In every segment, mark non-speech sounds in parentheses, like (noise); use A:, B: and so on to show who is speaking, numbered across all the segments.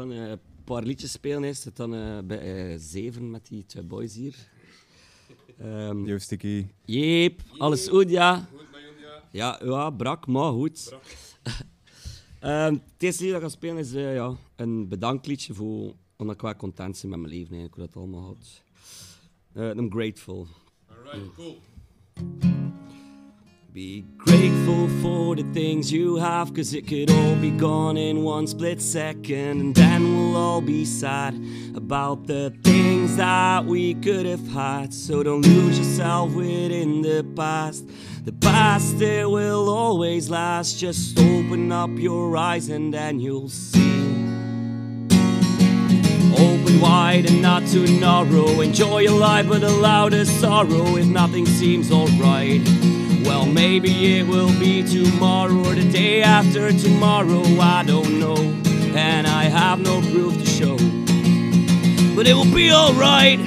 A: kan eh, een paar liedjes spelen. Hij zit dan eh, bij eh, zeven met die twee boys hier. Ehm,
B: Yo, Sticky.
A: Jeep, alles goed, ja? Ja, ja, brak, maar goed. (laughs) Ehm, het eerste lied dat ik ga spelen is eh, ja, een bedankliedje voor omdat ik wel content ben met mijn leven eigenlijk, hoe dat allemaal gaat. Eh, I'm grateful.
C: Alright, cool.
A: Be grateful for the things you have, cause it could all be gone in one split second. And then we'll all be sad about the things that we could have had. So don't lose yourself within the past. The past, it will always last. Just open up your eyes and then you'll see. Open wide and not too narrow. Enjoy your life but allow the sorrow if nothing seems alright. Well, maybe it will be tomorrow or the day after tomorrow. I don't know, and I have no proof to show. But it will be alright.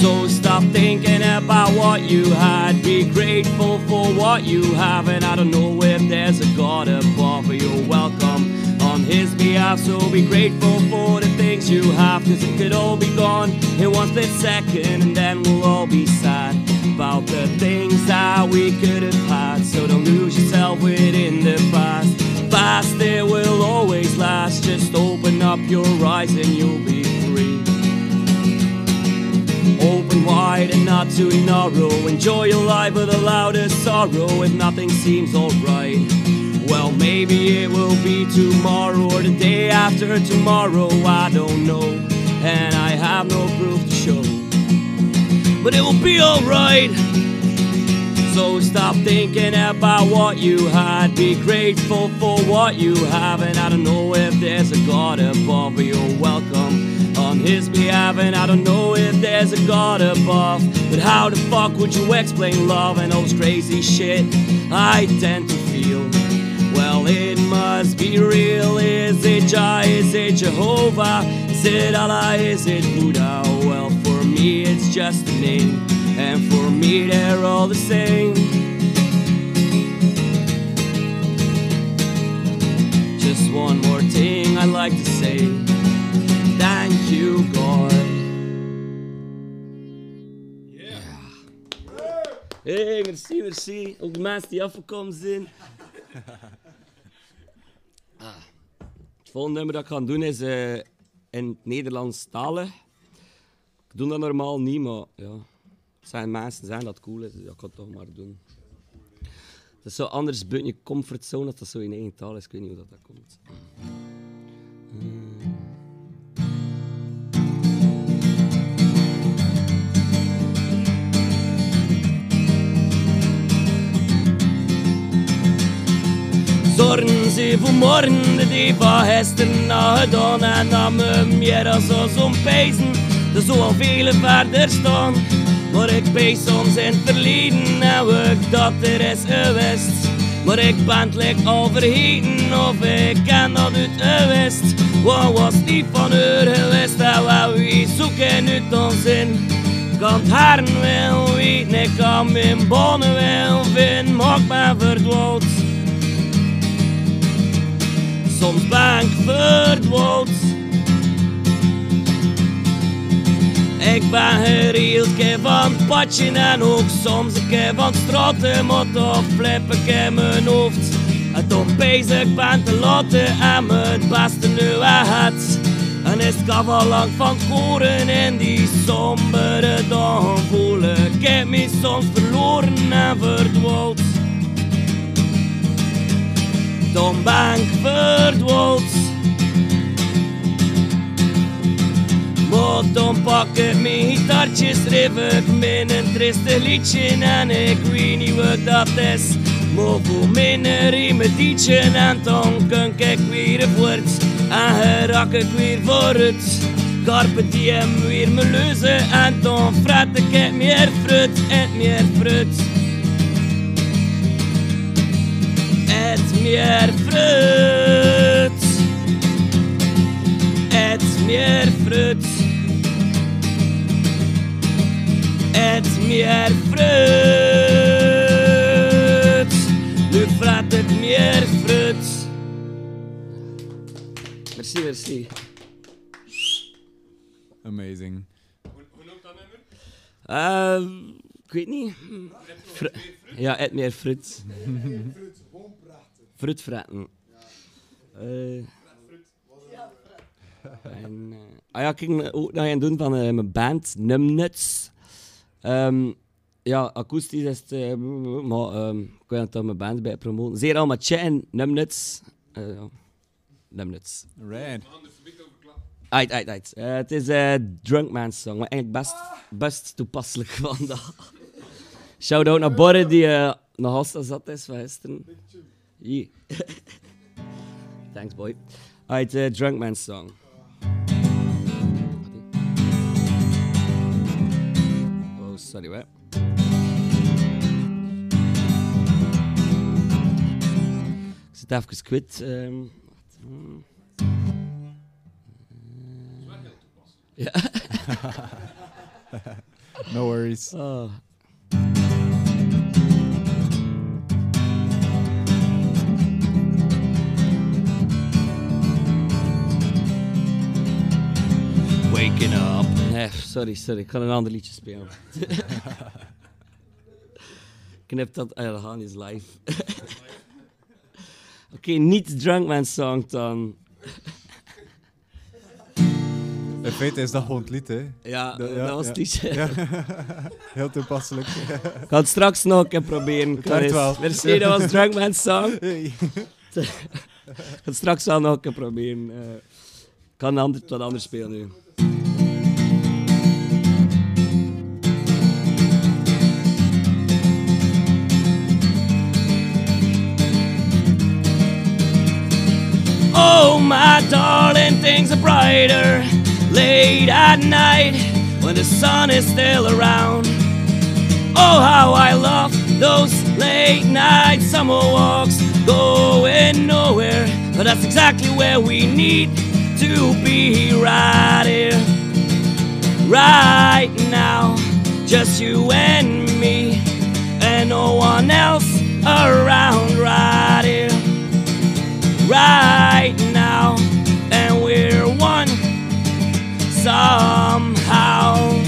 A: So stop thinking about what you had. Be grateful for what you have. And I don't know if there's a God above, but you're welcome on His behalf. So be grateful for the things you have, cause it could all be gone in one split second. And then we'll all be sad about the things that we could have had. So don't lose yourself within the past. Past, it will always last. Just open up your eyes and you'll be free. Open wide and not too narrow. Enjoy your life with the loudest sorrow if nothing seems alright. Well, maybe it will be tomorrow or the day after tomorrow. I don't know, and I have no proof to show. But it will be alright. So stop thinking about what you had. Be grateful for what you have. And I don't know if there's a God above, but you're welcome on His behalf. And I don't know if there's a God above, but how the fuck would you explain love and all this crazy shit I tend to feel? Well, it must be real. Is it Jah? Is it Jehovah? Is it Allah? Is it Buddha? Well, for me, it's just a name. And for me, they're all the same. Just one more thing I'd like to say. Thank you, God. Hey, merci, merci. Ook de mensen die afgekomen (laughs) zijn. Het Ah. volgende nummer dat ik ga doen is eh, in het Nederlands talen. Ik doe dat normaal niet, maar ja, het zijn mensen zijn dat cool is, dus dat kan ik toch maar doen. Het is zo anders buiten je comfortzone dat dat zo in eigen taal is. Ik weet niet hoe dat, dat komt. Zorgen ze voor morgen, de die van gisteren na gedaan en nam me meer dan zo zo'n pijzen. Er zou al vele verder staan, maar ik ben soms in het verleden en ook dat er is geweest. Maar ik ben het like al vergeten of ik ken dat het geweest. Wat was niet van haar geweest en wat wie zoeken nu dan zin? Kan het haren wel weten, ik kan mijn bonnen wel vinden, maak me verdwaald. Soms ben ik verdwaald. Ik ben gerield, keer van het padje en ook soms een keer van straten, maar toch flip ik in mijn hoofd. En toch bezig ben te laten en me het beste nu het. En is het kan wel lang van koren in die sombere dagen voelen. Ik heb me soms verloren en verdwaald. Dan ben ik verdwaald. Maar dan pak ik mijn gitaartje, schrijf ik mijn een trieste liedje en ik weet niet wat dat is. Maar voor mijn remedietje en dan kan ik weer voort en raak ik weer vooruit. Carpe diem weer me leuzen en dan fret ik het meer fruit, het meer fruit. Het meer fruit. Het meer fruit. Het meer fruit. Nu vraat het meer fruit. Merci. merci, merci.
B: Amazing.
C: Hoe noemt dat nummer?
A: Eh, ik weet niet. Fr- ja, eet meer fruit. Fruit fretten. Eh, en, eh, ah ja, kijk ook nog een doen van eh, mijn band, Numnuts. Ehm, ja, akoestisch is het, eh, maar ehm, ik wil het aan mijn band bij promoten. Zeer allemaal chatten, Numnuts. Eh, ja. Numnuts.
B: Right.
A: Uit, uit, uit. Eh, het is een Drunk Man's Song, maar eigenlijk best, best toepasselijk (laughs) vandaag. Shout-out naar Borre, die eh nog altijd zat is van gisteren. Yeah. (laughs) Thanks, boy. Uit eh, Drunk Man's Song. Oh, sorry, wat? Ik zit even kwijt. ehm.
B: No worries.
A: Oh. Waking up. Nee, sorry, sorry. Ik kan een ander liedje
B: (laughs)
A: spelen. Knip dat. Ah, ja, dat gaat is live. (laughs) Oké, niet Drunk Man Song dan.
B: In feite is dat gewoon het lied, hè?
A: Ja,
B: Dat-
A: eh,
B: ja,
A: dat was
B: ja.
A: het liedje.
B: Ja. Heel toepasselijk.
A: Ik ga het straks nog een keer proberen.
B: Dank
A: Chris.
B: wel.
A: Merci, dat was Drunk Man Song.
B: (laughs) Hey.
A: Ik ga het (laughs) straks er wel nog een keer proberen. eh. ik kan ander, wat anders spelen nu. Oh, my darling, things are brighter late at night when the sun is still around. Oh, how I love those late night summer walks going nowhere. But that's exactly where we need to be right here, right now. Just you and me, and no one else around right here, right now. And we're one somehow.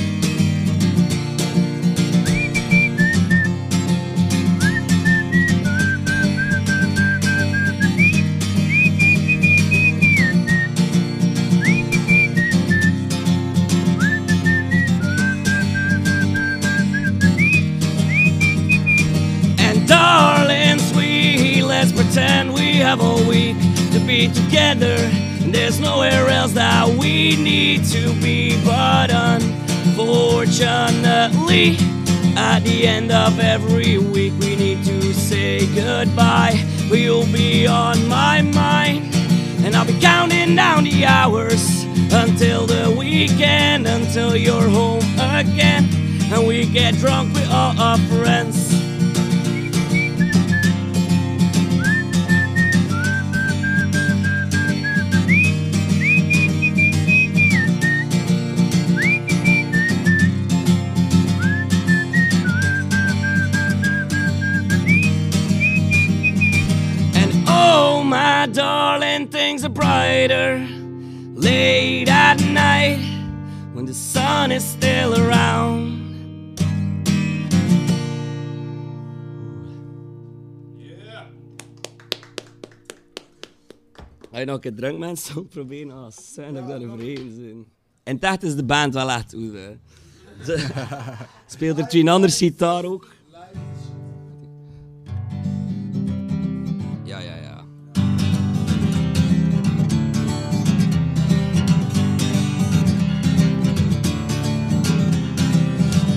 A: And darling, sweet, let's pretend we have a week to be together. And there's nowhere else that we need to be. But unfortunately, at the end of every week, we need to say goodbye. But you'll be on my mind. And I'll be counting down the hours until the weekend, until you're home again. And we get drunk with all our friends. And oh, my darling, things are brighter late at night when the sun is still around. Ga je nog een keer drunk (laughs) mensen ook proberen? Ah, zijn dat ik daar overheen zijn. En dat is de band wel echt goed, hè. Ze- (laughs) Speelt er twee anders gitaar ook? Ja, ja, ja.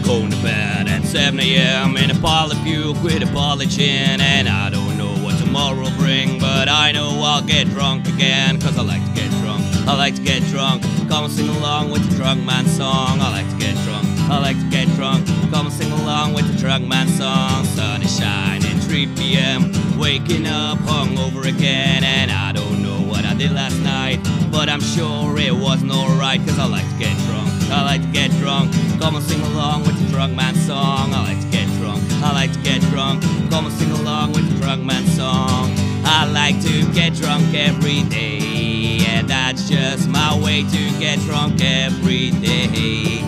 A: Going to bed at 7 a.m. in a pile of puke with a bottle of gin. And I don't know what tomorrow will bring, but I know I'll get drunk again. Cause I like to get drunk, I like to get drunk. Come and sing along with the drunk man song. I like to get drunk, I like to get drunk. Come and sing along with the drunk man song. Sun is shining, 3 p.m. Waking up hungover again. And I don't know what I did last night, but I'm sure it wasn't alright. Cause I like to get drunk, I like to get drunk. Come and sing along with the drunk man song. I like to get drunk, I like to get drunk. Come and sing along with the drunk man song. I like to get drunk every day. Yeah, that's just my way to get drunk every day.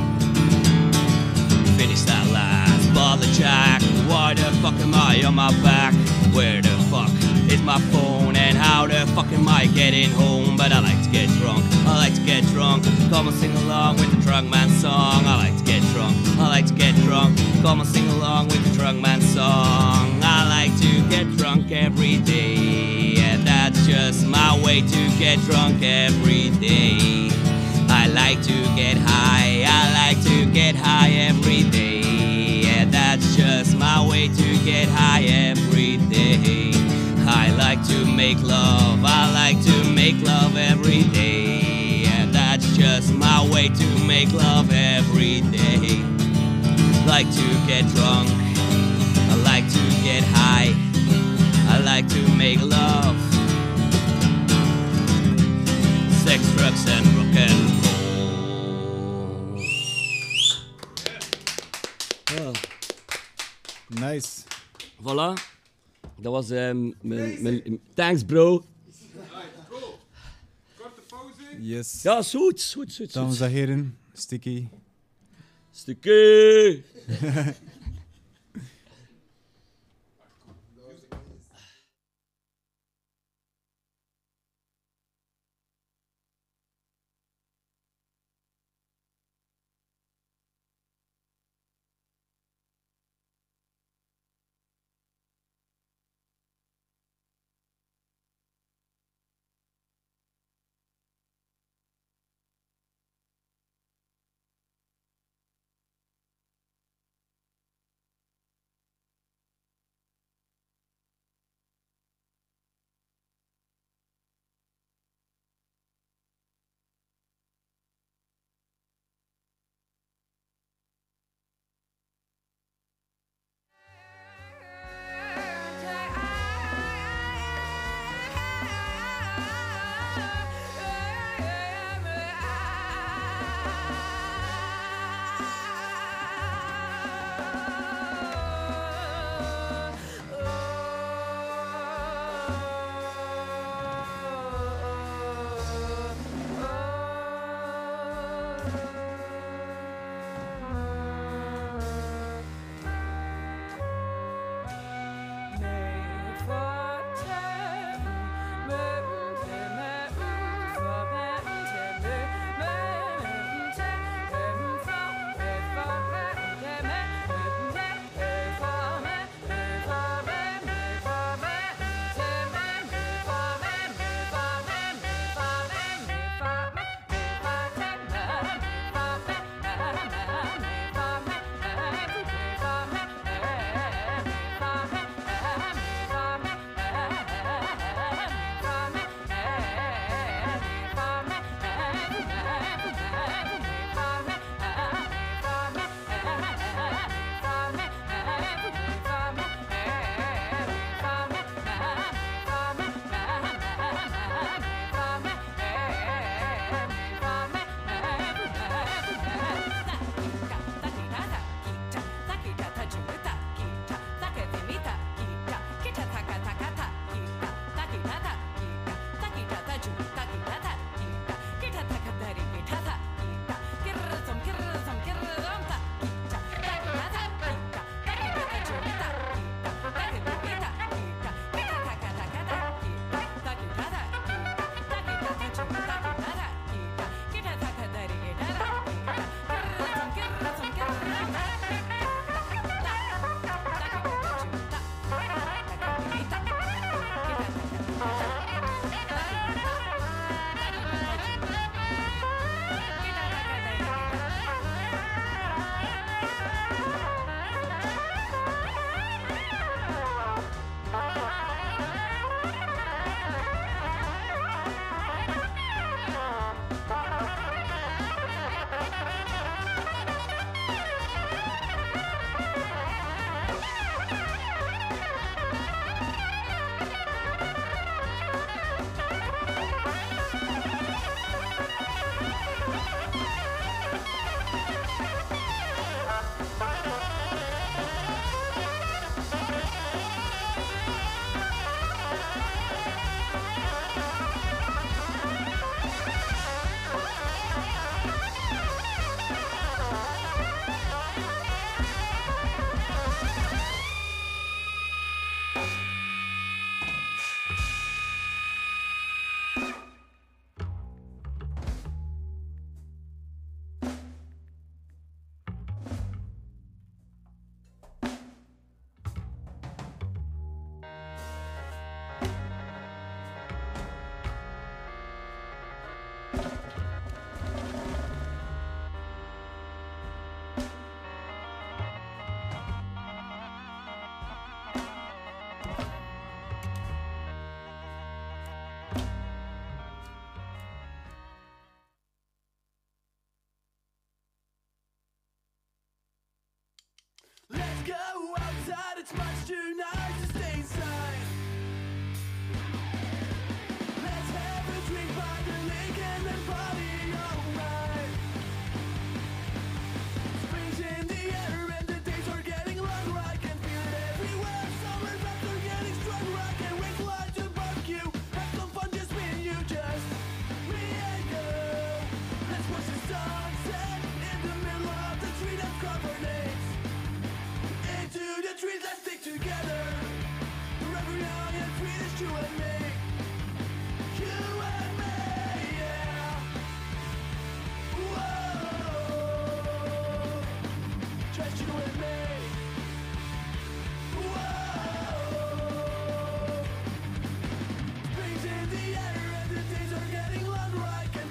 A: Finish that last bottle of Jack. Why the fuck am I on my back? Where the fuck is my phone? And how the fuck am I getting home? But I like to get drunk. I like to get drunk. Come and sing along with the drunk man song. I like to get drunk. I like to get drunk. Come and sing along with the drunk man song. I like to get drunk every day. And that's just my way to get drunk every day. I like to get high, I like to get high every day. Yeah, that's just my way to get high every day. I like to make love, I like to make love every day. Yeah, that's just my way to make love every day. Like to get drunk, I like to get high, I like to make love sex, drugs, and rock and roll.
B: Nice.
A: Ah, Voilà. Dat was eh, m- mijn... mijn- Thanks, bro.
B: Yes.
A: Ja, is goed, is goed, is goed. is
B: Dames
A: goed.
B: en heren, Sticky.
A: Stukje.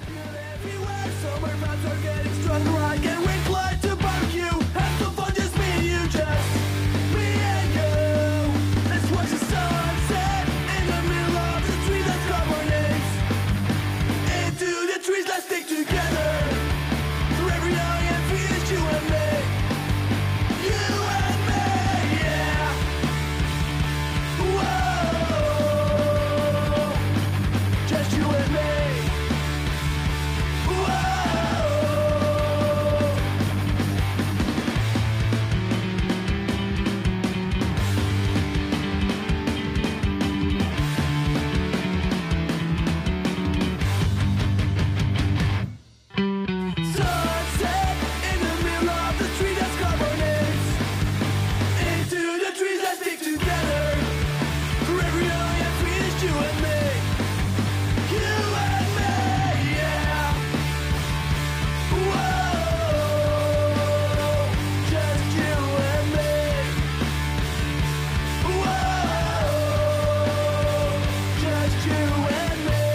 C: So my friends are getting strung right. Can we glide to barbecue? Have some fun, just me and you, just me and you. Let's watch the sunset in the middle of the street. Let's grab our names into the trees. Let's stick together through every eye and fear. It's you and me, you and me, yeah. Whoa, just you and me. Whoa. Sunset in the middle of the tree that's carbonates Into the trees that stick together Through every eye and tree is you and me You and me, yeah Whoa Just you and me Whoa Just you and me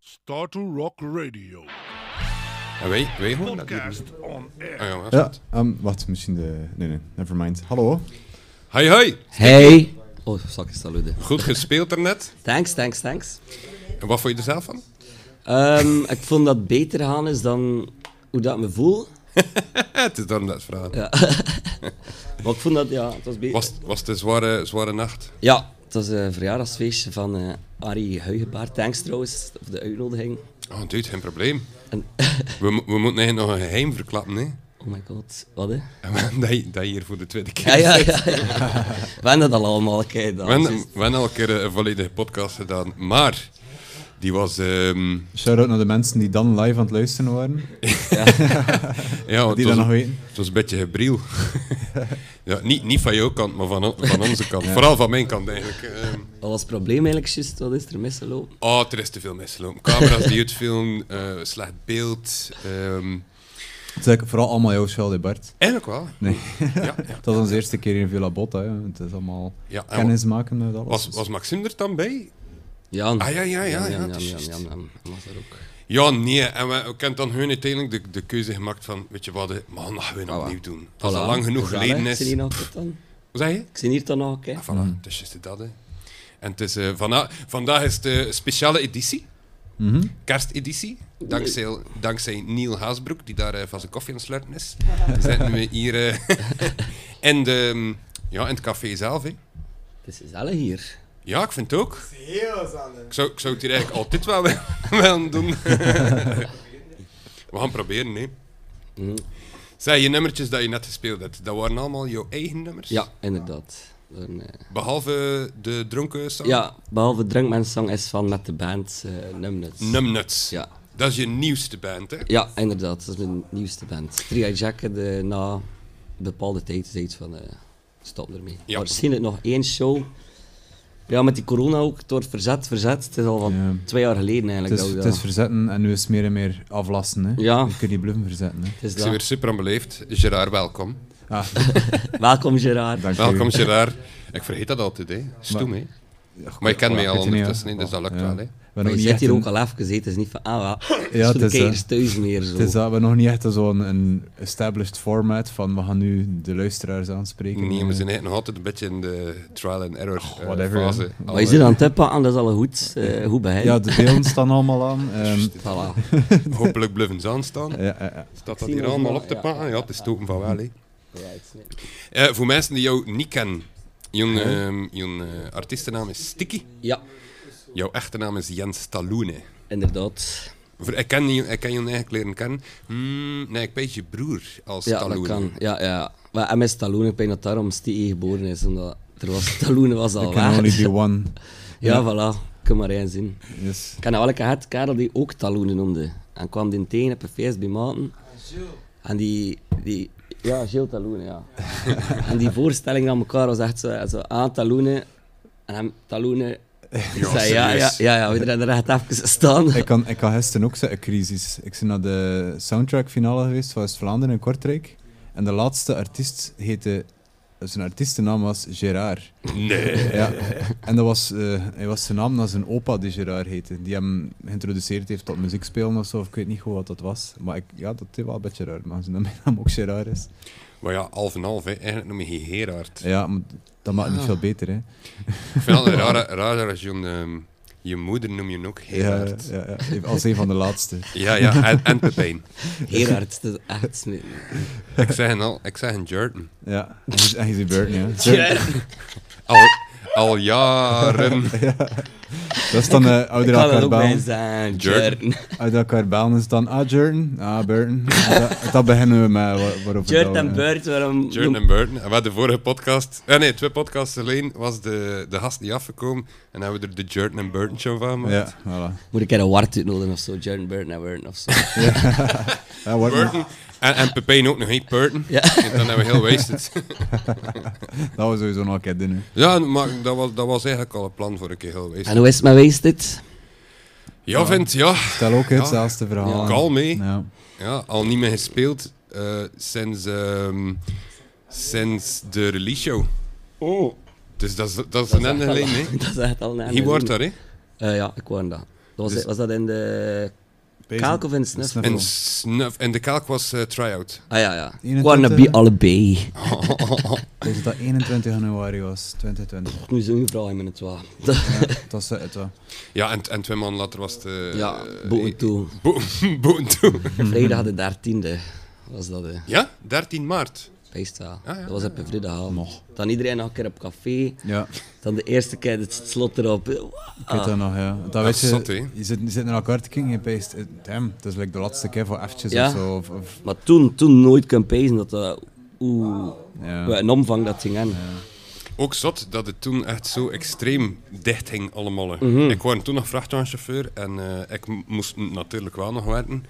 D: Starter Rock Radio.
E: Ja, wij, wij horen dat hier niet.
D: Podcast on air.
E: Ah ja, waar
B: Ja,
E: staat
B: ehm, wacht, misschien de... Nee, nee, nevermind. Hallo.
E: het? Hoi, hoi.
A: Hey! Oh, zak is salude.
E: Goed gespeeld daarnet.
A: Thanks, thanks, thanks.
E: En wat vond je er zelf van?
A: Ehm, ik vond dat beter gaan is dan hoe dat me voel.
E: Eh, het is daarom dat vraag.
A: Maar ik vond dat, ja, het was beter.
E: Was, was het een zware, zware nacht?
A: Ja, het was een verjaardagsfeestje van eh Arie Huigepaard. Thanks trouwens, voor de uitnodiging.
E: Oh, dude, geen probleem.
A: En, (laughs)
E: We, mo- we moeten eigenlijk nog een geheim verklappen, hè. (laughs)
A: oh my god, wat hè?
E: dat, je, dat je hier voor de tweede keer
A: Ja, ja,
E: zit.
A: ja. ja. (laughs) We hebben dat al allemaal, kijk dan.
E: We hebben we hebben al een keer een volledige podcast gedaan, maar die was... ehm,
B: Shout-out naar de mensen die dan live aan het luisteren waren.
E: ja,
B: Die
E: het was-
B: dat nog weten.
E: Het was een beetje gebriel. ja, niet, niet van jouw kant, maar van, on- van onze kant. Vooral van mijn kant eigenlijk. Ehm,
A: Wat was het probleem eigenlijk, juist? Wat is er misgelopen?
E: oh, er is te veel misgelopen. Camera's die uitvielen, eh slecht beeld. ehm
B: Het is eigenlijk vooral allemaal jouw schuld, hè, Bart.
E: eigenlijk wel.
B: Nee.
E: Ja, ja.
B: Het was onze eerste keer in Villa Botta, hè. Het is allemaal
E: Ja, en
B: kennis maken met alles.
E: Was, was Maxime er dan bij?
A: Jan.
E: Ah, ja, ja, ja, ja,
A: Jan,
E: het
A: Jan,
E: is
A: Jan,
E: juist.
A: Jan, Jan. Was dat ook.
E: Ja, nee. En we, we hebben dan hun uiteindelijk de, de keuze gemaakt van, weet je wat, hè, maar dan gaan we het opnieuw doen. Als dat
A: Voilà.
E: lang genoeg
A: Dus wel, hè.
E: geleden
A: Ik zie hier
E: is.
A: nog wat dan.
E: Wat zeg je?
A: Ik zie hier dan nog, hè.
E: Ah, voilà, het is juist dat, hè. En het is, eh, vana- vandaag is de speciale editie.
A: Mhm.
E: Kersteditie. Dankzij, dankzij Neil Haasbroek, die daar eh, van zijn koffie aan het sluiten is. Zitten (laughs) we hier eh, (laughs) in, de, mm, ja, in het café zelf, hè.
A: Het is gezellig hier.
E: Ja, ik vind het ook. heel Ik zou, ik zou het hier eigenlijk altijd wel (laughs) willen- willen doen. We gaan proberen, hè.
A: Mhm.
E: Zeg, je nummertjes dat je net gespeeld hebt, dat waren allemaal jouw eigen nummers?
A: Ja, inderdaad. Dan, eh,
E: Behalve de dronken song?
A: ja, behalve Drunkman's Song is van met de band eh Numbnuts.
E: Numnuts.
A: Ja.
E: Dat is je nieuwste band, hè?
A: Ja, inderdaad. Dat is mijn nieuwste band. Tria Jack de, eh, na een bepaalde tijd zei iets van eh, stop ermee.
E: Ja.
A: Maar Misschien nog één show. Ja, met die corona ook, door verzet, verzet. Het is al van
B: Ja.
A: twee jaar geleden eigenlijk.
B: Het is,
A: dat we
B: het
A: dat-
B: is verzetten en nu is het meer en meer aflasten. Hè.
A: Ja.
B: Je kunt niet bluffen verzetten. Hè.
A: het is
E: Ik ben weer
A: dat.
E: super onbeleefd. Gerard, welkom.
A: (laughs)
B: Ah,
A: Welkom Gerard.
B: dank
E: Welkom,
B: u.
E: Gerard. Ik vergeet dat altijd, hè. Stoem, hè. Maar je kent mij al
B: weet je niet,
E: ondertussen,
B: ja.
E: hè, dus dat lukt
B: Ja.
E: wel,
B: We
E: hè.
B: hebben
A: Maar
B: nog
A: je
B: niet
A: zit
B: echt
A: hier
B: een-
A: ook al even gezeten, het is niet van, ah, wat,
B: Ja,
A: ja,
B: het is,
A: is
B: eh,
A: thuis meer zo.
B: Het is dat we hebben nog niet echt zo'n een established format van we gaan nu de luisteraars aanspreken.
E: Nee,
B: Eh,
E: we zijn eigenlijk nog altijd een beetje in de trial and error eh,
B: whatever,
E: fase.
B: hè.
E: Al,
A: Oh, Maar je
E: eh,
A: zit aan het tippen, en dat is al goed, eh goed bij
B: Ja, de beelden staan allemaal
E: (laughs)
B: aan. ehm,
A: Voilà.
E: Hopelijk blijven ze
A: (laughs)
E: aanstaan.
B: ja, ja, ja.
E: Staat
A: Ik
E: dat
A: zie
E: hier
A: nog
E: allemaal
A: wel,
E: op te
A: ja,
E: pakken? Ja, het is token van wel, hè.
A: Ja, ik snap het.
E: Eh, voor mensen die jou niet kennen, jouw, ehm, jouw eh, artiestennaam is Sticky.
A: Ja,
E: Jouw echte naam is Jens Talloene.
A: inderdaad.
E: Voor- Ik ken, je- ik ken je eigenlijk leren kennen. Hmm, nee, ik weet je broer als
A: Ja,
E: Talloene.
A: dat kan. Ja, ja. Maar MS Stallone, ik denk dat daarom Stie
D: E
A: geboren is. Omdat er was,
D: (laughs)
A: Stallone was al
B: I can
A: weg.
B: only be one.
A: Ja, voilà. Kun maar één zien.
B: Yes.
A: Ik had wel een gehad, kerel die ook Stallone noemde. En kwam die tegen op een feest bij Maarten. En die, die
D: Ja, Gilles
E: (laughs)
D: Talloene, ja. en die voorstelling aan elkaar was echt zo, zo aan Talloene en hem Talloene. Ik zei ja, ja,
E: serieus.
D: ja, ja, we er echt even staan.
B: Ik kan, ik kan gisteren ook zo'n crisis. Ik ben naar de soundtrackfinale geweest van West-Vlaanderen in Kortrijk. En de laatste artiest heette... Zijn artiestennaam was Gerard.
E: Nee.
B: Ja. (laughs) En dat was, eh, hij was zijn naam naar zijn opa die Gerard heette. Die hem geïntroduceerd heeft tot muziekspelen of zo. Of ik weet niet goed wat dat was. Maar ik, ja, dat is wel een beetje raar. Maar zijn naam (laughs) ook Gerard is.
E: Maar ja, half en half, hè. eigenlijk noem je geen Gerard.
B: Ja, maar dat maakt het
D: Ah.
B: niet veel beter, hè.
E: Ik vind het altijd raar, raar als je, ehm, je moeder noem je ook
B: Ja,
E: Gerard. Ja,
B: ja, ja. Als een van de laatste.
E: ja, en, en Pepijn.
D: Gerard, dat is echt smitten.
E: Ik zeg hen al, ik zeg een Jordan.
B: Ja, en je- en je ziet
D: (laughs)
B: Burton,
A: (laughs)
B: ja.
E: Al, al jaren.
B: Dat is dan eh ouder
D: Ik kan er ook bij
B: elkaar
D: zijn,
E: Jordan.
A: (laughs)
D: Jordan.
B: Uit elkaar bellen is dan, ah, Jordan, ah, Burton. En
D: (laughs)
B: dat, dat beginnen we met, wa- waarop we
D: Jordan en Bert, waarom...
E: Jordan en Burton. En we hadden de vorige podcast... eh, nee, twee podcasts alleen was de, de gast niet afgekomen. En hebben we er de Jordan en Burton show van gemaakt.
B: Ja, voilà.
D: Moet ik er een wart uitnodigen of zo? Jordan, Burton en Burton of zo.
B: Ja, wordt
E: Burton. En, en Pepijn ook nog, hé, Burton.
D: Ja.
E: En dan hebben we heel wasted. (laughs)
B: nog- dat we sowieso nog een keer doen. hè.
E: Ja, maar dat was, dat was eigenlijk al een plan voor een keer heel wasted.
D: En hoe is het met Wasted?
E: Ja, vindt, ja.
B: Stel ook
E: Ja.
B: hetzelfde verhaal. aan.
E: Kalm, mee.
B: Ja.
E: Ja, al niet meer gespeeld eh, sinds, ehm, sinds de release show.
D: Oh.
E: Dus dat is, dat is een en
D: al,
E: alleen, hè?
D: (laughs) dat is echt al een
E: (laughs) Hier wordt
D: dat?
E: daar, hè?
D: ja, ik woon daar. Dat was,
E: Dus-
D: was dat in de Kalk of in de Snuff?
B: Snuff.
E: En, snuf, en de kalk was eh, try-out.
D: Ah ja, ja. Ik
B: 21.
D: woon naar bij allebei.
B: Ik denk dat dat 21 januari was, 2020.
D: Nu zo'n vrouw in het waar.
B: Ja, dat was het wel.
E: Ja, en, en twee maanden later was het... eh,
D: ja,
E: eh,
D: boven toe.
E: (laughs) bo- boven toe. (laughs)
D: Vrijdag de 13e was dat, eh.
E: Ja, 13 maart. Ah,
D: Feestdag.
E: ja,
D: Dat was op een vrijdagavond. Dan iedereen nog een keer op café.
B: Ja, ik
D: Dan de eerste keer het slot erop. Ah.
B: weet dat nog, ja. Dat weet je,
E: zot, hè.
B: je, zit, je zit naar elkaar te kijken en je peest, eh, damn, dat is like de laatste keer voor eventjes
D: Ja.
B: of zo. Of, of-
D: Maar toen, toen nooit kunnen pezen dat eh, dat... Oeh,
B: ja.
D: wat een omvang dat ging aan.
E: Ook zot dat het toen echt zo extreem dicht hing allemaal. hè. Ik was toen nog vrachtwagenchauffeur en eh, ik m- moest natuurlijk wel nog werken.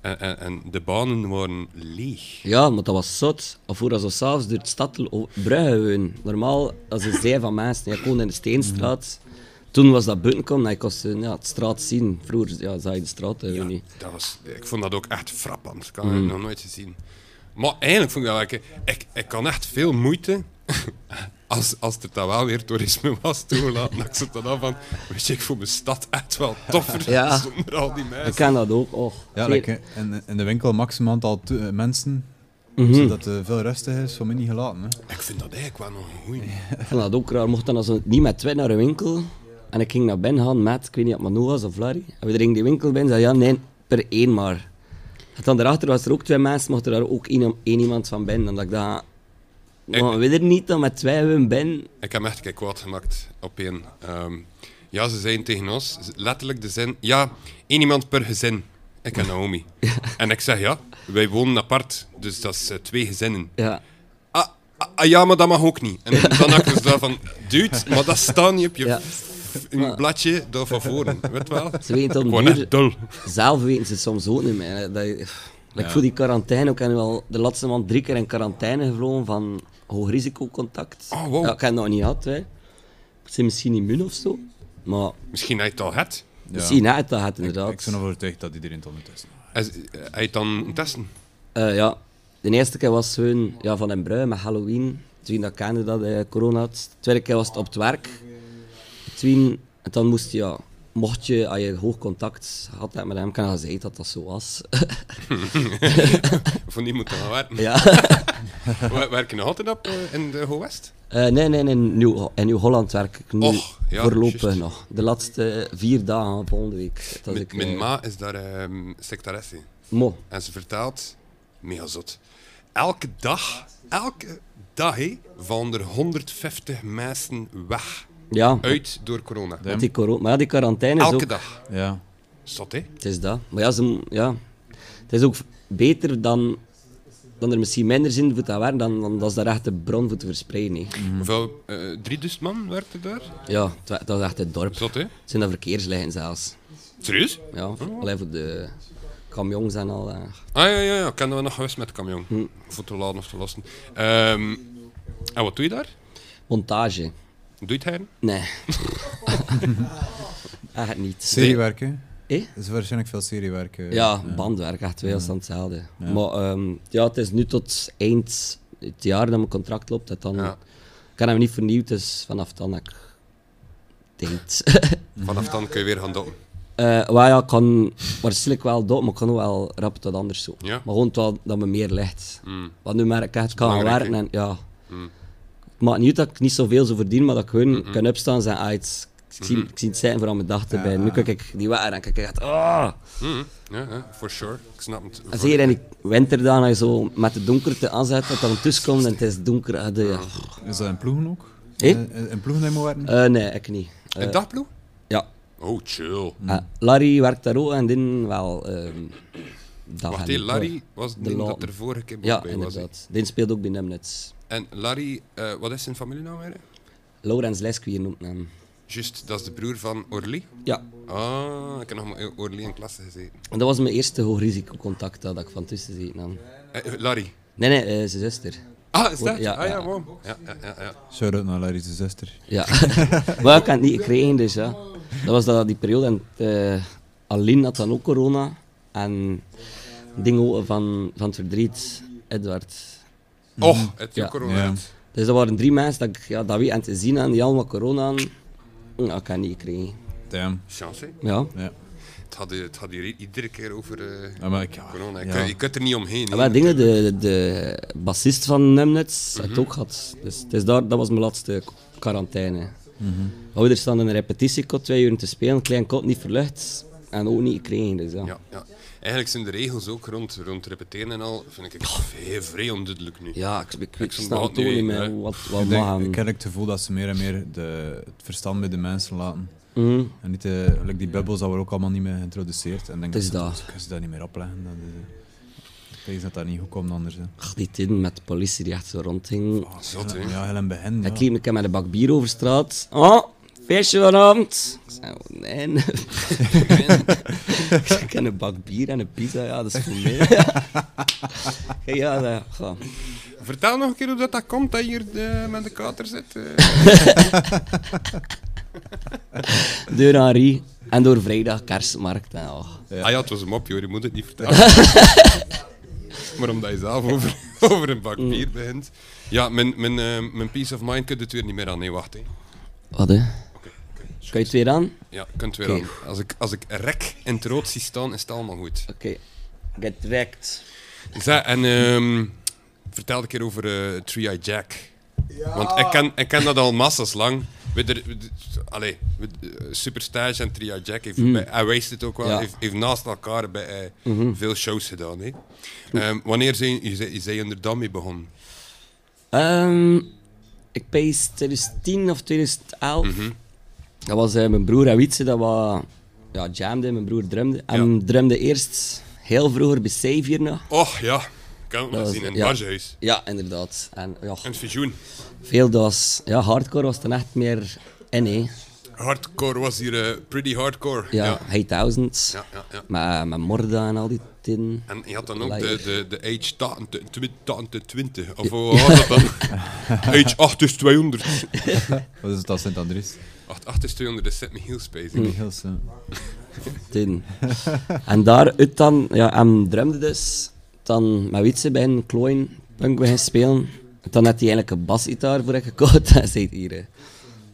E: En, en, en de banen waren leeg.
D: Ja, maar dat was zot. Of voor als we s'avonds door de stad l- o- bruggen wonen. Normaal, als een zij van mensen. Ik woonde in de Steenstraat. Toen was dat buiten kwam, dan kon ze ja, de straat zien. Vroeger ja, zag je de straat hè,
E: Ja,
D: niet.
E: dat was, ik vond dat ook echt frappant. Ik had het nog nooit gezien. Maar eigenlijk vond ik dat wel... Ik, ik, ik kan echt veel moeite... (laughs) Als, als er dan wel weer toerisme was toegelaten, dan zit dat dan van... Weet je, ik voel mijn stad echt wel (laughs) toffer
D: Ja.
E: zonder al die
D: Ik
E: mensen.
D: ken dat ook. Och,
B: Ja,
D: Zeer-
B: like, eh, in, in de winkel maximaal aantal to- eh, mensen,
D: Mhm.
B: zodat het veel rustig is, voor mij niet gelaten. Hè.
E: Ik vind dat eigenlijk wel nog een goeie.
D: Ik vond dat ook raar. Mocht dan als we niet met twee naar een winkel. En ik ging naar binnen gaan met, ik weet niet, of Manu was of Larry. En we gingen die winkel binnen en zei ja, nee, per één maar. En dan daarachter was er ook twee mensen, mocht er daar ook één, één iemand van binnen. En dat ik dacht, maar we er niet dan met twee we binnen.
E: Ik heb hem echt kijk kwaad gemaakt op één. Ehm, ja, ze zeiden tegen ons z- letterlijk de zin: ja, één iemand per gezin. Ik en Naomi. En ik zeg (laughs) ja, wij wonen apart, dus dat is eh, twee gezinnen.
D: Ja.
E: Ah, ah, ah, ja, maar dat mag ook niet. En dan had ik dus daarvan: dude, maar dat staat niet op je
D: Ja.
E: f- in je bladje daar van voren. Weet wel?
D: Ze weten om
E: Gewoon
D: duur-
E: echt dol.
D: (laughs) Zelf weten ze het soms ook niet meer. hè. Dat je- Ik voel die quarantaine ook. Ik heb wel de laatste maand drie keer in quarantaine gevlogen van hoog risicocontact.
E: Oh, wow.
D: Ja, ik heb dat niet gehad. Hè. Ik ben misschien immuun of zo. Maar
E: Misschien had je het al het.
D: misschien had het dat gehad,
B: Ik
D: inderdaad.
B: ben ervan overtuigd dat iedereen het ondertussen
E: Hij had je het dan moeten testen.
D: Eh, ja, de eerste keer was hun ja, van een brui met Halloween. Toen dat kende dat eh, corona had. De tweede keer was het op het werk. Toen, en dan moest je, ja, mocht je, als je hoog contact had met hem, kan je zeggen dat dat zo was. (laughs)
E: Van die moeten gaan werken.
D: ja.
E: Wa- Werk je nog altijd op eh, in de Ho-West?
D: Eh, nee, nee, nee. Nieuw, in Nieuw-Holland werk ik nu
E: Och, ja,
D: voorlopig
E: juist.
D: nog. De laatste vier dagen volgende week. Dat
E: Mijn-
D: ik,
E: Mijn
D: eh,
E: ma is daar ehm secretaresse.
D: Mo.
E: En ze vertaalt, mega zot. Elke dag, elke dag hé, vallen er 150 mensen weg.
D: Ja,
E: Uit door corona.
D: met die corona. Maar ja, die quarantaine is
E: Elke
D: ook...
E: dag.
B: Ja.
E: Zot hé.
D: Het is dat. Maar ja, ze, mo- ja, het is ook beter dan, dan er misschien minder zin voor te werken, dan, dan dat is daar echt de bron voor te verspreiden. hè.
E: Hoeveel, eh, 3000 man werkte daar?
D: Ja, het wa- dat is echt het dorp.
E: Zot hé.
D: Het zijn dat verkeerslijnen zelfs.
E: Serieus?
D: Ja, alleen voor de... Kamjongs en al. eh.
E: Ah ja, ja, ja. Ik ken we nog geweest met de camion.
D: Hm.
E: Voor te laden of te lossen. Ehm, en wat doe je daar?
D: Montage.
E: Doe je het her?
D: Nee. (laughs) echt niet.
B: Seriewerk, hè?
D: Eh?
B: Dat is waarschijnlijk veel seriewerk. eh.
D: Ja, bandwerk, echt wel is dan hetzelfde. Maar ehm, ja, het is nu tot eind het jaar dat mijn contract loopt. Dat dan,
E: Ja.
D: Ik heb hem niet vernieuwd, dus vanaf dan heb ik tijd.
E: Vanaf dan kun je weer gaan doppen.
D: Eh wel ja, ik kan waarschijnlijk wel dood, maar ik kan ook wel rap tot anders zoeken.
E: Ja. Mm.
D: Maar gewoon tot, dat me meer ligt. Want nu merk ik echt, ik kan gaan
E: belangrijk, Mm.
D: werken en ja. Het maakt niet uit dat ik niet zoveel zo verdien, maar dat ik gewoon kan opstaan en zeggen, ah, het is- ik,
E: Mm-hmm.
D: zie, ik zie het zijn voor aan mijn dag te bij. Nu kijk ik die waar en kijk ik echt, ah.
E: Mhm. Ja, ja, for sure. Ik snap het.
D: En zeker in die winterdagen, als je zo met de donkerte aanzet, dat dan tussen komt en het is donker. ah, de- ja.
B: Is dat in ploegen ook?
D: Eh?
B: Eh, In ploegen dat je moet werken?
D: Eh, nee, ik niet. Eh,
E: Een dagploeg?
D: ja.
E: Oh, chill.
D: Eh, Larry werkt daar ook en din wel. ehm dat
E: Wacht,
D: gaat
E: hé,
D: niet door.
E: Larry was die
D: Laten.
E: dat er vorige keer ook
D: Ja,
E: bij was. hè.
D: inderdaad. Dit speelt ook bij Nemnitz.
E: En Larry, eh, wat is zijn familienaam weer? hè?
D: Laurens Lesquier noemt hem.
E: Juist, dat is de broer van Orly.
D: Ja,
E: Ah, ik heb nog met Orly in klasse gezeten.
D: en dat was mijn eerste hoogrisicocontact dat ik van tussen zit nam.
E: Eh, Larry.
D: Nee, nee, eh, zijn zuster.
E: Ah, is dat?
D: Ja,
E: ah ja,
D: ja.
E: wow. Ja, ja, ja, ja.
B: Shout-out naar Larry's zuster.
D: Ja. maar ik had het niet gekregen, dus ja. Dat was dat, die periode. En eh Aline had dan ook corona. En dingen van, van het verdriet, Edward.
E: Och, het is
D: Mhm. Ja.
E: corona.
B: Ja.
D: Dus dat waren drie mensen dat ik ja, dat weet en te zien en die allemaal corona aan. Ja, ik had het niet gekregen.
B: Damn.
E: Chance, hè?
D: Ja.
B: Ja.
E: Het had, het had hier i- iedere keer over eh,
B: Ja, maar ik,
D: Ah,
B: ja.
E: corona. Je
B: ja.
E: kunt- Je kunt er niet omheen. hè.
D: Ja, maar Ah, dingen, de, de bassist van Nemnitz had het ook gehad. Dus, het is daar, dat was mijn laatste quarantaine. Ouders staan in een repetitiekot twee uur te spelen, klein kot niet verlucht en ook niet gekregen. Dus ja.
E: Ja, ja. Eigenlijk zijn de regels ook rond, rond repeteren en al, vind ik heel vrij onduidelijk nu.
D: Ja, ik, ik, ik
E: Ik snap
D: snap
E: het
D: het ook
E: niet,
D: niet meer
E: hè.
D: wat, wat
B: Ik, denk,
D: mag hem.
B: ik heb het gevoel dat ze meer en meer de, het verstand bij de mensen laten.
D: Mhm.
B: En niet de, like die bubbels dat worden ook allemaal niet meer geïntroduceerd. En ik denk
D: Het is
B: ze
D: dat.
B: ze kunnen ze dat niet meer opleggen. Dat is, eh, ik denk dat dat niet goed komt anders. Hè.
D: Ach, die tijden met de politie die echt zo rondging.
B: Ah,
E: Zot, hè?
B: Ja, heel en begin.
D: Ik
B: Ja.
D: liep een keer met een bak bier over straat. Oh, feestje vanavond. Ik zei, oh, nee. (laughs) ik zei, ik heb een bak bier en een pizza, ja, dat is voor mij. (laughs) ja, dat ja.
E: Vertel nog een keer hoe dat, dat komt dat je hier eh, met de kater zit. eh.
D: Door Henri en door vrijdag kerstmarkt. En, oh.
E: Ah ja, het was een mopje hoor, je moet het niet
D: (laughs)
E: vertellen. maar omdat je zelf over, (laughs) over een
D: Mm.
E: bak bier begint. Ja, mijn, mijn, eh, mijn peace of mind kunt het weer niet meer aan. Nee, wacht hè.
D: Wat hè?
E: Oké, oké.
D: Kan je het weer aan?
E: Ja, kunt weer
D: Oké.
E: aan. Als ik, als ik rek in het rood zie staan, is het allemaal goed.
D: Oké. Get wrecked.
E: Zeg, en ehm, vertel een keer over eh Three Eye Jack. Want ik ken, ik ken dat al massas lang. Weet er- weet- allee, weet- eh, Superstage en Three Eye Jack, heeft bij- hij wijst het ook wel,
D: Mhm. Ja. Mhm.
E: heeft, heeft naast elkaar bij, eh, veel shows gedaan. hè. Ehm, wanneer zijn je, je, je inderdaad mee begonnen?
D: Ehm, ik pees 2010 of 2011. Dat was eh, mijn broer en Wietse, dat was... Ja, jamde, mijn broer drumde. En drumde eerst heel vroeger bij Save nog.
E: Och ja, ik kan het nog
D: Oh, was-
E: zien in het
D: ja.
E: Bargehuis.
D: Ja, inderdaad. En ja,
E: In het visioen.
D: veel was... Ja, hardcore was dan echt meer in, hè.
E: Hardcore was hier eh, pretty hardcore.
D: Ja,
E: ja.
D: Hey Thousands.
E: Ja, ja, ja.
D: Met, met Morda en al die tin.
E: En je had dan ook de,
D: Leier.
E: de, de age 20, of hoe was dat dan? age 8 is 200.
B: Wat is het als Sint-Andries?
E: 8, 8 is 200, dat zet me heel space.
B: Die heel snel.
D: Tin. en daaruit dan, ja, en drumde dus. Dan met Wietse bij een klooien punk beginnen spelen. Dan had hij eigenlijk een basgitaar voor ik gekocht. (laughs) En zei hier, hè,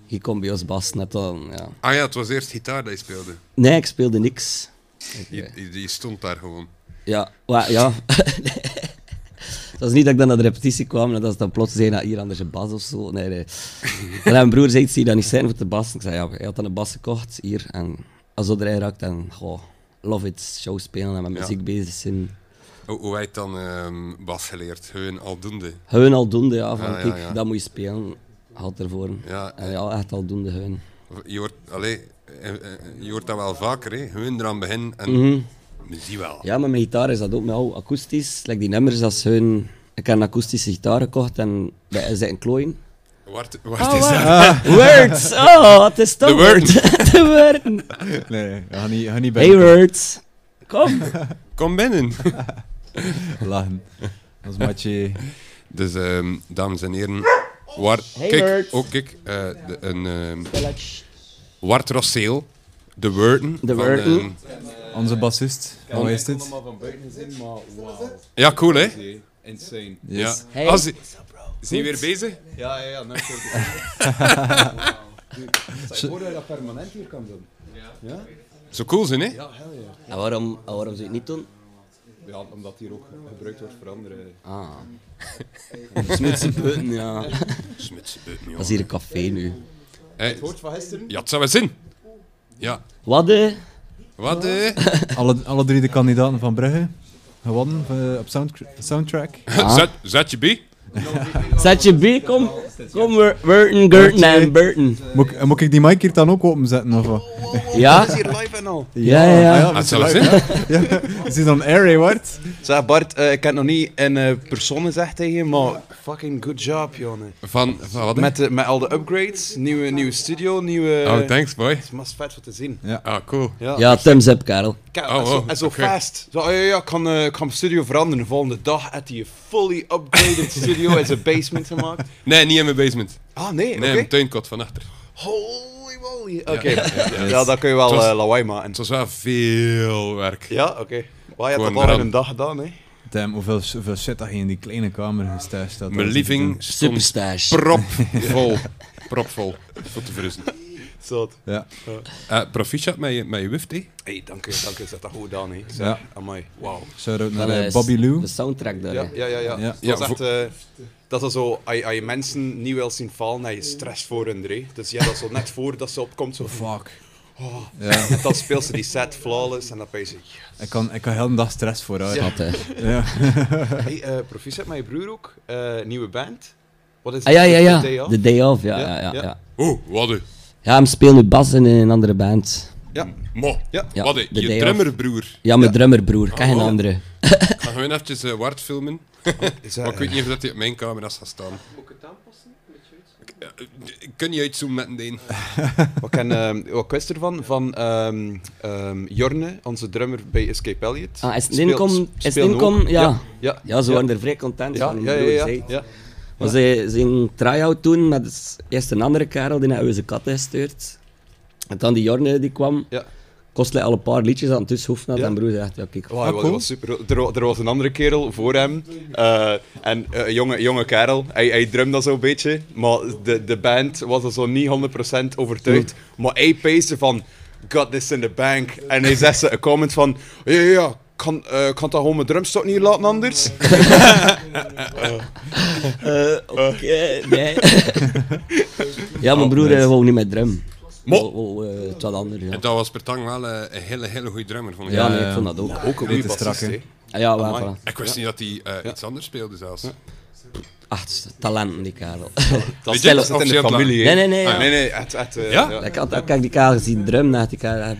D: hier komt bij ons bas net dan. Ja.
E: Ah ja, het was eerst gitaar dat je speelde.
D: Nee, ik speelde niks.
E: Je, je- je stond daar gewoon.
D: Ja, wa- ja. (laughs) Het was niet dat ik dan naar de repetitie kwam en dat ze dan plots zeiden dat hier anders een bas of zo. Nee, (laughs) nee. En mijn broer zei, zie je dat niet zijn voor de bas? Ik zei, ja, hij had dan een bas gekocht hier. En als dat erin raakt, dan goh, love it, show spelen en met
E: Ja.
D: muziek bezig zijn.
E: Hoe, hoe wij dan ehm, bas geleerd? Hun aldoende.
D: Hun aldoende, ja, van
E: Ja, ja,
D: kijk,
E: ja.
D: dat moet je spelen. Had ervoor.
E: Ja,
D: En ja, echt aldoende hun.
E: Je hoort, allee, eh, eh, je hoort dat wel vaker, hè? Hun eraan beginnen en we zien wel.
D: Ja, maar mijn gitaar is dat ook met al akoestisch. Like die nummers als hun... Ik heb een akoestische gitaar gekocht en wij zitten klooien.
E: (laughs) Wat, wat is dat?
D: Words! Oh, het is toch
E: De woorden.
D: De woorden.
B: Nee, nee, ga niet, ga niet bij.
D: Hey words. Kom.
E: Kom binnen. (laughs)
B: (laughs) Lachen. Dat is matje.
E: Dus, ehm, dames en heren. War,
D: Hey,
E: kijk,
D: Bert.
E: ook kijk, eh, de- een ehm
D: Village.
E: Wart Rosseel, de Wurten.
D: De
E: van,
D: Wurten.
E: ehm,
B: Onze bassist. Hoe is dit?
F: maar van buiten zien, maar wauw.
E: ja, cool hè?
F: Insane.
B: Yes.
E: Ja.
D: Hey.
E: Ah, zi- zijn we weer bezig?
F: Ja, ja, ja. Nou,
E: (laughs)
F: ik hoor dat je dat permanent hier kan doen.
E: Zo cool zijn hè?
F: Ja, hell ja.
D: En waarom, en waarom zou je het niet doen?
F: Ja, omdat hier ook gebruikt wordt voor andere...
D: Ah. (laughs) Smutse punten, ja. Dat
E: Smutse beuten,
D: is
E: jongen.
D: hier een café nu.
E: Hey,
F: Hoort van gisteren?
E: ja, het zou wel zin. Ja.
D: Wat de?
G: (laughs)
E: Wat eh?
B: Alle, alle drie de kandidaten van Brugge gewonnen eh, op sound, soundtrack.
E: Zet, zet je bij.
D: Zet je B, kom. Kom, Wur- Wurten, Gurten en Burton.
B: Moet, ik- moet ik die mic hier dan ook openzetten of wat?
D: Ja?
G: live en al.
D: Ja, ja, ja.
B: Ah,
E: Ah,
B: ja,
E: het zou wel zin.
B: is dit dan air, hè, Wart?
G: Zeg Bart, eh, ik heb het nog niet in eh persoon gezegd tegen je, maar fucking good job, jongen.
E: Van, van wat? hè?
G: Met, eh, de- met al de upgrades, nieuwe, nieuwe studio, nieuwe...
E: Oh, thanks boy.
G: Het is mast vet wat te zien.
E: Ah, cool.
D: Ja, thumbs up, Karel.
G: Kijk,
E: Oh,
G: en zo,
E: oh,
G: en zo
E: oké.
G: fast. Zo, ja, ja, ja, ik kan, eh, ik kan mijn studio veranderen. De volgende dag had hij een fully
E: (laughs)
G: upgraded studio in zijn basement gemaakt.
E: Nee, niet in mijn basement.
G: Ah, nee,
E: Nee, in
G: oké.
E: mijn tuinkot van achter.
G: Holy moly. Oké,
E: Ja,
G: ja,
E: ja, ja.
G: dan kun je wel
E: Het was-
G: eh, lawaai maken.
E: Het was wel veel werk.
G: Ja, oké. Maar je hebt
E: Gewoon
G: dat al in
E: brand.
G: een dag gedaan, hè?
B: Damn, hoeveel, hoeveel shit dat je in die kleine kamer gestashed had.
E: Mijn living stond
D: Superstash. (laughs)
E: propvol. Propvol. Voor te verrusten.
G: Zot.
B: Ja,
E: Eh proficiat met je, met je wift, hè?
G: Hé, hey, dank u, dank u. Zet dat goed gedaan, hè? Zeg,
B: Ja.
G: Amai, wauw.
B: shout-out naar
D: Dat
B: eh,
D: is
B: Bobby Lou.
D: De soundtrack daar.
G: Ja,
D: hè.
G: ja, ja. ja.
B: Ja.
G: Dat
E: Ja,
G: is echt...
E: voor-
G: eh, dat is zo, als je, als je mensen niet wil zien vallen, dan heb je stress voor hun, hè? Dus ja, dat is zo net voor dat ze opkomt, zo...
B: Fuck.
G: (laughs) En dan speelt ze die set flawless en dan ben je zo...
B: Ik kan, ik kan heel een dag stress vooruit.
G: Ja.
D: Wat, hè.
G: Hey, eh proficiat met je broer ook. eh, nieuwe band. Wat is
D: Ah, ja,
G: het? The
D: ja, ja.
G: Day Off?
D: The Day Off, ja,
G: Ja,
D: ja, ja.
G: ja.
D: ja.
E: Oh, wat een.
D: Ja, hem speelt nu bas in een andere band.
G: Ja.
E: Mo.
G: Ja. Oh,
D: Ja,
E: wat een.
D: de
E: Je
D: day
E: drummerbroer.
D: Ja, mijn drummerbroer, ken geen
E: wow.
D: andere.
E: Ik ga gewoon eventjes eh, Wart filmen.
G: Is dat-
E: Maar ik weet niet of dat hij op mijn camera's gaat staan. Ik- Kun je uitzoomen met een deen?
G: Wat, ken, ehm, wat kwist ervan? Van ehm, ehm, Jorne, onze drummer bij Escape Elliot.
D: Ah, is het
G: Speelt-
D: inkom? Is het
G: speelde
D: inkom?
G: ook.
D: Ja.
G: Ja.
D: Ja, ze
G: ja.
D: waren er vrij content
G: Ja,
D: van.
G: ja,
D: broer,
G: ja, ja,
D: zei.
G: ja.
D: Maar ze, ze ging try-out doen met eerst een andere kerel die naar onze kat gestuurd. En dan die Jorne die kwam.
G: Ja.
D: Kost hij al een paar liedjes aan het tussenhoofd had.
G: Ja.
D: En broer zegt, ja kijk.
G: Wauw, dat was super. Er, wa- er was een andere kerel voor hem. eh, en eh, een jonge, jonge kerel. Hij, hij drumde dat zo'n beetje. Maar de, de band was er zo niet 100% overtuigd.
D: Hmm.
G: Maar hij peesde van... Got this in the bank. En hij zegt ze een comment van... Ja, ja, ja. Kan, eh, kan dat gewoon mijn drumstok niet laten
D: (laughs)
G: anders? (laughs)
D: Eh, Oké,
G: (laughs)
D: nee. ja,
G: Oh,
D: mijn broer eh, wou niet met drum.
E: Mo.
D: Wou, wou, eh, het wat anders, ja.
E: En dat was per tang wel eh, een hele, hele goede drummer, vond ik.
D: Ja,
E: Ja.
D: nee,
B: ja.
D: ik vond dat ook. Ah,
G: Ook een goede
B: te
G: bassist,
B: Eh, strak, hè?
G: hè.
D: Ja, wel,
G: Amai.
D: voilà.
E: Ik wist niet dat hij eh, iets anders speelde zelfs.
D: Echt talenten, die kerel. (laughs)
G: Dat
E: Weet
G: is
E: je,
G: dat zit in de
E: officieel
G: familie,
D: Nee,
G: hè.
D: nee, nee. ja.
G: Nee, nee, het... het eh,
E: Ja?
D: Ik had ook die kerel gezien drum naar die kerel.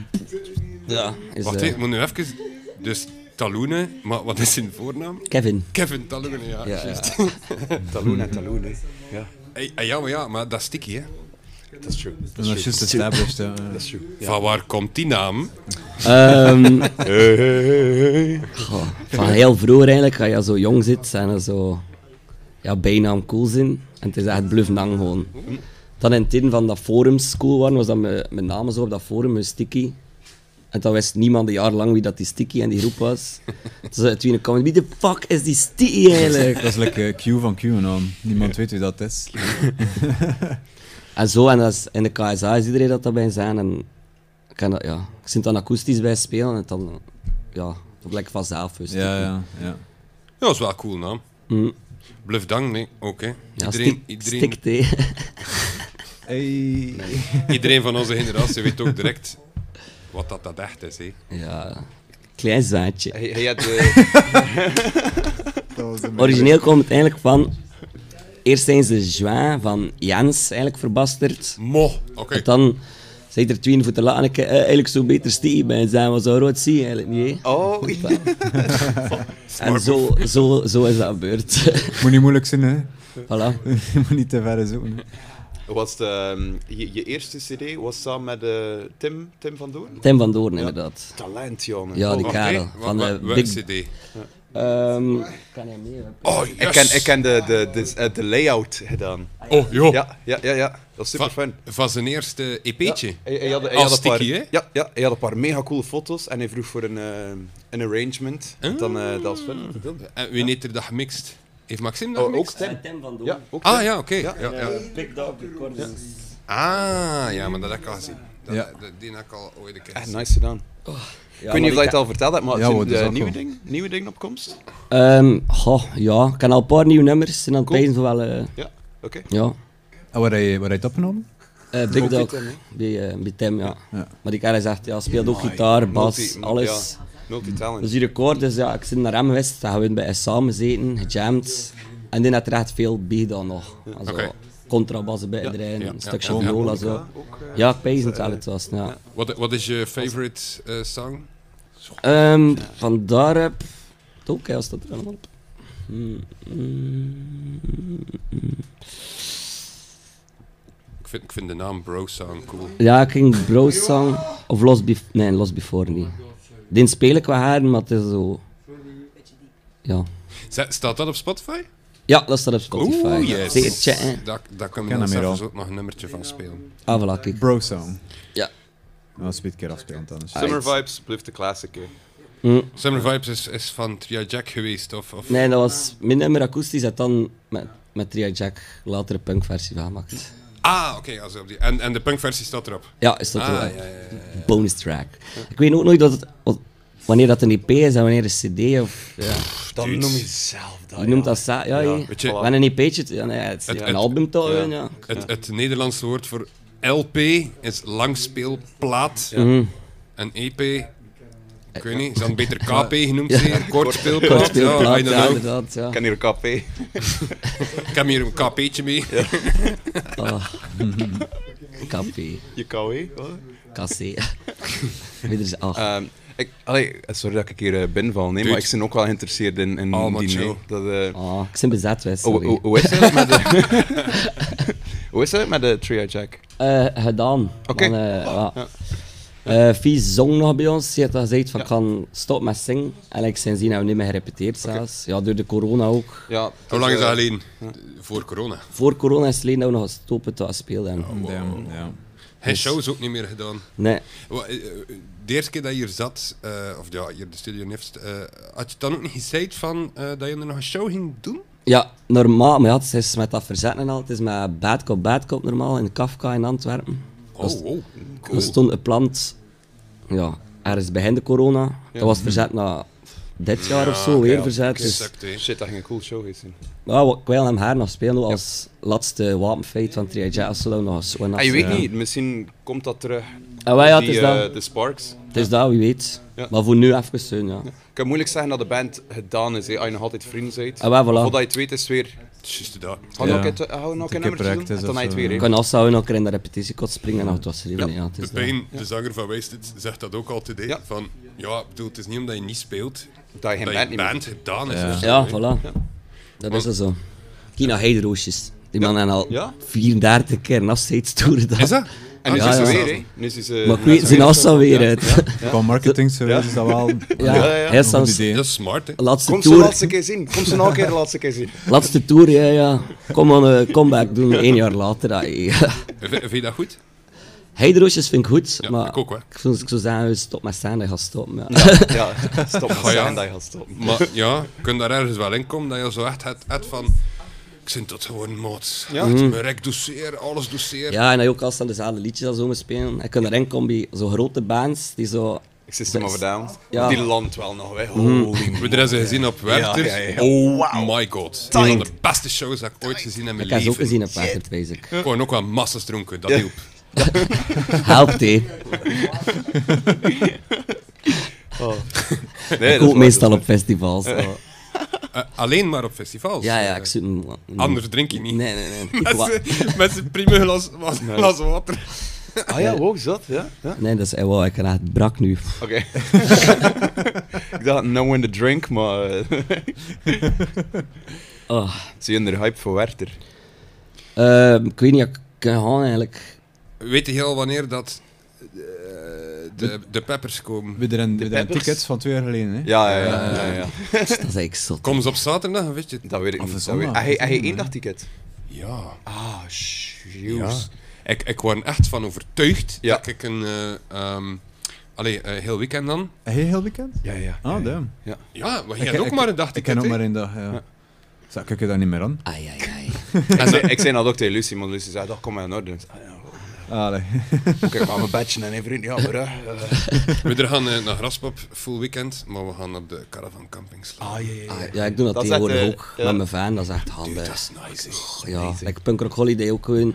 D: Ja, is
E: Wacht,
D: eh,
E: even, ik moet nu even... Dus Taloene, maar wat is zijn voornaam?
D: Kevin.
E: Kevin Taloene, ja.
D: Ja, ja.
E: juist.
G: Taloen en taloen, hè. Ja,
E: Hey, hey, ja, maar ja, maar dat is sticky, hè.
G: dat is true.
B: Dat is juist established. ja.
G: Dat is true.
E: Van waar komt die naam?
D: Ehm, goh, van heel vroeger eigenlijk, als je zo jong zit, zijn er zo ja, bijnaam cool zijn. En het is echt bluff nang gewoon. Dan in het in van dat forums cool waren, was dat mijn, mijn naam zo op dat forum, een sticky. En dan wist niemand een jaar lang wie dat die sticky en die groep was. Dus, eh, Toen zei het wie comment, wie de fuck is die sticky eigenlijk?
B: Dat is like eh, Q van QAnon. Niemand weet wie dat is.
D: En zo, en dat is, in de KSA is iedereen dat daarbij zijn. En ik, kan dat, ja, ik zit dan akoestisch bij spelen en dan, ja, dat blijkt vanzelf. Dus
B: Ja, ja, ja.
E: Ja, dat is wel een cool naam. Bluff Dang, nee, oké.
D: Mm. Ja,
E: Iedereen,
D: stik-
E: iedereen,
D: stikt, hè.
B: Hey.
E: iedereen van onze generatie weet ook direct wat dat, dat echt is, hè.
D: Ja, klein zaadje.
G: Hij, hij had... eh,
D: Origineel komt het eigenlijk van. Eerst zijn ze Join van Jens eigenlijk verbasterd.
E: Mo, oké.
D: En dan zijn er twee voor te laten. Ik, eh, eigenlijk zou beter Steve bij zijn, was zo rood zie je eigenlijk niet. hè.
G: oh, (laughs)
D: En zo, zo, zo is dat gebeurd. (laughs)
B: Moet niet moeilijk zijn, hè? (laughs)
D: voilà.
B: Je moet niet te ver zoeken. hè.
G: Was de, ehm, je, je eerste CD was samen met eh, Tim, Tim van Doorn? Oh,
D: Tim van Doorn, inderdaad.
G: Talent, jongen.
D: Ja, die
E: Oké,
D: kerel.
E: wa-
D: Van
E: wa-
D: de
E: welk
D: Big...
E: CD?
D: Ehm, kan hij mee?
E: Oh,
G: Ik ken, ik ken de, de, de, eh, de layout gedaan.
E: Oh, joh.
G: Ja, ja, ja, ja. Dat was super fun.
E: Van zijn eerste E EP'tje.
G: Hij, hij had, hij
E: Als
G: had een paar,
E: sticky, hè?
G: ja, ja, hij had een paar mega coole foto's en hij vroeg voor een, eh, een arrangement. Dan, eh, dat was fun.
E: En Eh, wie heeft er dat gemixt? Heeft Maxim dat
G: Oh, ook
E: gemixt?
G: Tim.
D: Tim van Doorn.
G: Ja, ook
E: Ah
G: Tim.
E: ja, oké.
G: Ja.
E: Ja, ja.
D: Big Dog Recordings.
E: Ah, ja, maar dat heb ik al gezien. Dat,
B: Ja.
E: dat- die heb ik al ooit een keer
G: Echt
E: gezien.
G: Ah, nice gedaan.
D: Oh.
G: ik weet niet of dat je het al verteld hebt, maar
B: Ja, hoor,
G: zijn
B: dat is
G: er
B: ook
G: nieuwe,
B: wel.
G: ding, nieuwe dingen op komst?
D: Ehm, goh, ja. Ik ken al een paar nieuwe nummers. Zijn aan het
G: Cool.
D: prijzen van wel... eh,
G: Ja, oké.
D: ja.
B: En waar heb je, waar heb je het opgenomen?
D: Eh, Big
G: Ook bij
D: Dog.
G: Tim, hè?
D: Bij, eh, bij Tim, ja.
B: Ja.
D: Maar die kerel zegt, ja, speelt ook gitaar, bas,
G: Multi-
D: alles.
G: Ja, multi-talent.
D: Dus die record is, ja, ik zit naar hem geweest, daar hebben we bij samen gezeten, gejamd. En die had er echt veel bij dan nog. Also,
E: Oké.
D: Contrabassen bij iedereen,
E: ja,
D: een
E: ja,
D: stukje
E: ja, ja.
D: viola zo.
G: eh,
D: Ja, ik weet niet wel het was. Ja.
E: Wat, wat is je favorite eh, song?
D: Ehm, van daarop... Ook, hè, was dat er allemaal op? Mm, mm, mm.
E: Ik vind, ik vind de naam Bro Song cool.
D: Ja, ik ging Bro Song of Lost Before... Nee, Lost Before niet. Die speel ik wel haar, maar het is zo... Ja.
E: Z- staat dat op Spotify?
D: Ja, dat staat op Spotify.
E: yes.
D: Zeker checken.
E: Daar, daar kunnen
B: Ken
E: we
B: hem hier
E: zelfs
B: al.
E: ook nog een nummertje van spelen.
D: Ah, voilà, kijk.
B: Bro Song.
D: Ja. Ah,
B: Nou, als we het een keer afspelen, dan dus- is het-
G: Summer Vibes blijft de classic, hè.
E: Summer Vibes is, is van Tria Jack geweest, of... of
D: Nee, dat was mijn nummer akoestisch dat dan met, met Tria Jack later een punkversie van gemaakt.
E: Ah, oké. also op die- en, en de punkversie staat erop.
D: Ja, is dat
E: Ah,
D: wel
E: ja,
D: een
E: ja, ja.
D: bonus track. Ik weet ook nooit dat het, wat- wanneer dat een EP is en wanneer een CD of... Ja.
G: Dat noem je zelf, dat.
D: Je noemt dat sa- ja, ja,
E: weet je-
D: Wanneer een EP'tje... Ja, nee, het is
E: Het-
D: een
E: het-
D: album toch, ja.
E: Het, het Nederlandse woord voor LP is langspeelplaat.
D: Mhm.
E: En EP, ik weet niet, zou het beter KP genoemd zijn? Kortspeelplaat.
D: Kort veel
E: ja, I
D: plaat,
E: don't
D: ja,
E: know.
D: inderdaad, ja.
G: Ik kan hier een café.
E: Ik heb hier een KP'tje mee.
D: Café,
G: Je café. (laughs)
D: cassé. Weer eens af.
G: Ehm, ik, allee, sorry dat ik hier eh, binnenval, nee, maar ik ben ook wel geïnteresseerd in, in
E: Oh, maar
G: die
E: chill.
G: nee. Dat, eh,
D: Ah, ik ben bezet, wij,
G: hoe,
D: sorry.
G: hoe, hoe is het met de...
D: (laughs)
G: hoe is het met de Tria Jack?
D: Eh, gedaan.
G: Oké. Ah,
D: Dan, eh, ja. Eh, Fies zong nog bij ons. Ze had al gezegd van ik kan stop met zingen. En ik sindsdien hebben we niet meer gerepeteerd zelfs. Ja, door de corona ook.
G: Ja, dus, eh,
E: Hoe lang is dat alleen? Voor corona.
D: Voor corona is het alleen dat we nog stoppen te
E: Oh.
D: spelen.
B: Damn, ja.
E: Hij shows ook niet meer gedaan.
D: Nee.
E: Wa- eh, eh, De eerste keer dat je hier zat, eh, of ja, hier de studio nifst, eh, had je dan ook niet gezegd van, eh, dat je er nog een show ging doen?
D: Ja, normaal. Maar ja, het is met dat verzetten en al. Het is met Bad Cop, Bad Cop normaal in Kafka in Antwerpen.
E: Oh, wow.
D: Er
E: Cool.
D: stond een plant ja, ergens begin de corona. Dat was verzet na dit jaar of zo, weer verzet. Dus
E: Exact, hè.
G: Shit, dat ging een cool show geweest zijn.
D: Ja, wa- ik wil hem haar nog spelen ook als laatste wapenfeit van Tria Jazz. Zullen we nog eens
G: Ah, je weet niet, misschien komt dat terug.
D: Ah, wel, ja,
G: die,
D: het is
G: eh,
D: dat.
G: de Sparks.
D: Het is dat, wie weet.
G: Ja.
D: Maar voor nu even steun, ja.
G: Ik kan moeilijk zeggen dat de band gedaan is, hè, als je nog altijd vrienden bent.
D: Ah, wel, voilà.
G: Voordat je het weet is het weer...
E: Juist daar.
G: Hou
B: Ja.
G: nog een- hou nog een
B: een
G: nummertje
B: project
G: doen,
B: is
G: en dan heb je
B: of
G: het
B: zo,
G: weer. hè.
D: Ik kan afstaan we nog een keer in de repetitiekot springen en het was er even. Ja, het is dat.
E: Pepijn, de zanger van Wasted, zegt dat ook altijd. hè.
G: Ja.
E: Van, ja, ik bedoel, het is niet omdat je niet speelt,
G: Dat je geen
E: dat
G: band niet
E: je
G: meer
E: band gedaan is.
B: Ja.
E: of zo,
D: ja
E: hè.
D: voilà. Dat is er zo. Kijk naar Heideroosjes. Die man heeft al
G: Ja?
D: 34 keer een afscheidstoer gedaan.
E: Is dat?
G: En nu
D: Ja,
G: is ze
D: ja.
G: weer, hè. Nu is ze...
D: Maar ik weet, zijn afstand weer uit. Ja,
B: Qua marketing service is dat wel een
G: ja, ja.
D: hij is dan
B: goed idee.
E: Dat is smart, hè.
D: laatste
G: Kom ze de
D: tour.
G: laatste keer zien. Kom ze nog een keer de laatste keer zien.
D: Laatste tour, ja, ja. Kom aan, eh, comeback doen, één jaar later. ah, ja.
E: V- Vind je dat goed?
D: Heideroosjes vind ik goed,
E: Ja,
D: maar
E: ik ook, hè.
D: ik zou- ik zou zeggen, stop met staan, dat gaat stoppen. ja.
G: Ja,
D: (laughs)
G: stop.
E: ja.
G: Ja, dat je gaat stoppen.
E: Maar ja, je kunt daar ergens wel in komen dat je zo echt het, het van... Ik zit tot gewoon moot. Ja.
D: Mhm.
E: Mijn rek doet zeer, alles doet zeer.
D: Ja, en dat je ook als dan dezelfde liedjes al zo moet spelen. Ik kan erin komen bij zo'n grote bands die zo...
G: Ik zit System of a Down.
D: Ja. Mhm.
G: Die landt wel nog, hè. Holy
E: We hebben ze gezien op Werther.
G: Ja, ja, ja.
E: Oh my god. Een van de beste shows dat ik ooit gezien heb in
D: Ik
E: mijn
D: heb ze
E: leven.
D: ook gezien op Patrick Basic.
E: Ik kon ook wel massas dronken, dat hielp.
D: Helpt, hé.
G: Nee,
D: Ik
G: dat is
D: ook
G: waar,
D: meestal
G: dat
D: op
G: is
D: festivals. zo.
E: Eh, alleen maar op festivals.
D: Ja, ja,
E: Eh,
D: ik zoek... een-
E: Anders drink je niet. (laughs)
D: Nee, nee, nee. Ik wa-
E: Met z'n- Met zijn prima glas, glas- glas water.
G: waar. Ah ja, wow, zat, ja. ja.
D: Eh, Nee, dat is... eh, Wow, ik ben echt brak nu.
G: Oké. (laughs) ik dacht, no in the drink, maar... eh,
D: Oh. (laughs)
G: Zie je in de hype voor Werther?
D: Ehm, ik weet niet, ik kunnen gaan eigenlijk.
E: Weet je al wanneer dat eh, de, de peppers komen?
B: We hebben
G: De Peppers?
B: tickets van twee jaar geleden, hè?
G: Ja, ja, ja. ja, ja.
D: Eh, Dat is eigenlijk zot.
E: Komen ze op zaterdag, weet je? het?
G: Dat weet ik
B: Of
G: niet.
B: een
G: Dat weet... Ah,
B: zondag,
G: Hij,
B: een
G: hij
B: zondag,
G: één
B: hè?
G: dagticket.
E: Ja.
G: Ah,
E: Ja.
G: shoes.
E: Ik, ik was er echt van overtuigd
G: Ja.
E: dat ik een... eh, ehm, allee, eh, heel weekend dan.
B: Heb je heel weekend?
G: Ja, ja. ja.
B: Ah, damn.
E: Ja, maar je
B: Ik-
E: hebt ook
B: ik-
E: maar een dag
B: Ik ken
E: ticket,
B: ook
E: hè?
B: maar één dag, ja. Zou ik je daar niet meer aan?
D: Ai, ai,
G: (laughs)
D: ai.
G: Ik zei- ik zei dat ook tegen Lucie, maar Lucie zei, dat kom maar in orde. Ik zei, "Ah, ja,
B: Allee.
G: Oké, maar mijn badje en een vriend, ja, maar... eh, eh."
E: We gaan eh, naar Graspop, full weekend, maar we gaan op de caravan camping slaan.
G: Ah, ja, ja, ja.
D: Ah, ja, ik doe dat,
G: Dat is echt,
D: tegenwoordig
G: eh,
D: ook
G: ja.
D: met mijn fan, dat is echt handig.
E: Dat is nice, hè.
D: ja, like Punk Rock Holiday ook gewoon.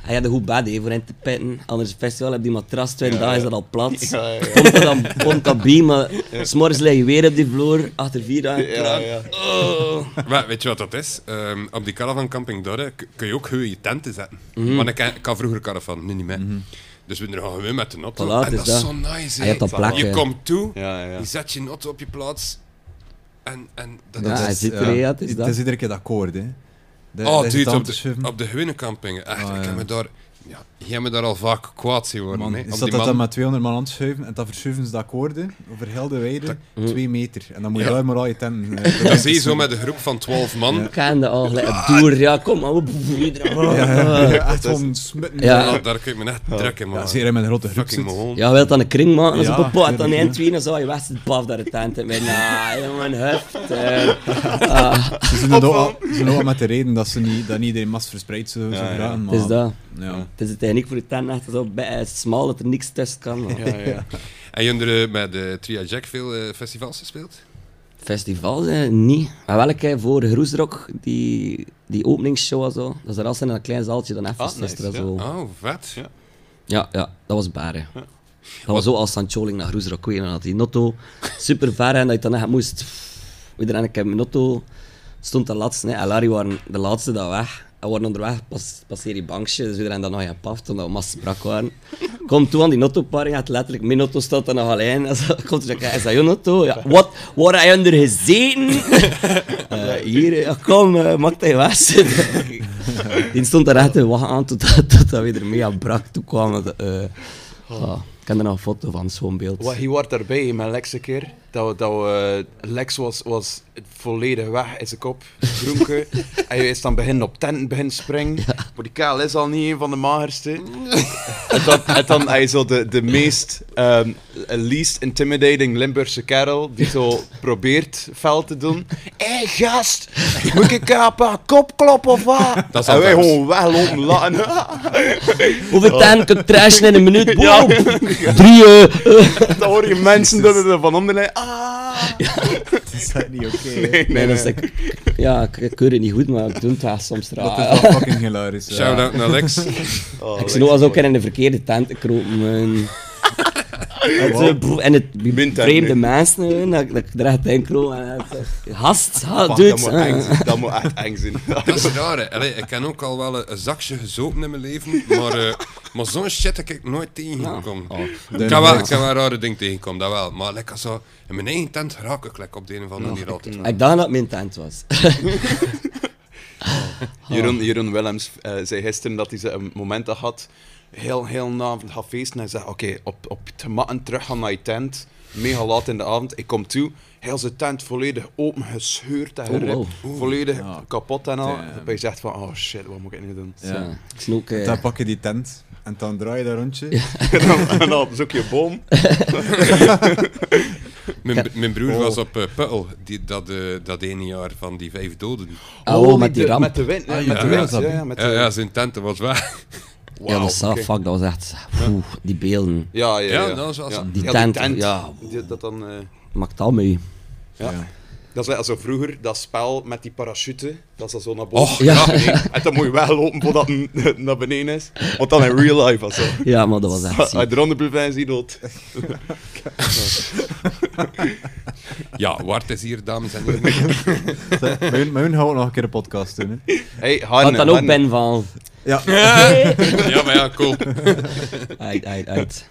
D: Hij had een goed bed hè, voor in te pitten. Anders festival heb je die matras, twee dagen is dat al plat.
G: Ja, ja, ja.
D: Komt er dan komt dat bij, maar s'morgens lig je weer op die vloer, achter vier dagen.
G: Ja,
D: kraak.
G: ja.
B: Ah.
E: Maar weet je wat dat is? Ehm, op die caravan camping daar hè, k- kun je ook gewoon je tenten zetten.
B: Mhm.
E: Want ik, ik had vroeger caravan, nu niet meer. Dus we gaan gewoon met de auto.
D: Voilà,
E: en
D: het
E: dat
D: is
E: is
D: dat.
E: zo nice.
D: Hij
E: hè.
D: had dat plak,
E: je
D: hè.
E: komt toe,
G: Ja, ja.
E: je zet je auto op je plaats. En, en dat
D: Ja,
E: is...
D: hij zit er, hè, het is
B: Het
D: dat.
B: is iedere keer dat akkoord, hè? Dat-
E: Oh,
B: dat is
E: dude,
B: het aan
E: op
B: te
E: de,
B: schuiven.
E: op de gewone campingen. Echt,
B: Ah, ja.
E: ik heb me daar... Ja, jij hebt me daar al vaak kwaad zien worden.
B: Man,
E: hè.
B: is
E: Op
B: dat
E: die
B: dat dan
E: man-
B: met 200 man aan het schuiven en dan verschuiven ze de akkoorden over heel de weide, twee meter. En dan moet je
E: Ja.
B: daar maar al je tenten... eh,
E: Dat zie je zo met een groep van 12 man.
D: Ik ken dat al, gelijk op Doer, ja, kom maar. boef, iedereen- (laughs)
B: Ja, echt gewoon smitten.
D: Ja.
E: Ah, daar kun je me net trekken, man.
B: Ja, zeer in mijn grote groep
E: Fucking
B: zit.
E: Mohoon.
D: Ja, je wilt dan een kring maken als
B: Ja,
D: op een pot, dan
B: tuurlijk,
D: één,
B: ja.
D: twee en zo, je west het paf daar de tent in mijn ah, jongen, huft. eh.
B: Ze zijn
D: (laughs)
B: het ook al- ze zijn ook al met de reden dat ze niet, dat niet iedereen mas verspreid zo, zo
G: ja.
B: graag, maar...
D: Het is dat.
B: Ja.
D: Het is de techniek voor de tent echt zo bij- eh, smal dat er niks tussen kan. man.
G: Ja, ja.
E: En jullie hebben eh, met de Tria Jack veel eh, festivals gespeeld?
D: Festivals, eh, niet. Maar wel een keer voor Groesrock, die, die openingsshow en zo. Dat is er als in een klein zaaltje dan even
G: Ah,
D: gisteren
G: nice,
D: zo. Ja.
E: Oh, vet.
G: Ja.
D: ja, dat was baren. Dat was zo als Sancholing naar Groesrock kwam. Dan had die notto super ver en dat je dan echt moest. Iedereen, ik heb mijn notto, stond de laatste. Hè. Larry waren de laatste dat weg. En waren onderweg, pas, passeer die bankje. Dus iedereen dan nog ja paf, toen dat we massa brak waren. Kom toe aan die notto-party, had letterlijk mijn notto staat er nog alleen. En zo, komt er een is dat jouw notto? Ja, wat? Waar heb je onder gezeten? Eh, hier, eh, ja, kom, eh, maak dat je was. Die stond daar echt te wachten aan totdat tot we er mee aan brak toe kwamen. Dat, eh, ja, ik heb er nog een foto van, zo'n beeld.
G: Wat, hij was daarbij in mijn Lex een keer. Dat, we- dat we, eh, Lex was, was volledig weg in zijn kop.
D: (laughs)
G: Dronken. hij is dan begin op tenten begin springen. Maar die kerel is al niet een van de magerste.
D: (laughs)
G: en, dan, en dan hij zo de, de meest ehm, least intimidating Limburgse kerel die zo probeert fel te doen. Hé hey, gast, moet ik op een kop kloppen of wat?
E: Dat is
G: en Ah, wij
E: anders.
G: gewoon weglopen lachen.
D: Hoeveel tijd kan trashen in een minuut? Wow,
G: Ja.
D: drie, eh,
G: (laughs)
D: eh.
G: dan hoor je mensen dat er van onder liggen. Ah.
B: Is dat niet oké, hè? (laughs)
D: Nee, dat is ik, ja, ik, ik keur het niet goed, maar ik doe het wel soms raar.
B: Dat is wel fucking hilarisch. ja.
E: (laughs) Shout-out naar
G: (laughs)
E: Lex.
G: Oh,
D: ik zie nog als ook in de verkeerde tent kropen.
G: (laughs)
D: man. Het, eh, broer, En het die
G: Min tent
D: vreemde
G: nu.
D: mensen, eh, dat, dat ik er echt in kroop. en het, eh, Hast, ha,
G: Fuck,
D: dude.
G: dat, moet
D: eh.
G: eng
D: (laughs)
G: zijn. dat moet echt eng zijn.
E: Dat is raar, hè. Allee, ik ken ook al wel een, een zakje gezopen in mijn leven, maar, eh, maar zo'n shit heb ik nooit tegengekomen.
G: Oh,
E: ik, kan wel, ik kan wel een rare ding tegenkomen, dat wel. Maar lekker zo, in mijn eigen tent raak ik like, op de een of andere manier altijd.
D: Ik dacht dat het mijn tent was.
G: (laughs) Jeroen, Jeroen Willems eh, zei gisteren dat hij ze een moment dat had, heel, heel na avond gaat feesten. Hij zei, oké, op, op te matten terug gaan naar je tent, mega laat in de avond. Ik kom toe, heel zijn tent volledig open, gescheurd en geript,
D: wow.
G: volledig kapot en al.
B: Damn.
G: Dat je zegt van, oh shit, wat moet ik nu doen?
D: Zo, ik snoek, eh,
B: Dan pak je die tent en dan draai je dat rondje.
G: (laughs) en dan zoek je een boom.
E: Mijn, mijn broer was
G: Oh.
E: op eh, Puttel, die, dat, eh, dat ene jaar van die vijf doden.
D: oh, met die
G: de-
D: ramp. Ah,
G: Met de wind, Ah, ja, met de
B: ja,
G: wind.
B: dat-
G: Ja, ja, met de
E: Ja, ja,
G: wind.
E: zijn tent was weg.
D: ja,
G: Wauw,
D: dat was, ah,
G: oké.
D: fuck, dat was echt... Oeh, die beelden.
G: Ja, ja, ja.
E: Ja, dat is wel zo.
D: Die
G: Ja,
D: tent, ja.
G: Die- dat dan... eh,
D: Maakt al mee.
G: Ja. Dat is net als zo vroeger, dat spel met die parachute, dat is dat zo naar boven.
E: Och,
D: Ja.
E: ja.
G: En dan moet je weglopen voordat het (laughs) naar beneden is. Want dan in real life was dat.
D: Ja, maar dat was echt ziek.
G: Als je eronder blijft zijn, zie je dood.
E: ja, Wart is hier, dames en heren.
G: (laughs)
B: (laughs) Met hun- met hun gaan we ook nog een keer een podcast doen. Hè.
G: Hey,
D: Had
G: Harne,
D: dan ook
G: Harne.
D: Ben van...
B: Ja,
E: Ja, maar ja, cool.
D: Uit, uit,
G: (laughs)
D: uit.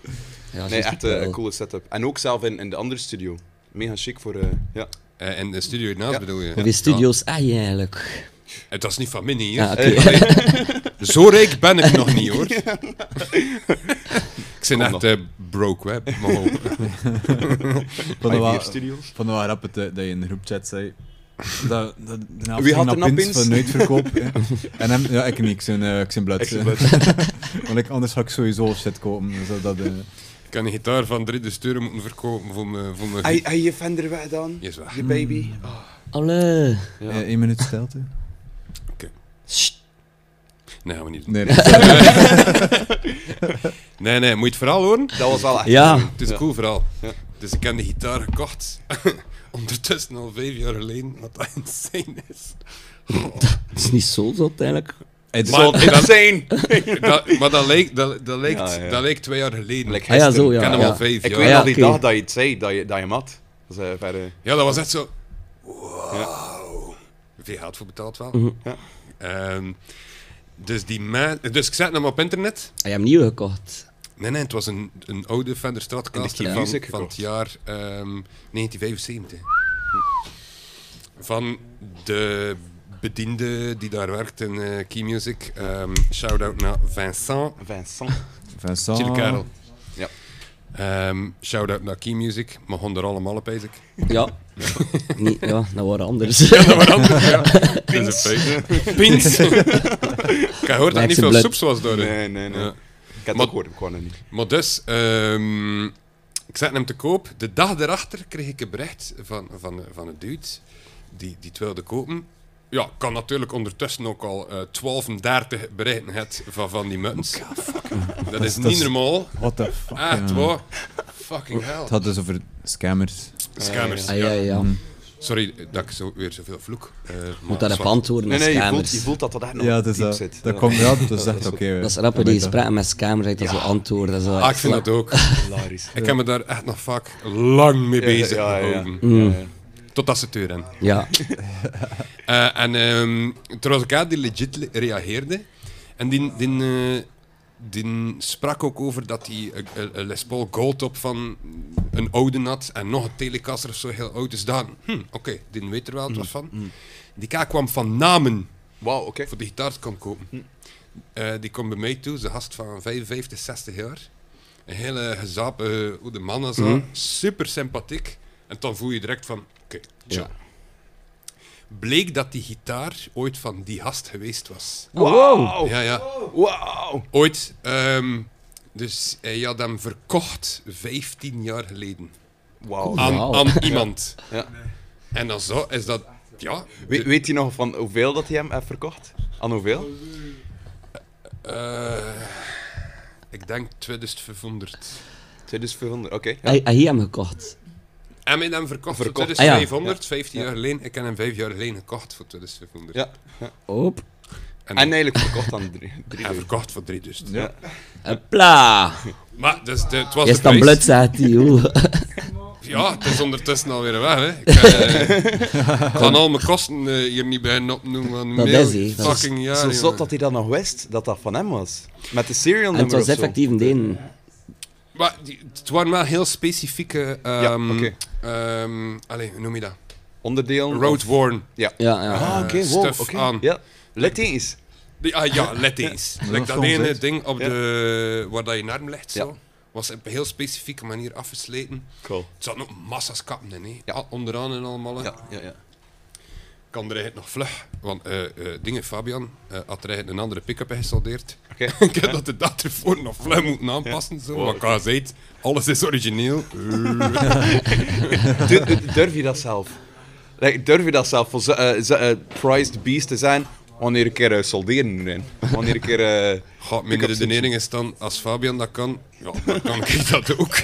D: Ja,
G: Nee,
D: juist,
G: echt eh,
D: wel.
G: een coole setup. En ook zelf in, in de andere studio. Mega chic voor... eh, ja.
E: Eh, en de studio hiernaast bedoel je?
D: Hoeveel studio's heb je eigenlijk?
G: Eh,
E: Het was niet van Minnie hier.
D: Ja, oké.
E: Allee, Zo rijk ben ik nog niet,
G: (laughs)
E: hoor. ik ben echt eh, broke, hè. Maar ook, eh,
B: Van de
D: (laughs)
B: wa-
G: studios.
B: van de waar rap het, eh, dat je in de groepchat zei. Dat, dat, de naam
G: Wie had er nou pins?
B: van uitverkoop? hè. en hem, ja, ik niet, ik zijn, eh, ik zijn blad.
G: Ik zijn
B: eh. (laughs) Want ik, anders ga ik sowieso shit kopen. Dus dat, dat, eh,
E: Ik kan een gitaar van 3000 euro moeten verkopen van, eh, van de...
G: Hij je vender weg dan?
E: Yes, waar.
G: Je baby.
D: Alle.
G: Ja.
B: eh, één minuut stilte.
E: Nee, gaan we niet doen.
B: Nee, dat-
E: Nee, nee, moet je het verhaal horen?
G: Dat was wel echt.
D: Ja.
E: Het is een
G: Ja.
E: cool verhaal.
G: Ja.
E: Dus ik heb de gitaar gekocht. (laughs) Ondertussen al vijf jaar geleden, wat dat insane
G: (laughs)
E: is.
D: Het is niet zo zot eigenlijk.
B: het-
E: Maar-
G: Zo insane!
E: Dat, maar dat lijkt, dat, dat, lijkt,
G: Ja, ja.
E: dat lijkt twee jaar geleden.
G: Like
D: Ah ja, zo,
G: gisteren.
D: ja.
E: ik ken hem
D: ja.
E: al vijf
G: Ik
E: jaar.
G: weet
D: Ja,
G: nog die
D: oké. Ah,
G: dag dat je het zei, dat je, dat je hem had. Dat is eh, verre-
E: Ja, dat was echt zo. Wow. Veel geld voor betaald wel.
D: Mhm.
G: Ja.
E: Ehm, dus, die man, dus ik zet hem op internet.
D: Hij heeft hem nieuw gekocht.
E: Nee, nee, het was een, een oude Fender Stratocaster
G: In de
E: van,
G: Q-Music
E: van het
G: gekocht.
E: jaar ehm, 1975. Van de bediende die daar werkt in eh Key Music. Ehm, Shout-out naar Vincent.
G: Vincent.
B: Vincent.
E: Chille kerel.
G: Ja.
E: Ehm, Shout-out naar Key Music. Maar onder allemaal op, ik.
D: Ja. Niet, ja, dat waren
G: (laughs)
D: anders. Ja,
E: Pins. Pins. (laughs) Ik hoor dat
D: Lijkt
E: niet
D: ze
E: veel
D: blut.
E: soeps was door.
G: Nee, nee, nee.
E: Ja.
G: Ik had het
E: Maar-
G: ook gehoord, ik kon het niet.
E: Maar dus, ehm, ik zette hem te koop. De dag daarachter kreeg ik een bericht van, van, van een dude die, die het wilde kopen. Ja, ik kan natuurlijk ondertussen ook al eh 12.30 berichten het van, van die muttons. Dat is niet
B: is-
E: normaal.
B: What the fuck.
E: Echt
D: Ah,
B: ja.
E: waar. Fucking hell.
B: Het had dus over scammers.
E: Scammers.
D: ah, ja, ja.
E: Sorry dat ik zo, weer zoveel vloek. eh, maar
D: Moet daar
E: zwart.
D: op antwoorden
G: Nee,
D: met
G: nee, je voelt,
D: scammers.
G: je voelt dat dat echt nog
B: Ja, het is
G: diep
B: dat.
G: zit.
B: Dat
G: Ja.
B: komt ja, dat is echt oké.
D: Dat is rappen die spraken met scammers, dat is zo antwoorden. Dat is wel
E: Ah, ik
D: echt
E: vind
D: wel-
E: dat ook.
G: Hilarisch.
E: Ik heb me daar echt nog vaak lang mee bezig
G: ja, ja.
E: gehouden.
D: Mm,
E: Totdat ze het deur in.
D: ja.
E: Eh, en ehm er was een kerel die legit le- reageerde. En die, die, eh, die sprak ook over dat hij een- een een eh, Les Paul Goldtop van een oude had. En nog een Telecaster of zo heel oud is dan. Hm, oké, die weet er wel wat van. Die kaak kwam van Namen
G: Mm, Wauw, oké. Hm.
E: voor de gitaar te komen kopen. Eh, die kwam bij mij toe, ze gast van 55, 60 jaar. Een hele eh, gezapige oude man en zo.
G: Hm.
E: Super sympathiek. En dan voel je direct van, oké, tja. Bleek dat die gitaar ooit van die gast geweest was.
G: (laughs) Wauw!
E: Ja, ja.
G: Wauw!
E: Ooit. ehm, dus hij had hem verkocht 15 jaar geleden.
G: Oh, Wauw.
E: Aan,
D: Wauw.
E: aan iemand.
G: (laughs) Ja.
E: En dan zo is dat, ja...
G: We- weet je nog van hoeveel dat hij hem heeft verkocht? Aan hoeveel?
E: eh, ik denk 2500.
G: 2500, dus oké. ja.
D: Hij hij heeft hem gekocht.
E: En met hem verkocht, voor
G: Verkocht.
E: 2500,
G: Ah, ja.
E: 15 jaar geleden. Ik heb hem 5 jaar geleden gekocht voor 2500.
G: Ja.
D: Op.
G: En
E: En, en,
G: eigenlijk verkocht aan drie. drie
E: en verkocht voor 3000.
G: Ja.
D: Hopla!
E: Maar dus, de, het was
D: Je
E: de
D: staat
E: prijs.
D: blut, zegt hij. joh.
E: (laughs) Ja, het is ondertussen alweer weg. Hè. Ik eh,
G: (laughs)
E: ik kan al mijn kosten eh, hier niet bij opnoemen. want
D: Dat
E: mail,
D: is hij, dat
E: Fucking
G: Zo-
E: ja.
G: Zo
E: jongen.
G: zot dat hij dat nog wist, dat dat van hem was. Met de serial
D: En het
G: number
D: was
G: of zo.
D: effectief een deen.
E: Maar die- het waren wel heel specifieke. ehm
G: oké.
E: ehm, allee, hoe noem je dat?
G: Onderdeel.
E: Road worn.
G: Ja.
D: Ja, ja.
G: Ah, oké,
E: Eh,
G: wow,
E: stuff
G: oké.
E: aan.
G: Ja. Let eens.
E: Die- ah ja, let eens. like dat
B: soms,
E: ene
B: hè.
E: ding op
G: Ja.
E: de, waar dat je arm legt,
G: Ja.
E: zo, was op een heel specifieke manier afgesleten.
G: Cool.
E: Het zat nog massa's kappen in, hè.
G: Ja.
E: Al- Onderaan en allemaal. hè.
G: Ja, ja, ja.
E: Kan er eigenlijk nog vlug. Want eh, eh, dingen, Fabian eh, had er eigenlijk een andere pick-up geïnstalleerd.
G: Oké.
E: (laughs) ik heb dat de dag ervoor nog vlug moeten aanpassen. Zo. Wat ik al zei, alles is origineel. Eh.
G: Du- eh, durf je dat zelf? Like, durf je dat zelf? Voor zo- eh, zo- eh, prized beast te zijn, wanneer een keer eh, solderen erin. Wanneer een keer... eh,
E: Gaat mijn
G: pick-up
E: redenering is dan, als Fabian dat kan, ja, dan kan ik (laughs) dat ook.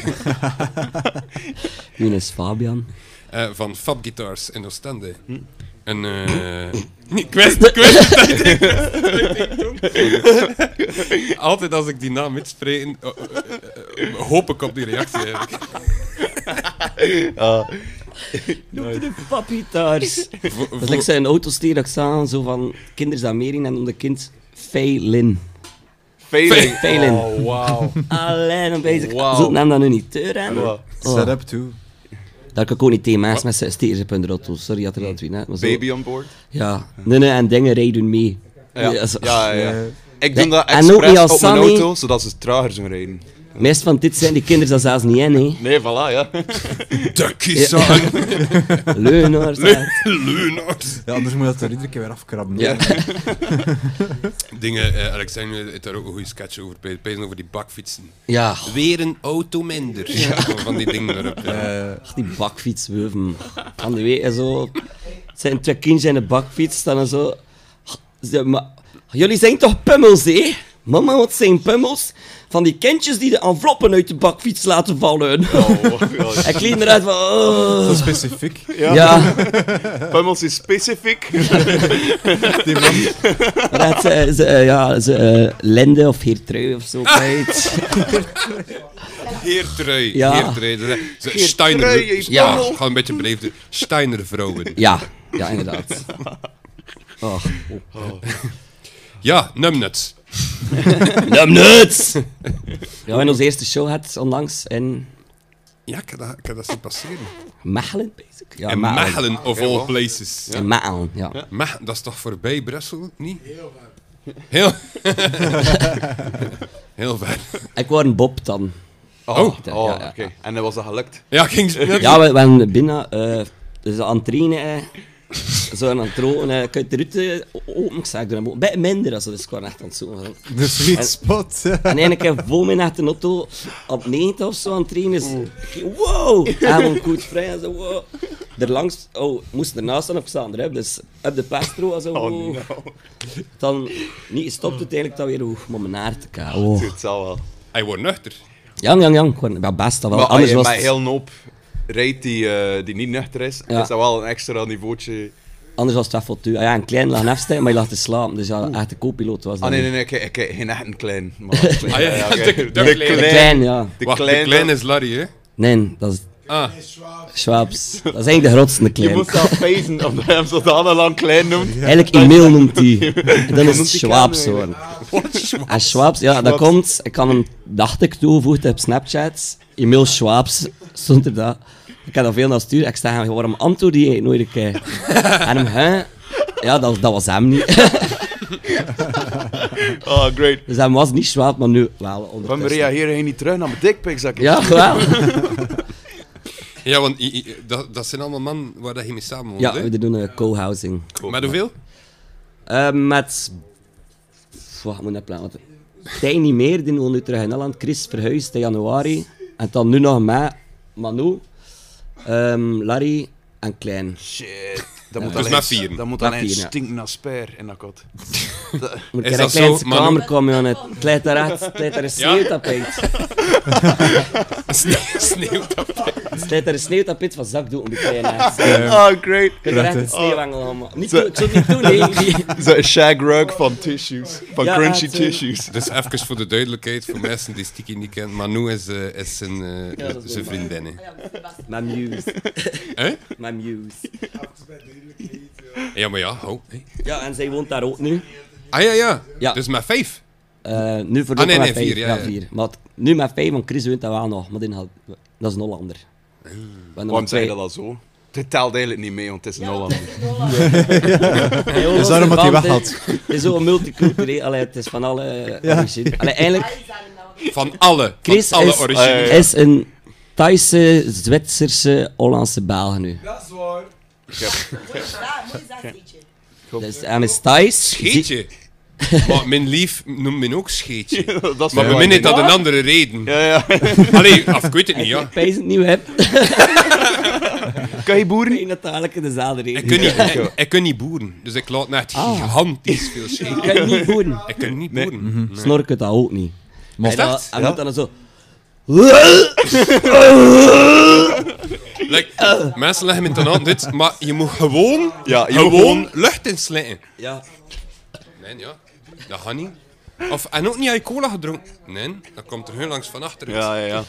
D: Wie is Fabian?
E: Eh, van Fab Guitars in Oostende.
G: Hm?
E: En eh. ik
G: (laughs)
E: wist, ik wist het, ik wist het, ik wist het. Altijd als ik die naam uitspreek, eh, eh, eh, hoop ik op die reactie eigenlijk.
G: (laughs)
D: Papitaars.
E: Vo-
D: Dat is
E: vo-
D: like zijn autostier dat ik zag, zo van kinders aan Mering en noemde kind Feilin.
G: Failing.
D: Failing.
G: Oh, wauw.
D: Alleen een bezig.
G: Wauw.
D: Zo'n naam dat nu niet deur aan.
G: Wow.
B: Set
D: Oh.
B: up too.
D: Daar kan ik ook niet tegen mensen met stickers.rotto. Sorry dat er dat weer net. maar zo-
G: Baby on board.
D: Ja. Nee, nee, en dingen rijden mee.
G: Ja,
D: zo-
G: ja, ja. ja.
B: Eh,
G: Ik Ik doe
D: Nee,
G: dat
D: en ook niet als
G: expres op mijn
D: Sunny.
G: auto, zodat ze trager zullen rijden.
D: Meest van dit zijn die kinderen dat zelfs niet in, hè.
G: Nee, voilà, ja.
E: Ducky Song,
D: Leunaars. hè.
E: Leonard.
B: Ja, anders moet je dat er iedere keer weer afkrabben.
D: Ja.
E: Dingen, eh, Alexander heeft daar ook een goede sketch over. Pe- Pezen over die bakfietsen.
D: Ja,
E: Weer een auto minder. Van die dingen erop. ja.
D: ach, die bakfietsweuven. Van de week en zo. Het zijn twee kindjes en een bakfiets staan en zo. Ze- maar, jullie zijn toch pummels, hè? Mama, wat zijn pummels? Van die kindjes die de enveloppen uit de bakfiets laten vallen. (laughs) Hij klinkt eruit van... oh.
B: Zo specifiek.
D: (laughs) ja.
G: (laughs) Pummels is
D: (laughs)
G: specifiek.
D: Maar dat ze, ze, eh, ja, ze, eh, Linde of Heertrui of zo kwijt.
E: Heertrui.
D: Ja.
E: Heertrui. dat is- ze-
G: Heertrui,
E: Steiner.
G: je
E: Ja,
G: pummel.
E: gewoon een beetje beleefd. Steiner vrouwen.
D: Ja, ja, inderdaad. Oh.
E: Ja, Numnuts.
D: Nuts! Ja, we hebben onze eerste show gehad onlangs in
E: Ja, ik heb dat, ik heb dat zien passeren.
D: Mechelen, basic. Ah, Ja,
E: en Mechelen, of all places.
D: In Mechelen, ja.
E: Mech- dat is toch voorbij Brussel, niet?
D: (laughs)
E: Heel ver. Heel, ver.
D: Ik word een Bob dan.
G: Oh,
E: Oh.
G: oh,
D: Ja, ja,
G: oké.
D: ja.
G: En dat was dat gelukt.
E: Ja, ik ging net...
D: Ja, we, we hebben binnen... eh dus aan het trainen, eh, zo aan het roken, eh, ik uit de route open, ik zei, een beetje minder, also, dus ik was echt aan het zoeken.
B: (laughs) De sweet spot. (laughs)
D: En eigenlijk heb vol mijn echte auto op 90 of zo aan het trainen. is. Wow! Avond goed vrij en zo. Wow. Er langs, oh, ik moest ernaast staan of ik sta erop, dus op de pestro en zo.
G: Oh,
D: wow.
G: no.
D: Dan niet gestopt het eigenlijk dat weer oeh, om mijn haar te kaal.
G: Het zal wel.
E: Hij wordt nuchter.
D: Jang, jang, jang. Gewoon, ja, best dat wel.
G: Maar als
D: Anders
G: je
D: was,
G: bij
D: het,
G: heel een hoop rijdt die, eh, die niet nuchter is,
D: Ja.
G: is dat wel een extra niveautje.
D: anders was het wel foutu. Ah, ja, een klein lag afstijgen, maar je lag te slapen. Dus ja, echt de co-piloot was dat.
G: Ah nee, nee,
D: niet.
G: nee, ik, ik, ik- geen echt een klein.
E: (laughs)
G: Maar,
E: Ah, ja, ja,
G: oké.
E: de- de kleine.
D: De klein, ja.
G: de
E: Wacht,
G: klein-
E: de kleine is Larry, hè?
D: Nee, dat is
E: Ah,
D: Schwabs. Dat is eigenlijk de grootste de
G: Je
D: klein.
G: moet dat feesten, omdat hij hem zodanig lang klein noemt.
D: Eigenlijk Emil noemt
G: (laughs)
D: hij. Dan is
G: noemt
D: het
G: die
D: Schwabs
G: kleine
D: hoor. En Schwabs, ja, dat komt. Ik kan hem, dacht ik, toegevoegd op Snapchat. Emil Schwabs stond er dat. Ik kan dat veel naar sturen. Ik zeg hem, waarom antwoord je nooit een keer? En hem, hè? Ja, dat, dat was hem niet.
G: (laughs) Oh, great.
D: Dus hem was niet Schwab, maar nu wel.
G: Van
D: ondertussen.
G: Maria, hier, hij niet terug naar mijn dikpik, zeg ik.
D: Ja, wel.
E: ja, want i- i- dat, dat zijn allemaal mannen waar dat je mee samen woont,
D: Ja,
E: hè?
D: we doen een co-housing.
E: Met hoeveel?
D: Eh, met... Pff, Wacht, ik moet dat plannen. Tijn niet meer, die woont nu terug in Nederland. Chris verhuisd in januari. En dan nu nog mij, Manu, ehm, Larry en Klein.
G: Shit. Dat moet
E: Dus
G: alleen,
E: maar vieren.
G: Dat moet
D: Maar
G: alleen
D: vieren, ja.
G: stinken naar sper in dat kot.
D: Moet
E: Is
D: ik in een
E: dat
D: kleinste
E: zo, Manu?
D: kamer komen, jongen. Het leidt daaruit, het leidt daar een
E: (laughs)
D: sneeuwtapijt.
E: Sneeuw, sneeuw.
D: Het leidt daar een sneeuwtapijt van zakdoek om de kleine haast. Je
G: Oh, great.
D: kunt er echt een
B: Prachtig.
D: sneeuwengel allemaal. Niet doen, ik zou het niet doen, nee. (laughs)
G: Zo'n shag rug van tissues. Van
D: Ja,
G: crunchy
D: het, eh,
G: tissues.
E: Dus even voor de duidelijkheid, voor mensen die Sticky niet kennen, Manu is, eh, is zijn, eh,
D: dat is
E: zijn
D: wel
E: vriendin, hè.
D: Mijn muse.
E: Hè?
D: Mijn muse.
E: Ja, maar ja, hou. hè.
D: Ja, en zij woont daar ook nu.
E: Ah ja, ja,
D: Ja.
E: Dus met vijf.
D: Eh, nu voor
E: Ah, nee,
D: met
E: nee,
D: vijf.
E: vier, ja, ja.
D: vier. Maar het- nu met vijf, want Chris woont dat wel nog. Maar die had, dat is een Hollander.
E: Ah.
D: We hebben
G: Waarom
D: nog
G: zei je
D: twee-
G: dat al zo? Dit telt eigenlijk niet mee, want het is een Hollander.
D: Hij
B: Dat is daarom dat hij weg
D: verband,
B: had.
D: hè. Het is zo multicultureel. Allee, het is van
A: eh,
D: alle
B: Ja.
D: origine. Allee, eigenlijk,
E: Van alle. Van
D: Chris
E: alle
D: is,
E: origine.
G: Ah, ja, ja.
D: is een Thaise, Zwitserse, Hollandse Belg nu. Dus hij is Thais.
E: Scheetje. maar mijn lief noemt men ook scheetje.
G: (laughs) dat is
E: Maar bij
G: wel
E: mij heeft
G: een
E: dat een andere reden.
G: ding. Ja, ja.
E: Allee, of ik weet het niet, ja.
D: Ik pijs het niet (laughs) meer.
G: Kan je boeren?
D: Ik natuurlijk in dezelfde
E: Ik
D: reden.
E: kan niet, ik, ik kan niet boeren, dus ik laat net gigantisch veel scheetje.
D: Ik (laughs) kan niet voeren.
E: Ik kan niet boeren.
D: Snork het dat ook niet.
B: Maar
D: En dan-
E: echt?
D: en
G: Ja.
D: moet dan zo...
E: Like, Mensen leggen me ten aan dit, maar je moet gewoon,
G: Ja, je moet
E: gewoon
G: gewoon-
E: lucht inslijten.
D: Ja.
E: Nee, ja. Dat gaat niet. Of, en ook niet aan je cola gedronken. Nee, dat komt er heel langs van achteruit.
G: Ja, ja, ja.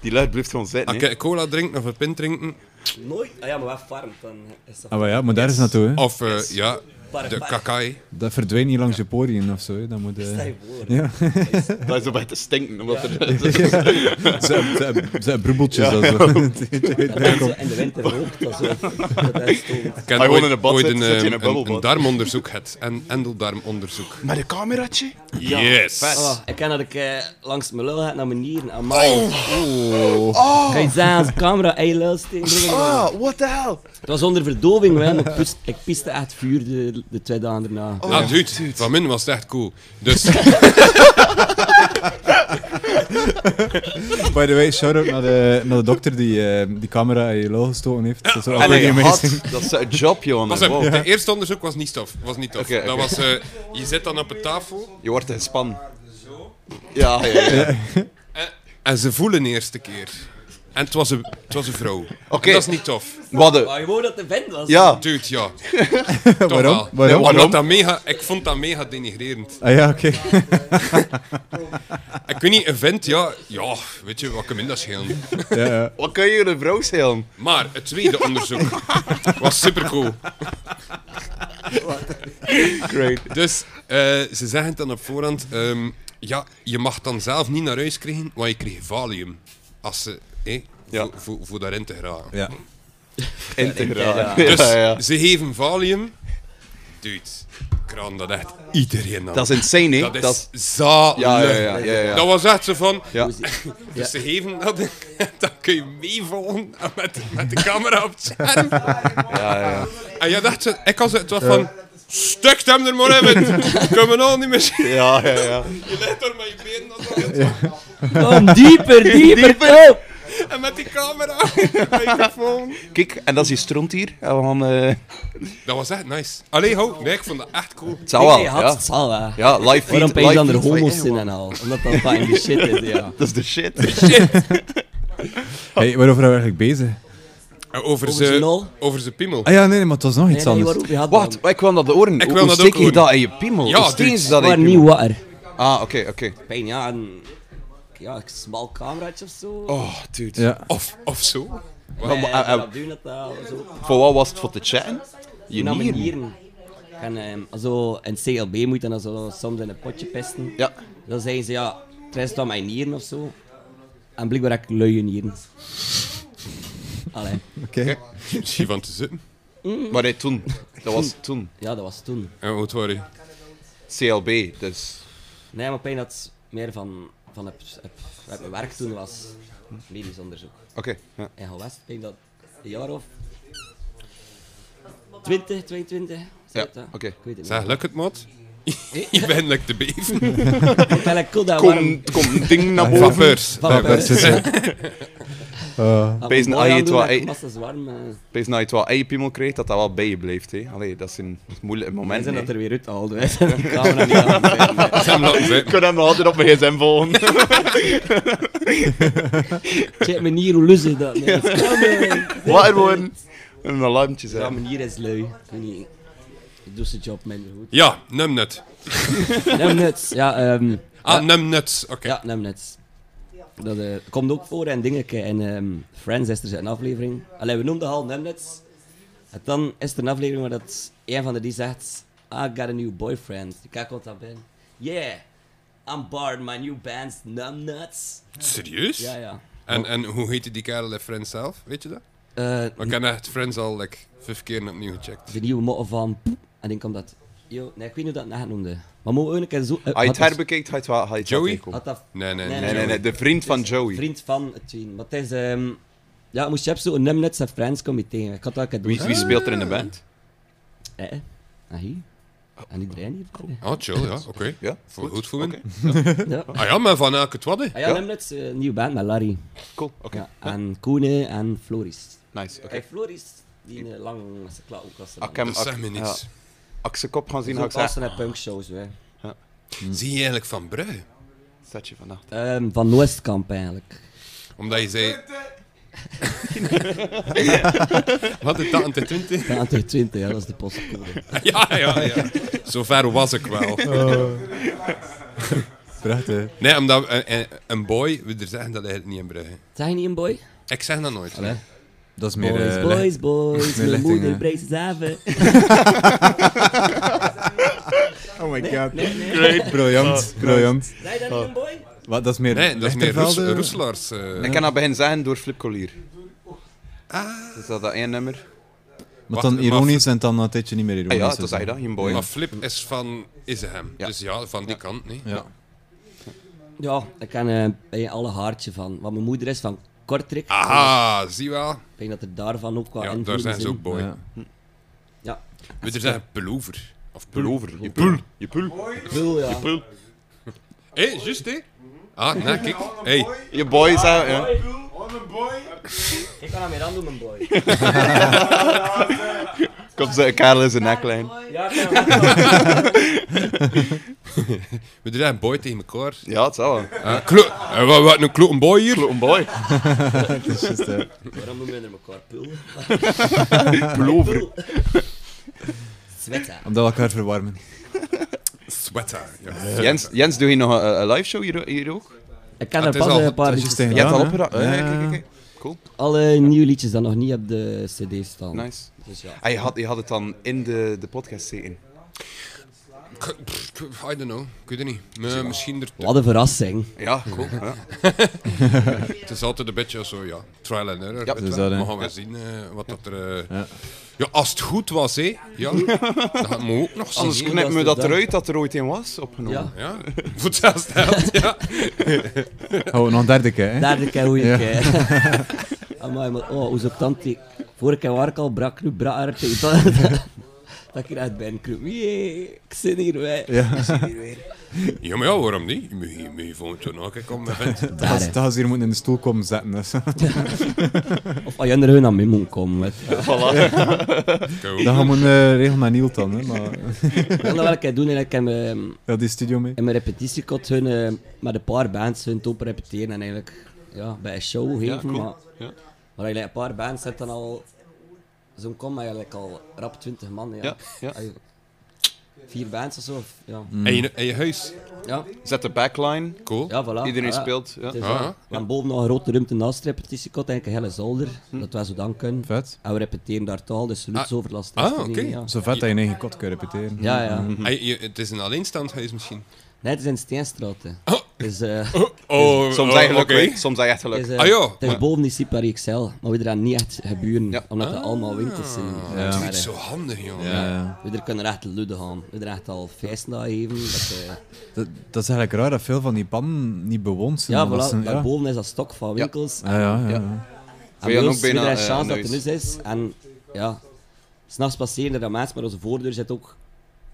G: Die luid blijft gewoon
E: Als
G: zitten. hè.
E: ik cola drink of een pint drinken,
D: Nooit. Ah ja, maar wat farmt dan? Is dat... Oh.
B: Ah, maar ja, maar daar is naartoe, hè.
E: of eh, ja, De kakai.
B: Dat verdwijnt niet langs je poriën of zo. hè. Dat moet, eh, ja.
D: Dat is zo bij te stinken. Omdat (laughs) er,
B: Zijn- zijn- Zijn broebeltjes. dat zo.
D: (laughs)
A: En zo in de winter rookt dat zo. Dat is stoom.
E: Ik heb
D: Hij
E: ooit,
D: woont in een bad
E: ooit
D: zit,
E: een,
D: zit hij in
E: ehm,
D: een
E: een,
D: bubbelbad.
E: een darmonderzoek gehad. En endeldarmonderzoek.
D: Met een cameraatje?
E: yes.
A: Oh, ik ken dat ik eh, langs mijn lul had naar mijn nieren. Amai.
D: Oh.
A: Kan je zeggen als camera en je lul steken?
D: Ah, what the hell?
A: Het was onder verdoving, wel, maar ik, pist, ik piste echt vuur de, de twee dagen daarna.
D: Oh.
E: Ah, dude, Van min was het echt cool. Dus
B: By the way, shout-out naar de, naar de dokter die eh, die camera in je lul gestoken heeft. Dat is ook
D: En hij
B: amazing.
D: had, dat is een job, Johan.
E: pas op,
D: Wow.
E: het eerste onderzoek was niet tof. Was niet tof.
D: Oké, oké.
E: Dat was, eh, je zit dan op een tafel
D: Je wordt gespannen. Ja, ja, ja.
E: en ze voelen de eerste keer. En het was een, het was een vrouw.
D: Oké.
E: En Dat is niet tof.
D: Wat een-
A: Maar je wou dat de vent was.
D: Ja.
E: Dude, ja.
B: Waarom?
E: Toch wel.
B: Waarom?
E: Omdat dat mega, ik vond dat mega denigrerend.
B: Ah ja, oké.
E: Ik weet niet, een vent, ja, ja, weet je, wat kan minder schelen.
B: Ja, ja.
D: Wat kan je een vrouw schelen?
E: Maar het tweede onderzoek was supercool.
D: Great.
E: Dus eh, ze zeggen het dan op voorhand, ehm, ja, je mag dan zelf niet naar huis krijgen, want je kreeg valium. Als ze, eh,
D: Ja.
E: voor, voor, voor daarin te geraken. (laughs)
B: Ja.
D: Integraal.
E: Dus
D: (laughs) Ja, ja.
E: ze geven valium. Dude, kraan dat echt iedereen aan.
D: Dat is insane, hè?
E: Dat is
D: Dat is-
E: zalig.
D: Ja, ja, ja, ja, ja.
E: Dat was echt zo van,
D: Ja.
A: (laughs)
E: Dus ze geven dat, (laughs) dan kun je meevallen met, met de camera op het scherm. En jij dacht, zo- ik was het was van, stuk hem er maar in, we kunnen al nou niet meer zien.
D: Ja, ja, ja.
E: Je ligt daar met je benen aan de grond.
A: Kom, Oh,
E: (laughs)
A: dieper, dieper, kom.
E: en met die camera, (laughs) microfoon.
D: Kijk, en dat is die stront hier. En we gaan, eh,
E: Dat was echt nice. Allee, ho, nee, ik vond dat echt cool.
D: Het zou wel,
A: Nee, had
D: ja.
A: het zal wel.
D: Ja, live feed.
A: Waarom ben je
D: live
A: dan er
D: feed van-
A: homo's in en al? Omdat dat fucking die shit is, ja.
D: (laughs) Dat is de shit.
B: Hey, waarover zijn we eigenlijk bezig?
E: En Over
A: Over zijn
E: ze,
A: nul?
E: over ze piemel.
B: Ah ja, nee, nee, maar het was nog iets
A: Nee, nee,
B: anders.
A: waarom? Je had
D: Wat? Ik kwam dat de oren.
E: Ik
D: Hoe-
E: wil
D: Hoe
E: dat
D: steek
E: ook
D: je
E: horen.
D: dat in je piemel?
E: Ja,
D: Hoe steken
E: dude.
D: ze dat in
A: Maar
D: je
A: niet
D: piemel?
A: water.
D: Ah, oké, oké.
A: Pijn, ja, een... Ja, een smal cameraatje of zo.
D: Oh, dude.
B: Ja.
E: Of, of zo.
A: Nee,
D: maar, eh, eh,
A: dat doen het wel, zo.
D: Voor wat was het voor te chatten? Je
A: Naar mijn
D: nieren.
A: nieren. Ik kan, ehm, zo in CLB moet je dan zo soms in een potje pesten.
D: Ja.
A: Dan zeggen ze, ja, het rest van mijn nieren of zo. En blijkbaar heb ik luie nieren. Allee.
B: Oké.
E: Misschien van te zitten.
D: Maar nee, toen. Dat was toen.
A: Ja, dat was toen.
E: En hoe het waren.
D: CLB, dus...
A: Nee, maar pijn dat het meer van, van het, het, het mijn werk toen was medisch onderzoek.
D: Oké, ja.
A: En gewest pijn dat een jaar of 20, 22.
D: Ja,
A: oké.
D: oké.
A: Ik weet het
E: Zeg,
A: niet.
E: lukt het, maat? (laughs) Je bent lekker te beven.
A: Ik ben like, cool dat warm-
D: Kom, kom, een ding (laughs) naar
E: Van
D: boven.
E: peurs.
A: Van peurs.
E: (laughs)
A: dat we
D: Bezig
A: mooi
D: aan je
A: aan doen,
D: twa-
A: dat ik
D: eh.
A: Massa's warm. eh.
D: Wees nou je het wel aan je piemel krijgt, dat dat wel bij je blijft. Hè. Allee, dat is een moeilijk
A: En
D: moment.
A: zijn dat
D: hè.
A: er weer uit al
D: (laughs)
A: wij zijn die camera niet aan het zijn, hè.
D: Ik kan hem nog altijd op mijn gsm volgen.
A: (laughs) Check me hier hoe lus is dat? Nee, dat kan niet.
D: Wakker worden. En een alarmtje
A: Ja,
D: zijn.
A: mijn nier is lui. Ik weet niet. Ik doe zijn job minder goed.
D: (laughs)
E: Ja, numnut.
A: Nemnuts, ja, ehm
E: Ah, numnuts. Oké.
A: ja, Nemnuts. Dat eh, komt ook voor en dingen. En ehm, Friends is er een aflevering. Allee, we noemden al Nemnuts. En dan is er een aflevering waar dat een van de die zegt: I got a new boyfriend. Kijk wat dat ben. Yeah, I'm barred my new band's Nemnuts.
E: Serieus?
A: Ja, ja.
E: En, en hoe heette die kerel in Friends zelf? Weet je dat?
A: Eh,
E: Want ik heb echt Friends al like, vijf keer opnieuw gecheckt.
A: de nieuwe motto van. En dan komt dat. Yo, nee, ik weet niet hoe dat net noemde. Maar moeten we ook een keer zo. eh,
D: Als je
A: had
D: het herbekijkt, ga je het wel ga je het wel
E: Joey?
D: tegenkomen.
A: had dat-
E: Nee, nee, nee.
D: Nee, nee, nee, de vriend van Joey.
A: Vriend van het team. Maar het is... ehm, ja, moest je hebben zo'n Nemnets en Friends comité. tegen. Ik had dat ook doen.
D: Wie, wie speelt er in de band?
A: Eh, eh. Ah, hier. En iedereen hier. verder.
E: Ah, chill, ja, oké.
D: Ja,
E: Voor- Goed voor me. (laughs)
A: Ja.
E: Ah ja, maar van elke twadde.
A: Ah ja, Nemnets, eh, nieuwe band met Larry.
D: Cool, oké.
A: Ja, en Koene en Floris.
D: Nice, oké.
A: Kijk, Floris, die een lang zijn klauw ook als
D: Ah, ik heb
E: Dat
D: hem-
E: zegt me niks.
D: ja. Als ik zijn kop gaan zien, ga
A: Ook
D: ik zeggen...
A: naar punkshows, hè. Mm.
E: Zie je eigenlijk Van Brugge?
D: Zet je vannacht.
A: Ehm, van Noestkamp, eigenlijk.
E: Omdat je zei...
A: (laughs)
E: Wat is dat, een T20?
A: Ja, Antwerp 20, ja, dat is de postcode.
E: (laughs) Ja, ja, ja. Zover was ik wel.
B: Prachtig.
E: Nee, omdat eh, eh, een boy, we er zeggen dat eigenlijk niet in Brugge.
A: Zijn je niet een boy?
E: Ik zeg dat nooit.
A: Allee.
B: Dat is meer...
D: Boys,
B: eh,
D: boys, boys,
B: meer
D: mijn
B: lichtingen.
D: moeder breekt ze zaven.
B: Oh my god.
D: Nee, nee.
B: Briljant, briljant.
D: Zij dat niet een boy?
B: Wat, dat is meer...
E: Ah, Nee, dat is meer Roes,
B: Lichtervelde?
E: Roeselaars. eh.
G: Ik kan dat begin zeggen door Flip Collier. Ah. Is dat dat één nummer?
B: Maar
E: Wacht,
B: dan
E: maar-
B: ironisch en dan een tijdje niet meer
G: Ah
B: ironisch.
G: ja, dat zei je dat, je boy.
E: Maar Flip is van Izehem.
G: Ja.
E: Dus ja, van die kant, nee.
B: Ja.
D: Ja, ik ken eh, ben je alle haartje van. Want mijn moeder is van Kortrijk.
E: Aha, zie wel.
D: Ik denk dat er daarvan ook wel
E: Ja, daar
D: invloeden
E: zijn ze ook boy.
B: Ja. (laughs)
D: Ja.
E: We er zeggen Pelover. Of Pelover.
G: Pullover. Je pul. Je pul.
D: Pul, ja.
E: (laughs) Hé, juist hé. Ah, nee, kijk. Hey.
G: Je boy, zei ja.
D: Ik kan hem weer aan doen, mijn boy.
G: (laughs) Komt ze Karel in zijn neklijn.
D: Ja, ik kan hem aan doen.
E: We er zeggen boy tegen elkaar.
G: Ja, het zal wel.
E: Ah, klo- eh, wat, wat, een kloten boy hier?
G: Een boy.
D: Waarom noemen we er elkaar pul?
G: Pullover.
D: Zwetta.
B: Omdat we elkaar verwarmen.
E: Sweater. Ja.
G: Jens, Jens, doe je nog een, een live show hier, hier ook?
D: Ik kan
E: het
D: er
E: is
D: pas
E: al-
D: een paar
B: Dat is
D: liedjes.
B: juist
G: Je hebt
B: gedaan,
G: al
B: hè?
G: opgeraakt. Ja,
B: Ja,
G: ja, kijk,
B: ja.
G: kijk, kijk. Cool.
D: Alle nieuwe liedjes dat nog niet op de cd staan.
G: Nice.
D: Dus ja.
G: Ah, je, had, je had het dan in de, de podcast zitten.
E: K- pff, pff, I don't know. Ik weet het niet. Maar misschien er...
D: Wat een verrassing.
G: Ja, cool. Ja.
E: Het is altijd een beetje zo, ja. Trial and error.
G: Ja,
E: weet
G: dus
E: wel.
B: dat, hè.
E: we gaan wel zien eh, wat dat er... eh, Ja. als het goed was, hé. Ja. dat gaan we ook nog zien.
G: Anders
E: hè.
G: knip me
D: dat
G: dat
D: is
G: eruit dat er ooit in was opgenomen.
D: Ja.
E: Ja, voor hetzelfde geld, ja.
B: Oh, nog een derde keer, hè?
D: Derde keer hoe je
B: Ja.
D: kijkt. Amai, maar oh, hoe zo'n tand die... Vorige keer waar ik al brak, nu brak ik dat, dat, (laughs) dat ik eruit ben. Ik roep, jee, ik zit hier weer. Ik zit hier weer.
E: Ja, maar ja, waarom niet? Je moet je, moet je volgend jaar nog een keer komen met vent.
B: Dat
D: Daar,
B: was- Dat was hier moeten in de stoel komen zetten. (laughs) Dus. Dan
D: hè. Of ah, als jij er gewoon aan mee moet komen. Weet. je.
E: Go.
B: gaan we uh, regel met Niel dan, hè? Maar, (laughs)
D: Ik wil dat wel een keer doen en ik heb mijn-
B: ja, die studio mee.
D: in mijn repetitiekot hun, eh, met een paar bands hun top repeteren en eigenlijk ja, bij een show geven. Maar,
G: Ja.
D: maar als je een paar bands hebt, dan al zo'n kom eigenlijk al rap 20 man. Ja.
G: Ja, ja.
D: Als je Vier bands of zo. of- ja.
E: En, je, en je huis.
D: ja,
G: Zet de backline.
E: Cool. Ah.
D: ja, voilà.
G: Iedereen
D: Ja.
G: speelt. Ja.
D: Het is
E: Ja,
D: dat.
E: ja.
D: En boven nog een grote ruimte naast de repetitiekot, eigenlijk een hele zolder.
G: Hm.
D: Dat wij zo dan kunnen.
B: Vet.
D: En we repeteren daar taal, dus geluidsoverlast.
E: Ah,
D: is er
E: oké.
D: niet, Ja.
B: Zo vet dat je een eigen kot kan repeteren.
D: Ja, ja.
G: Hm.
E: En je- het is een alleenstaand huis misschien.
D: Nee, het is in Steenstraat. hè.
E: Oh.
D: Dus, eh,
E: Oh,
G: Soms
E: oh,
G: heb je geluk,
E: oké.
G: hè. soms heb je echt
D: Het is,
G: geluk.
D: eh,
E: Ah, ja.
D: het is boven die Sipari XL, maar we daar niet echt geburen,
G: Ja.
D: omdat
E: Ah.
D: er allemaal winkels zijn.
E: Dat is
D: Maar,
E: niet
D: eh,
E: zo handig, jongen.
B: Ja.
D: We er kunnen echt lude gaan. We er echt al feesten naar geven. Dat, eh,
B: Dat, dat is eigenlijk raar dat veel van die pannen niet bewoond zijn.
D: ja,
B: omdat ze-
D: voilà,
B: ja.
D: daarboven is dat stok van winkels.
B: Ja, ja, ja, ja.
D: En
G: Ben je
D: bij
G: dan
D: ons
G: ook
D: is er
G: bijna,
D: een
G: eh,
D: chance dat er
G: neus?
D: dus is. En ja, s'nachts passeren er dan mensen, maar onze voordeur zit ook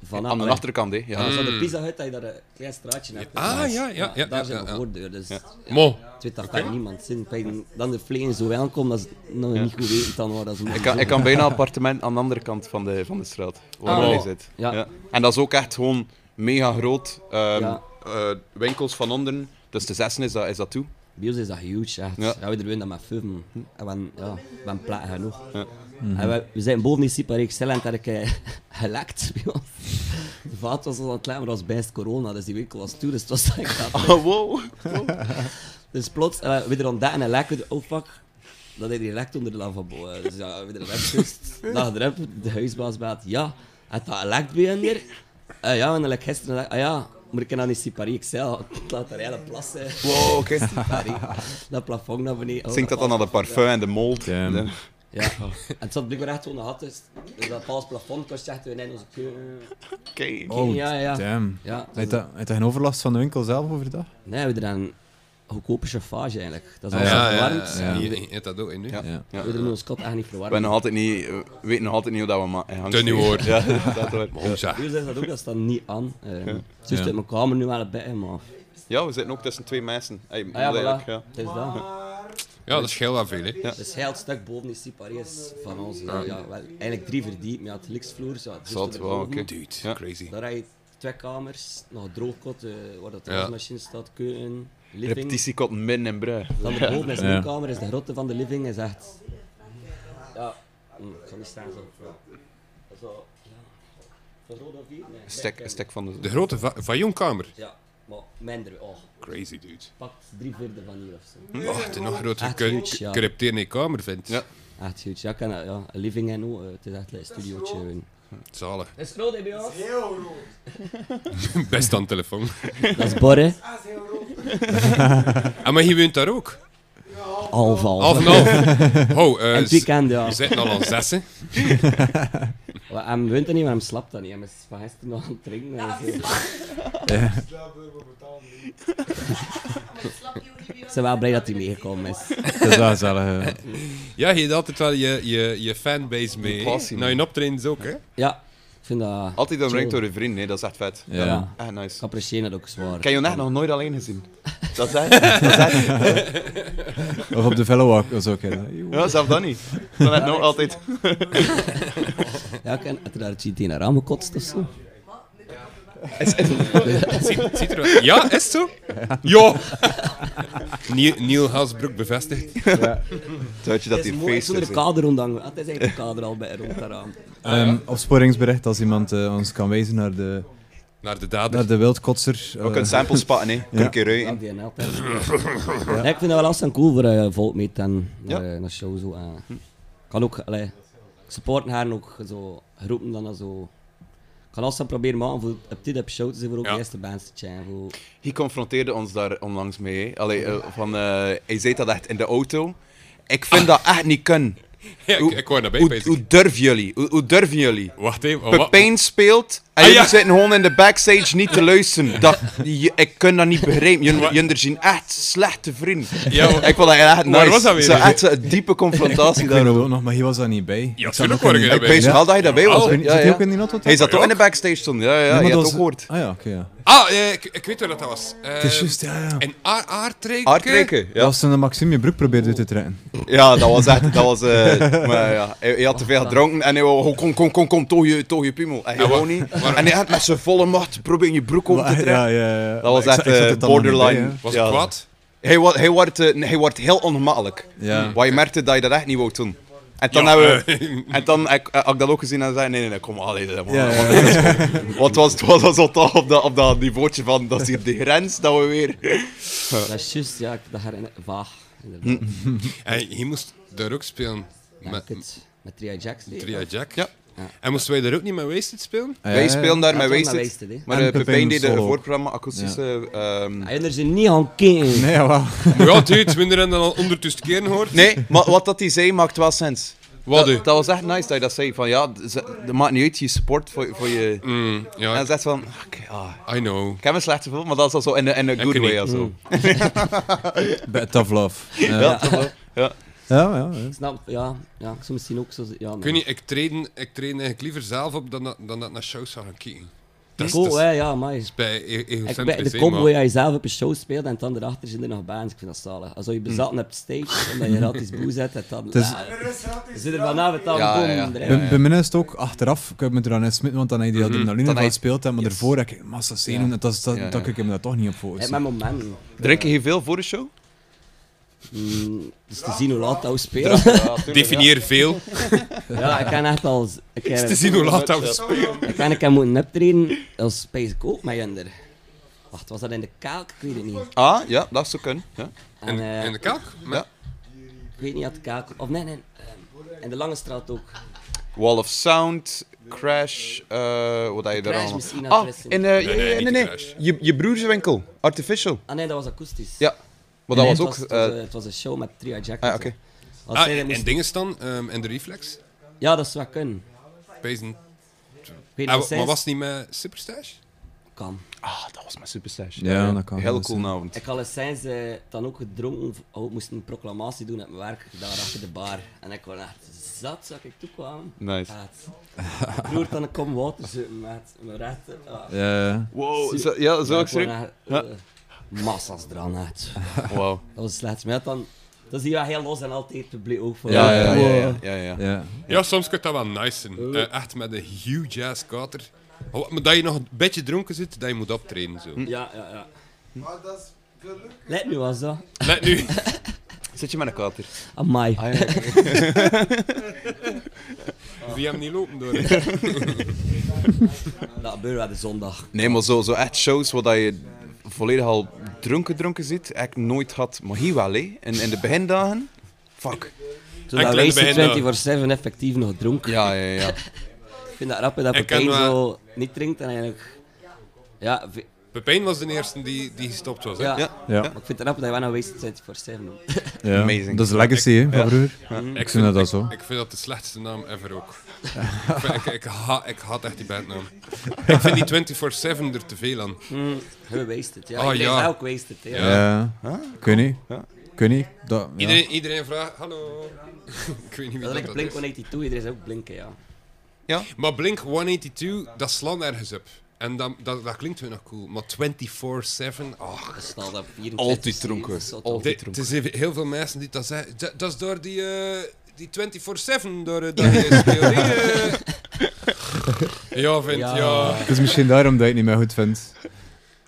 D: vanaf.
G: Aan de achterkant, hè. Ja.
D: Als je de pizza uit dat je daar een klein straatje hebt.
E: Mm. Ah, ja, ja, ja, ja,
D: Daar
E: ja,
D: zit
E: ja.
D: de voordeur, dus...
E: Mo.
D: Het weet dat daar niemand zin. Ik denk Dan de vlees zo welkom, dat ze nog niet goed weten dan waar dat ze
G: Ik
D: moeten
G: kan, ik
D: zitten.
G: kan
D: (laughs)
G: bijna een appartement aan de andere kant van de, van de straat, waar
D: Ah,
G: hij
D: wow.
G: zit.
D: Ja.
G: En dat is ook echt gewoon mega groot. ehm,
D: Ja.
G: eh, winkels van onderen, dus de zessen is dat, is dat toe.
D: Bij ons is dat huge, echt.
G: Ja.
D: Ja. we doen dat met film. En we ja, we hebben platen genoeg. En we, we zijn boven die Super XL en dat ik eh, (laughs) gelekt bij ons. De vaat was al aan het lekken, maar dat was bijst corona, dus die winkel was toe, dus het was
G: (laughs)
D: eigenlijk dat.
G: Oh, wow.
D: Dus plots, eh, we er ontdekken en lekken, oh fuck, dat hij die lekt onder de lavabo. eh. Dus ja, we er hebben dag erop, de huisbaas baat, ja, het dat lekt bij hen hier. Eh, ja, en dan like, gisteren, like, ah ja, maar ik kan aan die Super XL, het laat daar hele plassen.
G: Wow,
D: (laughs)
G: oké.
D: Dat plafond naar beneden. Oh,
G: Zinkt dat dan aan de parfum en de mold?
B: Damn.
G: De-
D: Ja, en het zat blijkbaar echt gewoon gat. Dus dus dat vals plafond kost echt we in onze keuken.
G: Oké.
B: Oh,
D: ja, ja.
B: damn.
D: Ja,
B: Heeft
D: dus-
B: dat, heeft dat geen overlast van de winkel zelf overdag? (laughs)
D: Nee, we hebben een goedkope chauffage eigenlijk. Dat is al
E: Ah, Ja, ja,
D: verwarmd.
E: ja.
B: Ja.
E: Je- je eet dat ook in nu.
G: Ja.
B: Ja.
D: We hebben ons kot echt niet verwarmd.
G: We hebben nog altijd niet, we weten nog altijd niet hoe dat we maken.
E: Te niet hoor.
G: Ja, (laughs) dat hoor.
E: Mo, zeg.
D: Hier is dat ook, dat staat niet aan. Ehm, Het is
B: Ja.
D: uit mijn kamer nu wel een beetje, maar...
G: Ja, we zitten ook tussen twee mensen. Hey,
D: Ah ja,
G: eigenlijk,
D: voilà.
G: ja.
D: Het is dat.
E: Ja, dat scheelt wel veel, hè.
D: Het is heel het stuk boven die Siparius van ons. Ja, ja, wel, eigenlijk drie verdiep, maar ja, het liksvloer. Ja, het
G: Zat,
D: erboven.
G: wow, oké.
E: Dude,
G: Ja.
E: crazy.
D: Daar heb je twee kamers, nog een droogkot eh, waar dat de
E: Ja.
D: wasmachine staat, keuken, living.
G: Repetitiekot min en brui.
D: Van de boven is de
B: Ja.
D: kamer, is de grotte van de living, is echt... Ja, hm, ik zal niet staan zo. Ja. Zo, ja. Van rood of hier? Nee.
G: Stek, stek van de
E: De grote va Vajonkamer.
D: Ja, maar minder. Oh,
E: Crazy, dude.
D: pak drie vierde van hier of zo.
E: Oh, het is nog groter.
D: Echt
E: Kun
D: huge, ja.
E: je in je kamer, vindt.
G: Ja.
A: Echt huge. Ja, ik ken dat, ja. Living en ook. eh, Het is echt een studiootje. gewoon.
E: Zalig.
A: Het is groot, hè, bij ons?
E: Best aan de telefoon.
A: Dat is Borre.
E: (laughs) Ah, maar je woont daar ook?
A: Half, half.
E: Half en half. Oh,
A: En
E: eh
A: het weekend, ja.
E: we zitten al aan zessen.
A: Maar Hij woont er niet, maar hij slaapt dan niet. Hij is van gisteren nog aan het drinken. en zo. Ik ben wel blij dat hij meegekomen is.
B: Het is wel gezellig. ja.
E: Ja, je hebt altijd wel je, je, je fanbase mee. hè?
D: passie,
E: Nou, je optredens ook, hè?
A: Ja, ik vind dat... Ik
D: Altijd omringd door je vrienden, hè, dat is echt vet.
B: Ja.
A: Ja.
D: Echt nice.
A: apprecieer dat ook zwaar.
D: Ik heb je net nog nooit alleen
A: (laughs)
D: gezien. Dat is echt. Dat is echt.
B: Of op de Fellowwalk was ook. Hè.
D: Ja, zelf dat niet. Dat net nog altijd.
A: (laughs) Ja, ik heb had er daar GT naar raam gekotst of zo. (laughs)
E: Ziet, ziet er wel. Ja, is het zo? Ja! Niel, Niel Hasbroek bevestigt.
D: Zou je dat die
A: Mooi,
D: feest
A: zonder
D: is?
A: de kader rondhangen. Het is eigenlijk een kader al bij rond dat raam.
B: Ehm, opsporingsbericht als iemand eh, ons kan wijzen naar de,
E: Naar de dader.
B: naar de wildkotser.
D: Ook een
B: eh,
D: sample spatten, hè. Kun je een keer
A: Ja,
D: ruiken.
A: die NL -tijd. Ja, ik vind dat wel lastig cool voor eh volk mee te gaan naar,
D: Ja.
A: eh, naar shows. Zo. eh. kan ook, allee, supporten haar ook zo groepen dan zo. Ik kan alles aan proberen maken voor op dit op show te zijn dus voor ook
E: Ja.
A: de eerste bands te chillen. Voor...
D: Hij confronteerde ons daar onlangs mee. hè. Allee, eh, van, eh, hij zei dat echt in de auto. Ik vind dat echt niet kunnen.
E: Ja, ik,
D: Hoe-
E: ik hoor daarbij
D: Hoe,
E: bezig.
D: hoe durven jullie? Hoe, hoe durven jullie?
E: Wacht even. oh, wa-
D: Pepijn speelt
E: Ah,
D: en jullie
E: ja.
D: zitten gewoon in de backstage niet te luisteren. Dat, je- ik kan dat niet begrijpen. Jullie, jullie zien echt slechte vrienden.
E: Ja, wa-
D: ik vond dat echt nice.
E: Waar was dat weer?
D: Zo echt een diepe confrontatie
B: Ik weet
D: daarover.
B: het ook nog, maar hij was daar niet bij.
E: Ja,
B: Ik zat
E: tuurlijk
B: ook
E: hoor
B: in
E: ik
B: die-
E: daarbij.
D: Ik weet wel dat je dat bij was.
E: Oh,
B: Zit
D: Ja,
B: hij
D: ja.
B: ook in die auto?
D: Hij zat
E: Ja,
D: ook in de backstage toen. Ja, ja,
B: Nee,
D: je
B: maar dat
D: hebt het ook
B: was-
D: gehoord.
B: Ah ja, oké. ja.
E: Ah, eh, ik, ik weet waar dat dat was. Eh,
B: Het is juist, ja, ja.
E: En aardreken.
D: Hardbreken,
B: Dat
D: ja.
B: was toen Maxime je broek probeerde uit te trekken.
D: Ja, dat was echt, dat was, eh, maar ja, hij, hij had te veel gedronken en hij wou, gewoon, kom, kom, kom, kom, toog je, toog je piemel. En hij
E: wa-
D: wou niet. En hij had met zijn volle macht proberen je broek om te
B: Maar,
D: trekken.
B: ja, ja, ja.
D: Dat was
B: Maar ik zat-
D: echt
B: ik zat
D: eh,
B: er dan nog niet bij,
D: borderline.
B: hè.
E: Was
D: Ja.
E: het kwaad?
D: Hij, wa- hij, wordt, eh, hij wordt heel ongemakkelijk.
B: Ja.
D: Waar je merkte dat je dat echt niet wou doen. En dan,
E: Hmm. Ja,
D: hebben
E: (laughs)
D: we, en dan heb ik, heb ik dat ook gezien en zei: Nee, nee, nee, kom allee, dat man.
B: Ja, ja,
D: Want het was, het was alsof dat op dat, op dat niveautje van dat is hier de grens dat we weer.
A: Dat is juist, ja, ik dat herinner vaag. Inderdaad.
E: En je moest daar ook spelen
A: Ja, ik
E: met
A: het met Tria Jacks. deed.
E: Tria Jack.
D: Ja.
E: En moesten wij daar ook niet met Wasted spelen?
B: Ja,
D: Wij
B: ja,
D: spelen daar
A: Ja,
D: met
A: het was
D: Wasted.
A: met Wasted, hè. Ah,
D: maar
B: En
D: eh, Pepijn
B: Pepijn
D: deed een
B: solo.
D: voorprogramma, akoestische. ehm,
A: Hij is er niet aan king.
B: Nee, jawel.
E: Maar ja, dude, minder dan al ondertussen keren hoort.
D: Nee, maar wat dat hij zei maakt wel sens.
E: Wat
D: dat,
E: u?
D: dat was echt nice dat je dat zei. Van ja, ze- dat maakt niet uit, je support voor, voor je.
E: Mm,
D: En
E: ja,
D: dan zegt van, ah, oké, ah,
E: I know.
D: ik heb een slechte film, maar dat is al zo in de- in een good
E: niet. Mm.
D: way. of zo.
B: Bit of love. Ja,
D: Ja, toch wel. ja.
B: ja, ja. ja.
A: Ik Snap, ja, ja, soms misschien ook zo. Ja,
E: Ik weet niet, ik train, ik train eigenlijk liever zelf op dan, dat- dan dat ik naar shows gaan kijken. Dat is- dat
A: Cool,
E: is
A: hè, ja, maar.
E: bij e-
A: Ik
E: egocentrisch.
A: ben de
E: hè,
A: combo
E: maar-
A: waar je zelf op een show speelt en dan erachter zitten er nog bands. Ik vind dat zalig. Als je bezatten hebt stage en dat je gratis boe zet, en dan...
B: is-
A: Ja, we zitten vanavond al
D: Ja, ja,
A: komen.
D: ja. Mhm.
A: erin.
B: Bij, bij mij is het ook achteraf, ik heb me er aan smitten, want dan heb je die adrenaline
D: Dan
B: van
D: heb je-
B: gespeeld, hè, maar daarvoor heb ik massa zenuwen, en dat, is- dat,
D: Ja, ja.
B: dat ik me daar toch niet
A: Hey,
B: op focussen.
A: Mijn momenten.
D: Drink je veel voor de
E: (laughs)
D: show?
A: Mm, dus te zien hoe laat dat we spelen.
E: Definieer
A: (laughs)
E: veel.
A: Ja, ik kan echt al... Ik
E: Het is
A: ken,
E: te zien hoe laat dat we spelen.
A: ik kan een keer moeten optreden als Space ook met Jinder. Wacht, was dat in de Kelk? Ik weet het niet.
D: Ah, ja, dat zou kunnen. Ja.
A: En, eh,
E: In de kalk?
D: Ja.
A: ik weet niet, had de Kelk... Of nee, nee. ehm, in de Lange Straat ook.
D: Wall of Sound, Crash, eh wat had je daar
A: Crash
D: allemaal?
A: misschien
D: Ah,
A: adressen.
D: in, eh,
E: nee,
D: nee,
E: niet
D: nee,
E: de
D: nee.
E: Crash.
D: Je, je broerswinkel, Artificial.
A: Ah nee, dat was akoestisch.
D: Ja, maar dat
A: Nee,
D: was ook...
A: Het was,
D: eh,
A: het was, eh, het was een show met Tria Jack.
D: ah,
A: en zo.
D: oké.
A: Als
E: Ah,
A: zij
E: en,
A: moest-
E: en dingen staan, ehm, en de reflex.
A: Ja, dat zou kunnen.
E: Pezen.
A: Ik weet niet
E: Ah,
A: of zij-
E: maar was het niet met Superstash?
A: kan.
D: Ah, dat was mijn superstash.
B: Ja, dat kan
D: Heel
B: wel
D: cool
B: zijn.
D: avond.
A: Ik had eens eh, dan ook gedronken, v- oh, ik moest een proclamatie doen op mijn werk, daar achter de bar. En ik was echt zat, zag ik toekwam.
D: Nice.
A: Maat. Ik roer dan een kom water zitten met mijn rechter. Ah.
B: Ja.
D: Wow, zo, ja, zo ook
A: Ik was
D: schrik.
A: echt, eh, Massa's eraan uit.
D: Wow.
A: Dat was slecht. Maar dan, dat zie je wel heel los en altijd publiek ook voor.
B: Ja,
D: Ja,
B: ja,
D: ja, ja, ja, ja.
B: Ja.
E: Ja, soms kan dat wel nice zijn. Eh, echt met een huge ass kater. Oh, maar dat je nog een beetje dronken zit, dat je moet optreden. Zo.
A: Ja, ja, ja. Let nu was dat.
E: Let
A: (laughs)
E: nu.
D: Zit je met een kater? Ah,
A: Amai.
E: Zie hem niet lopen door. hè.
A: Dat gebeurt wel de zondag.
D: Nee, maar zo, zo echt shows waar dat je volledig al dronken dronken zit, heb ik nooit had. Maar hier wel, hè. In, in de begindagen, fuck.
A: Toen dat
E: Enkele
A: wezen
E: bijna.
A: 24 voor 7 effectief nog dronken.
D: Ja, ja, ja.
A: Ik vind dat rap hè, dat
E: Ik ken
A: Pepijn
E: wel-
A: zo niet drinkt en eigenlijk... Ja, ve-
E: Pepijn was de eerste die, die gestopt was. hè?
A: ja.
D: Ja.
B: Ja,
A: maar ik vind het rap dat je wel nog wezen 24 voor 7 noemt.
B: ja.
D: Amazing.
B: dat is legacy hè, van vroeger.
E: Ik
B: vind dat
E: ik,
B: zo.
E: Ik vind dat de slechtste naam ever ook. ik, vind- ik, ik, ha- ik haat echt die bandnaam. ik vind die 24-7 er te veel aan.
A: Heel wasted, ja.
E: Ah,
A: ik
E: ja.
A: ja. ook wasted, hè.
E: Ja.
B: Ja. Kun je? Kun je? Dat, ja.
E: Iedereen, iedereen vraagt, hallo. (laughs) ik weet niet
A: Dat
E: wie dat,
A: is like
E: dat
A: Blink
E: is.
A: 182, iedereen is ook blinken, ja.
E: Maar Blink 182, dat slaat ergens op. En dat, dat, dat klinkt weer nog cool. Maar 24-7, ach.
A: Dat staat op 24.
D: Altijd dronken.
A: Dat is zo
D: Altijd.
A: tof.
E: De-
D: dronken.
E: Het is even- heel veel mensen die dat zeggen. Dat, dat is door die, eh, die 24-7 door, eh,
B: (laughs)
E: dat je speelt. Die, eh. Ja, vind ja.
A: Ja.
E: ja.
B: Het is misschien daarom dat je het niet meer goed vindt.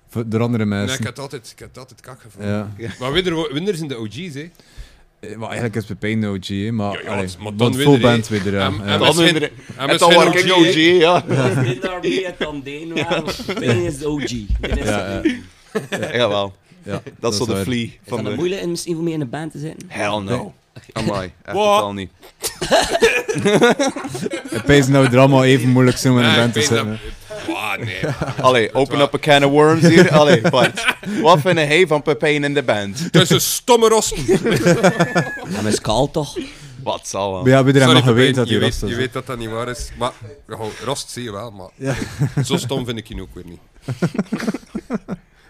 B: Voor- Door andere
E: Nee, ik
B: mensen.
E: had altijd, ik had altijd kak gevonden.
B: Ja.
E: Maar winner, winnaars zijn de OG's, hè.
B: Eh, Maar eigenlijk is Pepijn de OG, hè, maar,
E: Ja, ja,
B: allee,
E: het- maar dan
B: want
E: weer
B: full
E: er, hè.
B: band weer er, ja.
E: En-
B: Ja.
E: en
D: Dan
E: misschien-
D: weer-
E: En
D: En dan
E: misschien
D: word ik
E: OG,
D: OG, ja.
A: Dit daar bij het dan nou, Deen waren. Dit is de OG. Dit is
B: Ja, ja.
A: de-
D: Jawel.
B: Ja,
D: Dat is zo de
B: waar.
D: flea
A: Is dat
D: van
A: een
D: de...
A: moeilijk misschien voor mij in de band te zitten?
D: Hell no. (laughs) Amai, echt
E: Wat?
D: totaal niet.
B: Pepijn nou er allemaal even moeilijk zijn om in
E: Ah,
B: een
E: ik
B: band te
E: weet dat-
B: zitten.
E: Ah, nee.
B: (laughs)
D: Allee, open up a can of worms hier. Allee, Bart. Wat vind jij van Pepijn in de band?
E: Dat is een stomme rosten.
A: Ja, maar skaal toch?
D: Wat zal wel.
B: Maar ja, hebben er nog
E: Sorry, Pepijn,
B: geweten dat
E: je,
B: hij
E: weet,
B: rust
E: je
B: is.
E: weet dat dat niet waar is. Maar ja, rost zie je wel, maar
B: Ja.
E: zo stom vind ik je ook weer
B: (laughs)
E: niet.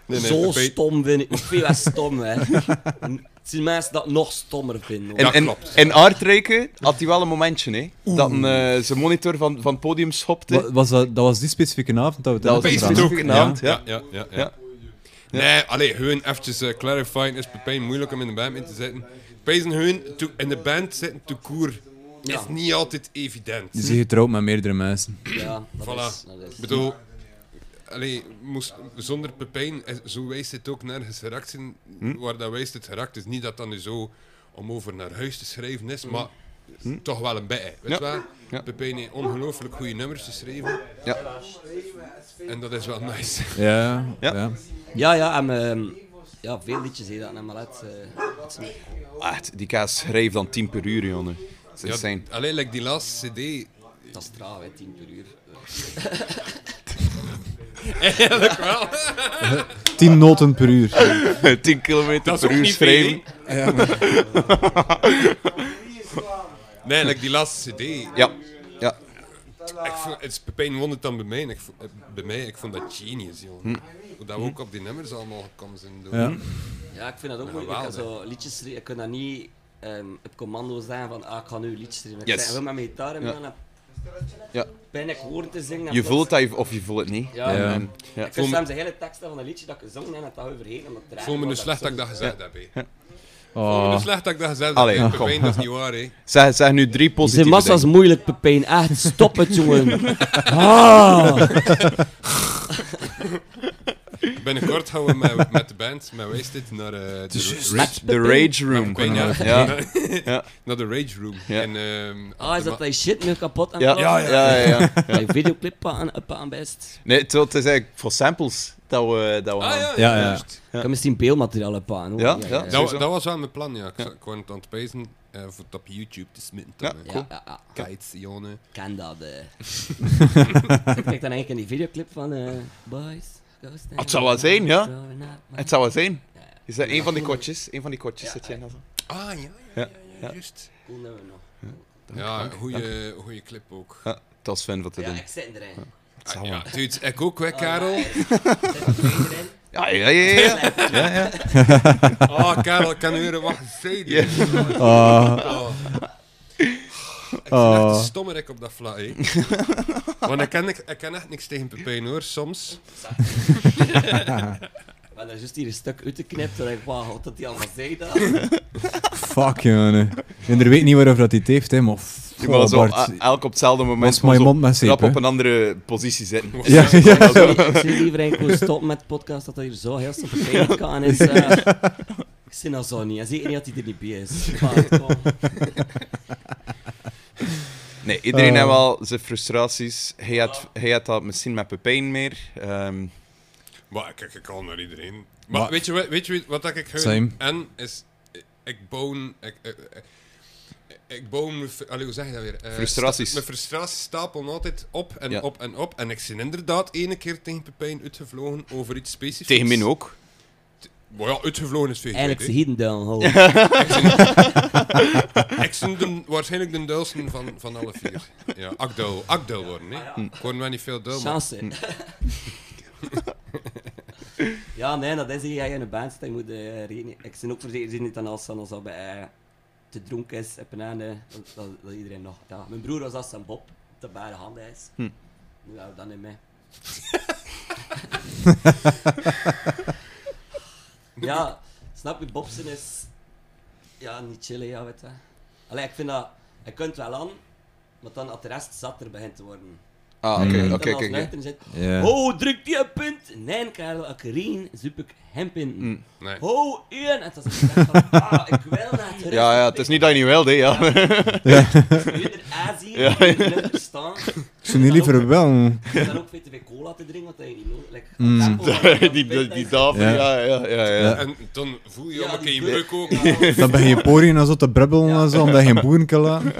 E: Nee, nee,
A: Zo
E: Pepijn-
A: stom vind ik. Ik vind dat stom, hè. Het zijn mensen dat nog stommer vinden.
D: In,
E: Ja,
D: in,
E: klopt.
D: in Aardrijken had hij wel een momentje, hè? Dat een, eh, zijn monitor van, van het podium schopte.
B: Wa- Was dat, dat was die specifieke avond dat we
D: Dat
B: het
D: was
E: Pepijn
D: een
B: hebben gedaan.
E: is het ook.
D: specifieke naam,
E: Ja,
D: ja.
E: ja, ja. ja.
D: Ja.
E: Nee, allee, hun eventjes eh, clarifying. Is Pepijn moeilijk om in de band in te zitten? Pezen hun to- in de band zitten te koer is niet altijd evident.
B: Je bent getrouwd met meerdere mensen.
A: Ja, dat
E: Voilà.
A: is... Dat is.
E: Ik bedoel, allee, moest, zonder Pepijn, is- zo wijst het ook nergens geraakt zijn.
D: Hm?
E: Waar dat wijst het geraakt is. Niet dat dat nu zo om over naar huis te schrijven is, maar toch wel een beetje. Weet je wel?
D: Hm. Ja.
E: Pepijn heeft ongelooflijk goede nummers geschreven.
D: Ja.
E: En dat is wel nice.
B: Ja,
D: Ja.
B: ja.
A: Ja, ja, en... ehm, ja, veel liedjes he, eh, dat maar uit.
D: Echt, die kaas schrijft dan 10 per uur, jongen. Dat is
E: Ja,
D: insane.
E: Alleen like die laatste CD.
A: dat is trouw, hè, 10 per uur.
D: (laughs)
E: Eigenlijk wel. (laughs)
B: Tien noten per uur.
D: 10 kilometer
E: Dat is
D: per
E: ook
D: uur
E: niet veel.
D: schrijven.
E: hè? Nee, like die laatste CD.
D: Ja. Ja.
E: Ik vond, het is Pepijn won het dan bij mij. En ik, vo- eh, bij mij, ik vond dat genius, joh.
D: Hm.
E: Hoe dat we ook op die nummers allemaal gekomen zijn. door-
B: Ja.
A: Ja, ik vind dat ook
E: wel,
A: moeilijk. Ik kan
E: hè.
A: zo liedjes schrijven. Ik kan dat niet ehm, op commando zeggen van ah, ik ga nu liedjes schrijven.
D: Yes.
A: Ik zeg wel met mijn gitaar en
D: Ja.
A: dan
D: Ja.
A: ben ik woorden te zingen. en
D: Je
A: plots-
D: voelt dat je- of je voelt het niet.
A: Ja.
D: En,
B: Ja.
D: en- ja.
A: Ik vind soms de hele teksten van een liedje dat ik zong en dat dat overheen. Omdat
E: Ik voel me nu slecht dat ik dat gezegd heb. hè. Ik voel me nu
B: Oh.
E: slecht dat ik dat gezegd
D: Allee,
E: heb. hè.
D: kom.
E: Pepijn, dat is niet waar, hè.
D: Zeg, zeg nu drie positieve dingen.
A: moeilijk, Pepijn. Echt, stop het,
D: (laughs)
A: jongen.
E: Binnenkort gaan we
D: (laughs)
E: met, met de band, met Wasted, naar eh, de, Ra- Rage,
D: The Rage Room.
E: Pepijn, ja.
D: Ja. Ja.
E: (laughs) naar de Rage Room.
D: Ja.
E: En, ehm,
A: Ah, is dat dat je shit nu kapot aan
D: Ja.
A: het
D: Ja,
A: maken?
D: ja,
A: (laughs)
D: ja.
A: Dat je videoclip aan, op aan best.
D: Nee, het het is eigenlijk voor samples dat we, dat we
E: ah,
D: gaan.
E: ja,
B: Ja, ja.
E: juist.
A: Ik heb misschien beeldmateriaal op aan. hoor.
D: Ja, ja.
E: Dat,
D: Sowieso.
E: dat was wel mijn plan, ja. Ik, ja. kon het aan het pezen eh, voor het op YouTube te smitten.
D: Ja,
E: hè.
A: Ja, ja, ja.
E: Kites, Jonne.
A: ken dat.
D: (laughs)
A: eh. ik kijk dan eigenlijk in die videoclip van eh, Boys. Ghost
D: Het zou wel zijn, ja.
A: Throwing out my-
D: Het zou wel zijn. Is dat een van die kotjes? Een van die kotjes zit jij in dat zo?
E: Ah, ja, ja,
D: Ja,
E: ja, ja, juist.
A: Cool nummer nog.
E: Ja, goede goede clip ook.
D: Ja, dat is fijn wat te
A: Ja,
D: doen.
A: ik zit erin.
E: Ah, ja, dude, ik ook, hè, (laughs) Karel.
D: Ja, ja, ja, ja.
E: Ah, Karel, ik kan horen wat je zei. dude. (laughs)
B: Ah.
E: Oh. Ik ben echt
B: Oh.
E: een stommerik op dat vlak, hè. Want ik ken, ik ken echt niks tegen Pepijn, hoor, soms.
A: We hebben juist hier een stuk uit te knippen. Toen dacht ik, wauw, wat dat die allemaal zei dat.
B: Fuck, jongen. En er weet niet waarof dat hij het heeft, hè, maar...
D: Die
B: Oh,
D: maar zo,
E: Ah,
B: Bart.
D: eh, elk op hetzelfde moment.
B: Was mijn
D: zo
B: mond met zeep,
D: rap
B: hè?
D: op een andere positie zitten. Dus
B: Ja, ja.
A: Ik zie- Ik zie liever eigenlijk gewoon stoppen met de podcast dat dat hier zo heel simpel kan. En is, eh,
D: (laughs)
A: ik zie dat zo niet. En zeker niet dat hij er niet bij is. Maar, kom.
D: Nee, iedereen
B: Eh.
D: heeft wel zijn frustraties. Hij had, hij had dat misschien met Pepijn meer. Ehm,
E: Maar kijk, ik kan naar iedereen. Maar,
B: Maar-
E: weet, je, wat- weet je wat ik hun
B: Same.
E: en is... Ik bouw... Ik, ik, ik- ik bouw mijn... fr- Allee, hoe zeg je dat weer? Eh,
D: Frustraties.
E: sta- Mijn frustraties stapelen altijd op en
D: Ja.
E: op en op. En ik ben inderdaad ene keer tegen Pepijn uitgevlogen over iets specifieks.
D: Tegen min ook.
E: Maar ja, uitgevlogen is veel.
A: Eigenlijk
E: Eigenlijk
A: ze hieden down, houden.
E: (laughs) Ik ben de- waarschijnlijk de duilste van, van alle vier. Ja, ik duil. Ik duil worden, hè. Ik word wel niet veel duil, maar...
A: Ah, Chance. ja, nee, dat is hier. Als je in een band zit, dan moet je rekenen. Ik ben ook verzekerd dat niet aan als als dat bij, eh, te dronken is op een einde, dat, dat, dat iedereen nog... Ja. Mijn broer was als zijn Bob, dat bij de handen is.
D: Hm.
A: Nu hou ik dat niet
D: (laughs)
A: mee. ja, snap je, Bobsen is... Ja, niet chillen, ja, weet je. Allee, ik vind dat... Je kunt wel aan, maar dan als de rest zatter begint te worden.
D: Ah, oké,
A: Dan
D: oké,
A: als
D: oké, oké.
A: nuchter zit,
B: Ja.
A: Oh, druk die een punt. Nee, Karel, ik rien, zoep ik hem in.
D: Hm.
E: Nee.
A: Oh, één. En dan zeg ik van, ah, ik wil naar het
D: Ja, ja, het is niet dat je niet wilde, ja. (laughs)
A: Eerder aanzien,
D: Ja.
A: eerder staan.
B: Ik zou niet liever wel.
A: En dan ook veel te veel cola te drinken, want dat je niet nodig hebt.
D: (laughs) die, die, die tafel,
B: Ja.
D: ja, ja, ja. ja.
E: En dan voel je
A: Ja,
E: ook in je
A: die-
E: buik ook.
B: Dan ben je poriën en zo te brubbelen en zo, omdat je geen boeren kan laten.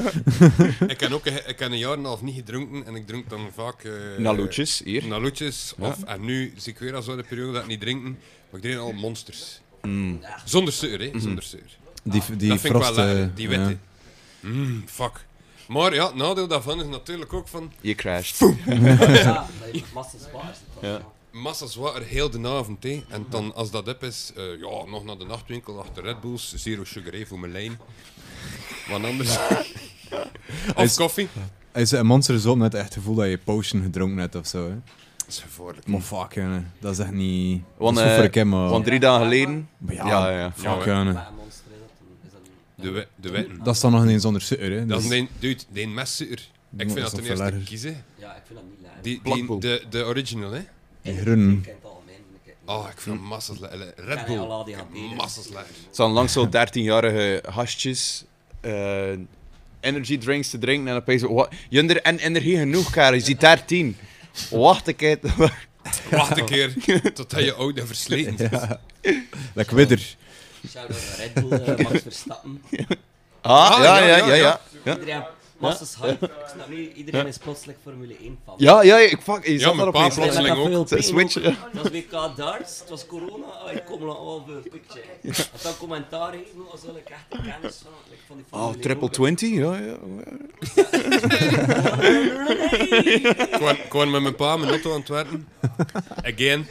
E: Ik heb ook een- ik heb een jaar en een half niet gedronken en ik drink dan vaak... eh,
D: Naloetjes, hier.
E: Naloetjes, of, en nu zie ik weer al zo de periode dat ik niet drinken, maar ik drink al monsters. Zonder suur, hè? Zonder suur.
B: Die, die
E: dat vind ik wel
B: frost... eh,
E: lekker, die witte.
B: ja.
E: Mm, fuck. Maar ja, het nadeel daarvan is natuurlijk ook van
D: Je
A: (laughs)
D: crasht.
A: Ja, dat je massa spaart.
D: Ja.
E: massa's water heel de avond, hè. En dan, als dat op is, eh, ja, nog naar de nachtwinkel, achter Red Bulls, zero sugar, hè, voor mijn lijn. Want anders... of
B: Is-
E: koffie.
B: Hij zei, een monster is op met echt het gevoel dat je potion gedronken hebt of zo. Hè.
E: Dat is gevaarlijk.
B: Maar fuck, jongen. Dat is echt niet...
D: Want,
B: dat is goed
D: eh,
B: voor de kim, maar...
D: Want drie dagen geleden...
B: maar ja,
D: Ja, ja, ja.
E: Ja,
B: fuck,
E: hè.
B: jongen.
A: Maar een monster is dat een- is dat een-
E: De, we- de wetten.
B: Dat is dan nog niet zonder sutter, hè.
E: Dat
B: Dus-
E: is een, dude, die messuur. Ik vind
B: dat
E: dat
B: is
E: ten
B: een
E: eerste
B: verleider.
E: kiezen.
A: Ja, ik vind dat niet leuk.
E: Die, die,
D: Plakboek.
E: de, de original, hè.
B: Die
A: Ik
B: groen.
A: ken het algemeen. ik ken het niet.
E: Oh, ik
B: Hm?
E: vind massas lekker. Red
A: Ja,
E: Bull.
A: nee, Allah, die
E: ik
A: gaat
E: vind
A: niet.
E: massas lekker.
A: (laughs)
D: Het zijn langs zo'n 13-jarige hasjes. eh, energy drinks te drinken en opeens... wa- Junder en energie genoeg, Karel. Je ziet 13.
B: (laughs)
D: Wacht een keer.
E: Wacht een keer totdat je oud en versleten
B: (laughs)
E: bent.
B: Lekker widder.
A: Shout-out naar Red Bull, eh, Max Verstappen.
D: Ah, ja, ja, ja, ja. Ja,
A: Iedereen, massa's hype. Ik snap niet, iedereen is plotseling Formule 1 fan.
D: ja, ja, ik fuck, je zat
E: mijn
D: daar
E: pa
D: opeens.
E: plotseling.
A: Ja,
E: ook.
A: veel
D: Switch,
A: pijn ook. Het was WK darts, het was corona, oh, ik kom nog over een picture. Had dan commentaar gegeven, als wel ik echt de kennis van, like, van die
D: Oh,
A: Formule
D: triple
A: 1 ook.
D: 20? Ja, ja.
E: Ik kwam- Ik kwam met mijn pa mijn auto aan het werken. Again.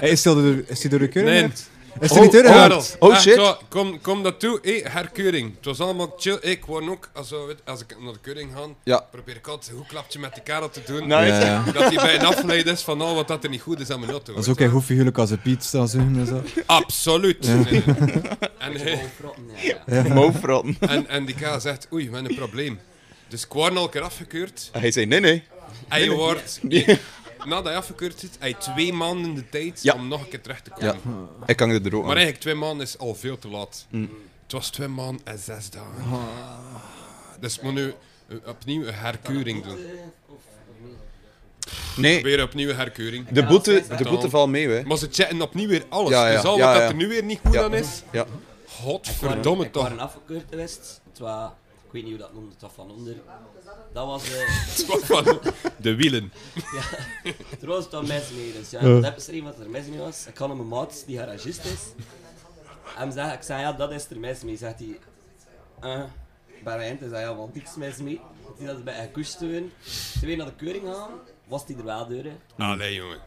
B: Hey, is hij al door- is hij door de keur?
E: Nee.
B: geraakt? Is hij niet door?
E: Karel,
D: oh,
E: echt
D: shit.
E: zo, kom, kom dat toe. Hé, herkeuring. Het was allemaal chill. Ik wou ook, als, we- weet- als ik naar de keuring ga,
D: Ja.
E: probeer ik altijd een goed klapje met die karel te doen.
D: Nice.
B: Ja, ja.
E: Dat hij bij een afleid is van al wat dat er niet goed is aan mijn auto.
B: Dat is
E: weet
B: ook een goed figuurlijk als een Piet staat zeggen en zo.
E: Absoluut. Nee. En,
A: Oh,
E: hij-
A: frotten, ja, ja.
D: Moofrotten.
E: en, en die K zegt, oei, we hebben een probleem. Dus ik word al een keer afgekeurd.
D: Ah, Hij zei, nee, nee.
E: En je
D: (laughs)
E: wordt, nadat je afgekeurd zit, heb je twee maanden de tijd
D: Ja.
E: om nog een keer terecht te komen.
D: Ja, ik hang er ook
E: Maar
D: aan. Mm.
E: eigenlijk, twee maanden is al veel te laat. Het was twee maanden en zes dagen.
D: Ah.
E: Dus ik moet nu eh, opnieuw een herkeuring doen.
D: Nee,
E: Weer opnieuw een herkeuring.
D: de boete, de boete valt mee, hè.
E: Maar ze chatten opnieuw weer alles.
D: Ja, ja,
E: Dus al
D: ja,
E: wat
D: ja.
E: dat er nu weer niet goed
D: Ja.
E: aan is,
D: Ja.
E: godverdomme
A: Ik was een
E: toch.
A: afgekeurd geweest, het was, ik weet niet hoe dat noemde, het was van onder. Dat was, eh
E: Het was van De wielen.
A: er was dan mes mee, dus ja, dat heb geschreven dat er mes mee was. Ik had aan mijn maat, die garagist is, hem zeggen, ik zei, ja, dat is er mes mee, zegt hij. Eh, bij mij zei ja, want niks mis mee. Die dat bij een kus te winnen. Ze weer naar de keuring gaan, was die er wel deuren.
E: Allee, jongen.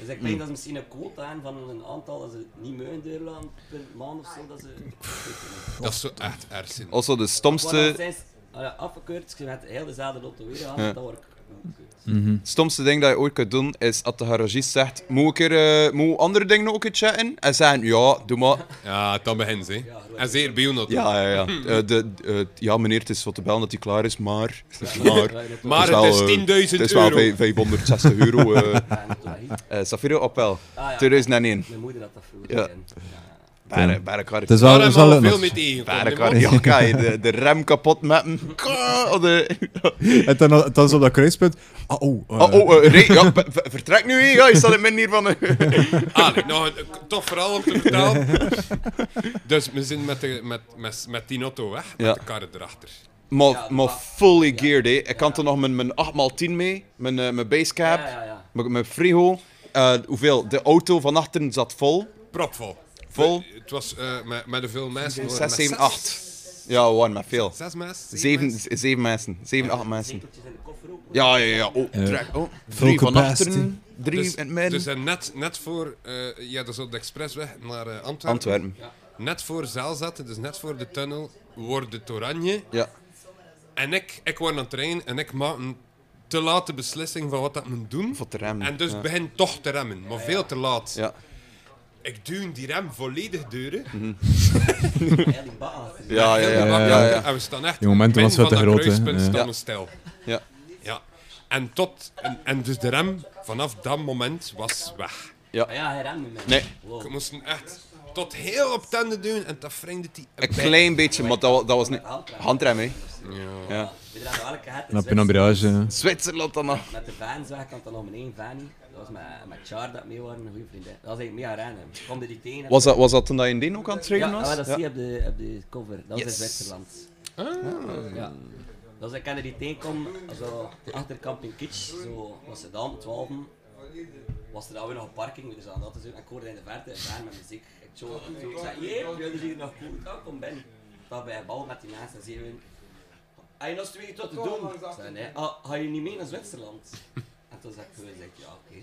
A: Dus ik denk
D: Hmm.
A: dat ze misschien een quota hebben van een aantal dat ze niet mogen deurlaan per maand of zo. Dat ze.
E: Dat is zo echt erg
D: Also
A: Maar
D: de
A: dan
D: stomste,
A: zijn ze ah ja, afgekeurd, ze met heel dezelfde lotto weer gaan, dat word ik afgekeurd.
D: stomste ding dat je ooit kunt doen, is dat de garagist zegt, moet ik er eh, moet we andere dingen ook eens chatten? En zeggen, ja, doe maar.
E: Ja, dan begint ze. hè. En zeer bij dat.
D: Ja, ja, ja. Eh, de, eh, ja, meneer, het is wat te bellen dat hij klaar is, maar...
A: Maar, ja, dat
E: Maar het is 10.000 euro.
D: eh, Het is wel vij- 560 euro. eh
A: waren het wel niet.
D: eh Safiro Appel,
A: Ah, ja.
D: 2001.
A: Mijn moeder had dat vroeger.
D: Ja.
A: gedaan. Ja.
D: Bare, bare kark.
B: Het is wel,
E: Daar
B: het is
E: hebben
B: wel
E: we
B: leuk
E: al veel
B: nog.
E: mee tegengekomen.
D: Bare
E: hè, man.
D: kark. Ja, kan je de, de rem kapot met hem.
B: (laughs)
D: Oh, de-
B: En dan, dan is op dat kruispunt. Ah, oh, eh,
D: oh, oh, eh, re- ja, ver- ver- vertrek nu, hè. ja, je staat in min hier van... eh.
E: Allee, nou, een- een tof verhaal om te vertellen. dus we zijn met, de, met, met, met die auto weg, met
D: Ja.
E: de karren erachter.
D: Maar, maar fully geared, hè. Ik kan er nog mijn, mijn 8x10 mee, mijn, eh, mijn basecap,
A: Ja, ja, ja.
D: Mijn, mijn frigo. Eh, hoeveel? De auto van achteren zat vol.
E: Propvol.
D: Vol?
E: We- Het was eh, met, met de veel mensen. we waren
D: 6,
E: met
D: 7, 8. Ja, one, maar veel.
E: Zes mensen?
D: 7, 7 mensen. 7, 8 mensen. Ja, ja, ja. Oh, trek. Oh,
B: full
D: 3 van
B: capacity.
D: achteren. 3
E: Dus,
D: en min.
E: dus eh, net, net voor, eh ja, dat is op de expressweg naar eh, Antwerpen.
D: Antwerpen.
E: Net voor zaal zaten, dus net voor de tunnel, wordt het oranje.
D: Ja.
E: En ik, ik was aan het trainen en ik maak een te late beslissing van wat dat moet doen.
D: Voor te remmen,
E: En dus
D: ja.
E: begin toch te remmen, maar veel te laat.
D: Ja. Mhm.
E: Ik duw die rem volledig deuren.
A: (laughs)
D: Ja, ja, ja.
E: ja,
D: ja, ja.
E: En we staan echt
B: Die momenten
E: min
B: was wel
E: van
B: te
E: dat
B: groot, hè.
E: kruispunt
B: Ja.
E: staan
D: Ja.
E: we stijl.
D: ja.
E: Ja. En, tot, en, en dus de rem vanaf dat moment was weg.
A: Ja, hij remt me.
D: Nee,
E: Ik moest hem echt tot heel op tanden doen en dat vreemde die
D: een klein beetje, maar dat, wa- dat was niet... Handrem, hè. Ja.
A: We dragen wel elke het
B: Een penambrage. eh.
D: Zwitserland dan nog.
A: Met de fans weg, kan dan nog mijn één fanny. Dat was met, met Char dat mee waren, een goede vriendin. Dat was eigenlijk mega random. Ik kwam er die tegen. en-
D: Was dat, was dat toen dat je in Deen ook aan het
A: ja,
D: trainen
A: ah,
D: was?
A: wel, dat zie je op de, op de cover. Dat was
D: Yes. Ah.
A: in Zwitserland. Ja. Dus ik kende die tegenkom, zo achter Camping Kitsch, zo was het dan, 12 was er dan weer nog een parking, dus aan dat te doen. En ik hoorde in de verte een band met muziek. Ik zo, ik zo, ik zei, jee, jullie zien er nog goed uit, kom binnen. Ik zat bij een bal met die mensen en zeiden we, heb je nog twee tot te doen? Ik zei, nee, ah, ga je niet mee naar Zwitserland? En toen zei ik, gewoon, zeg ik, ja, oké.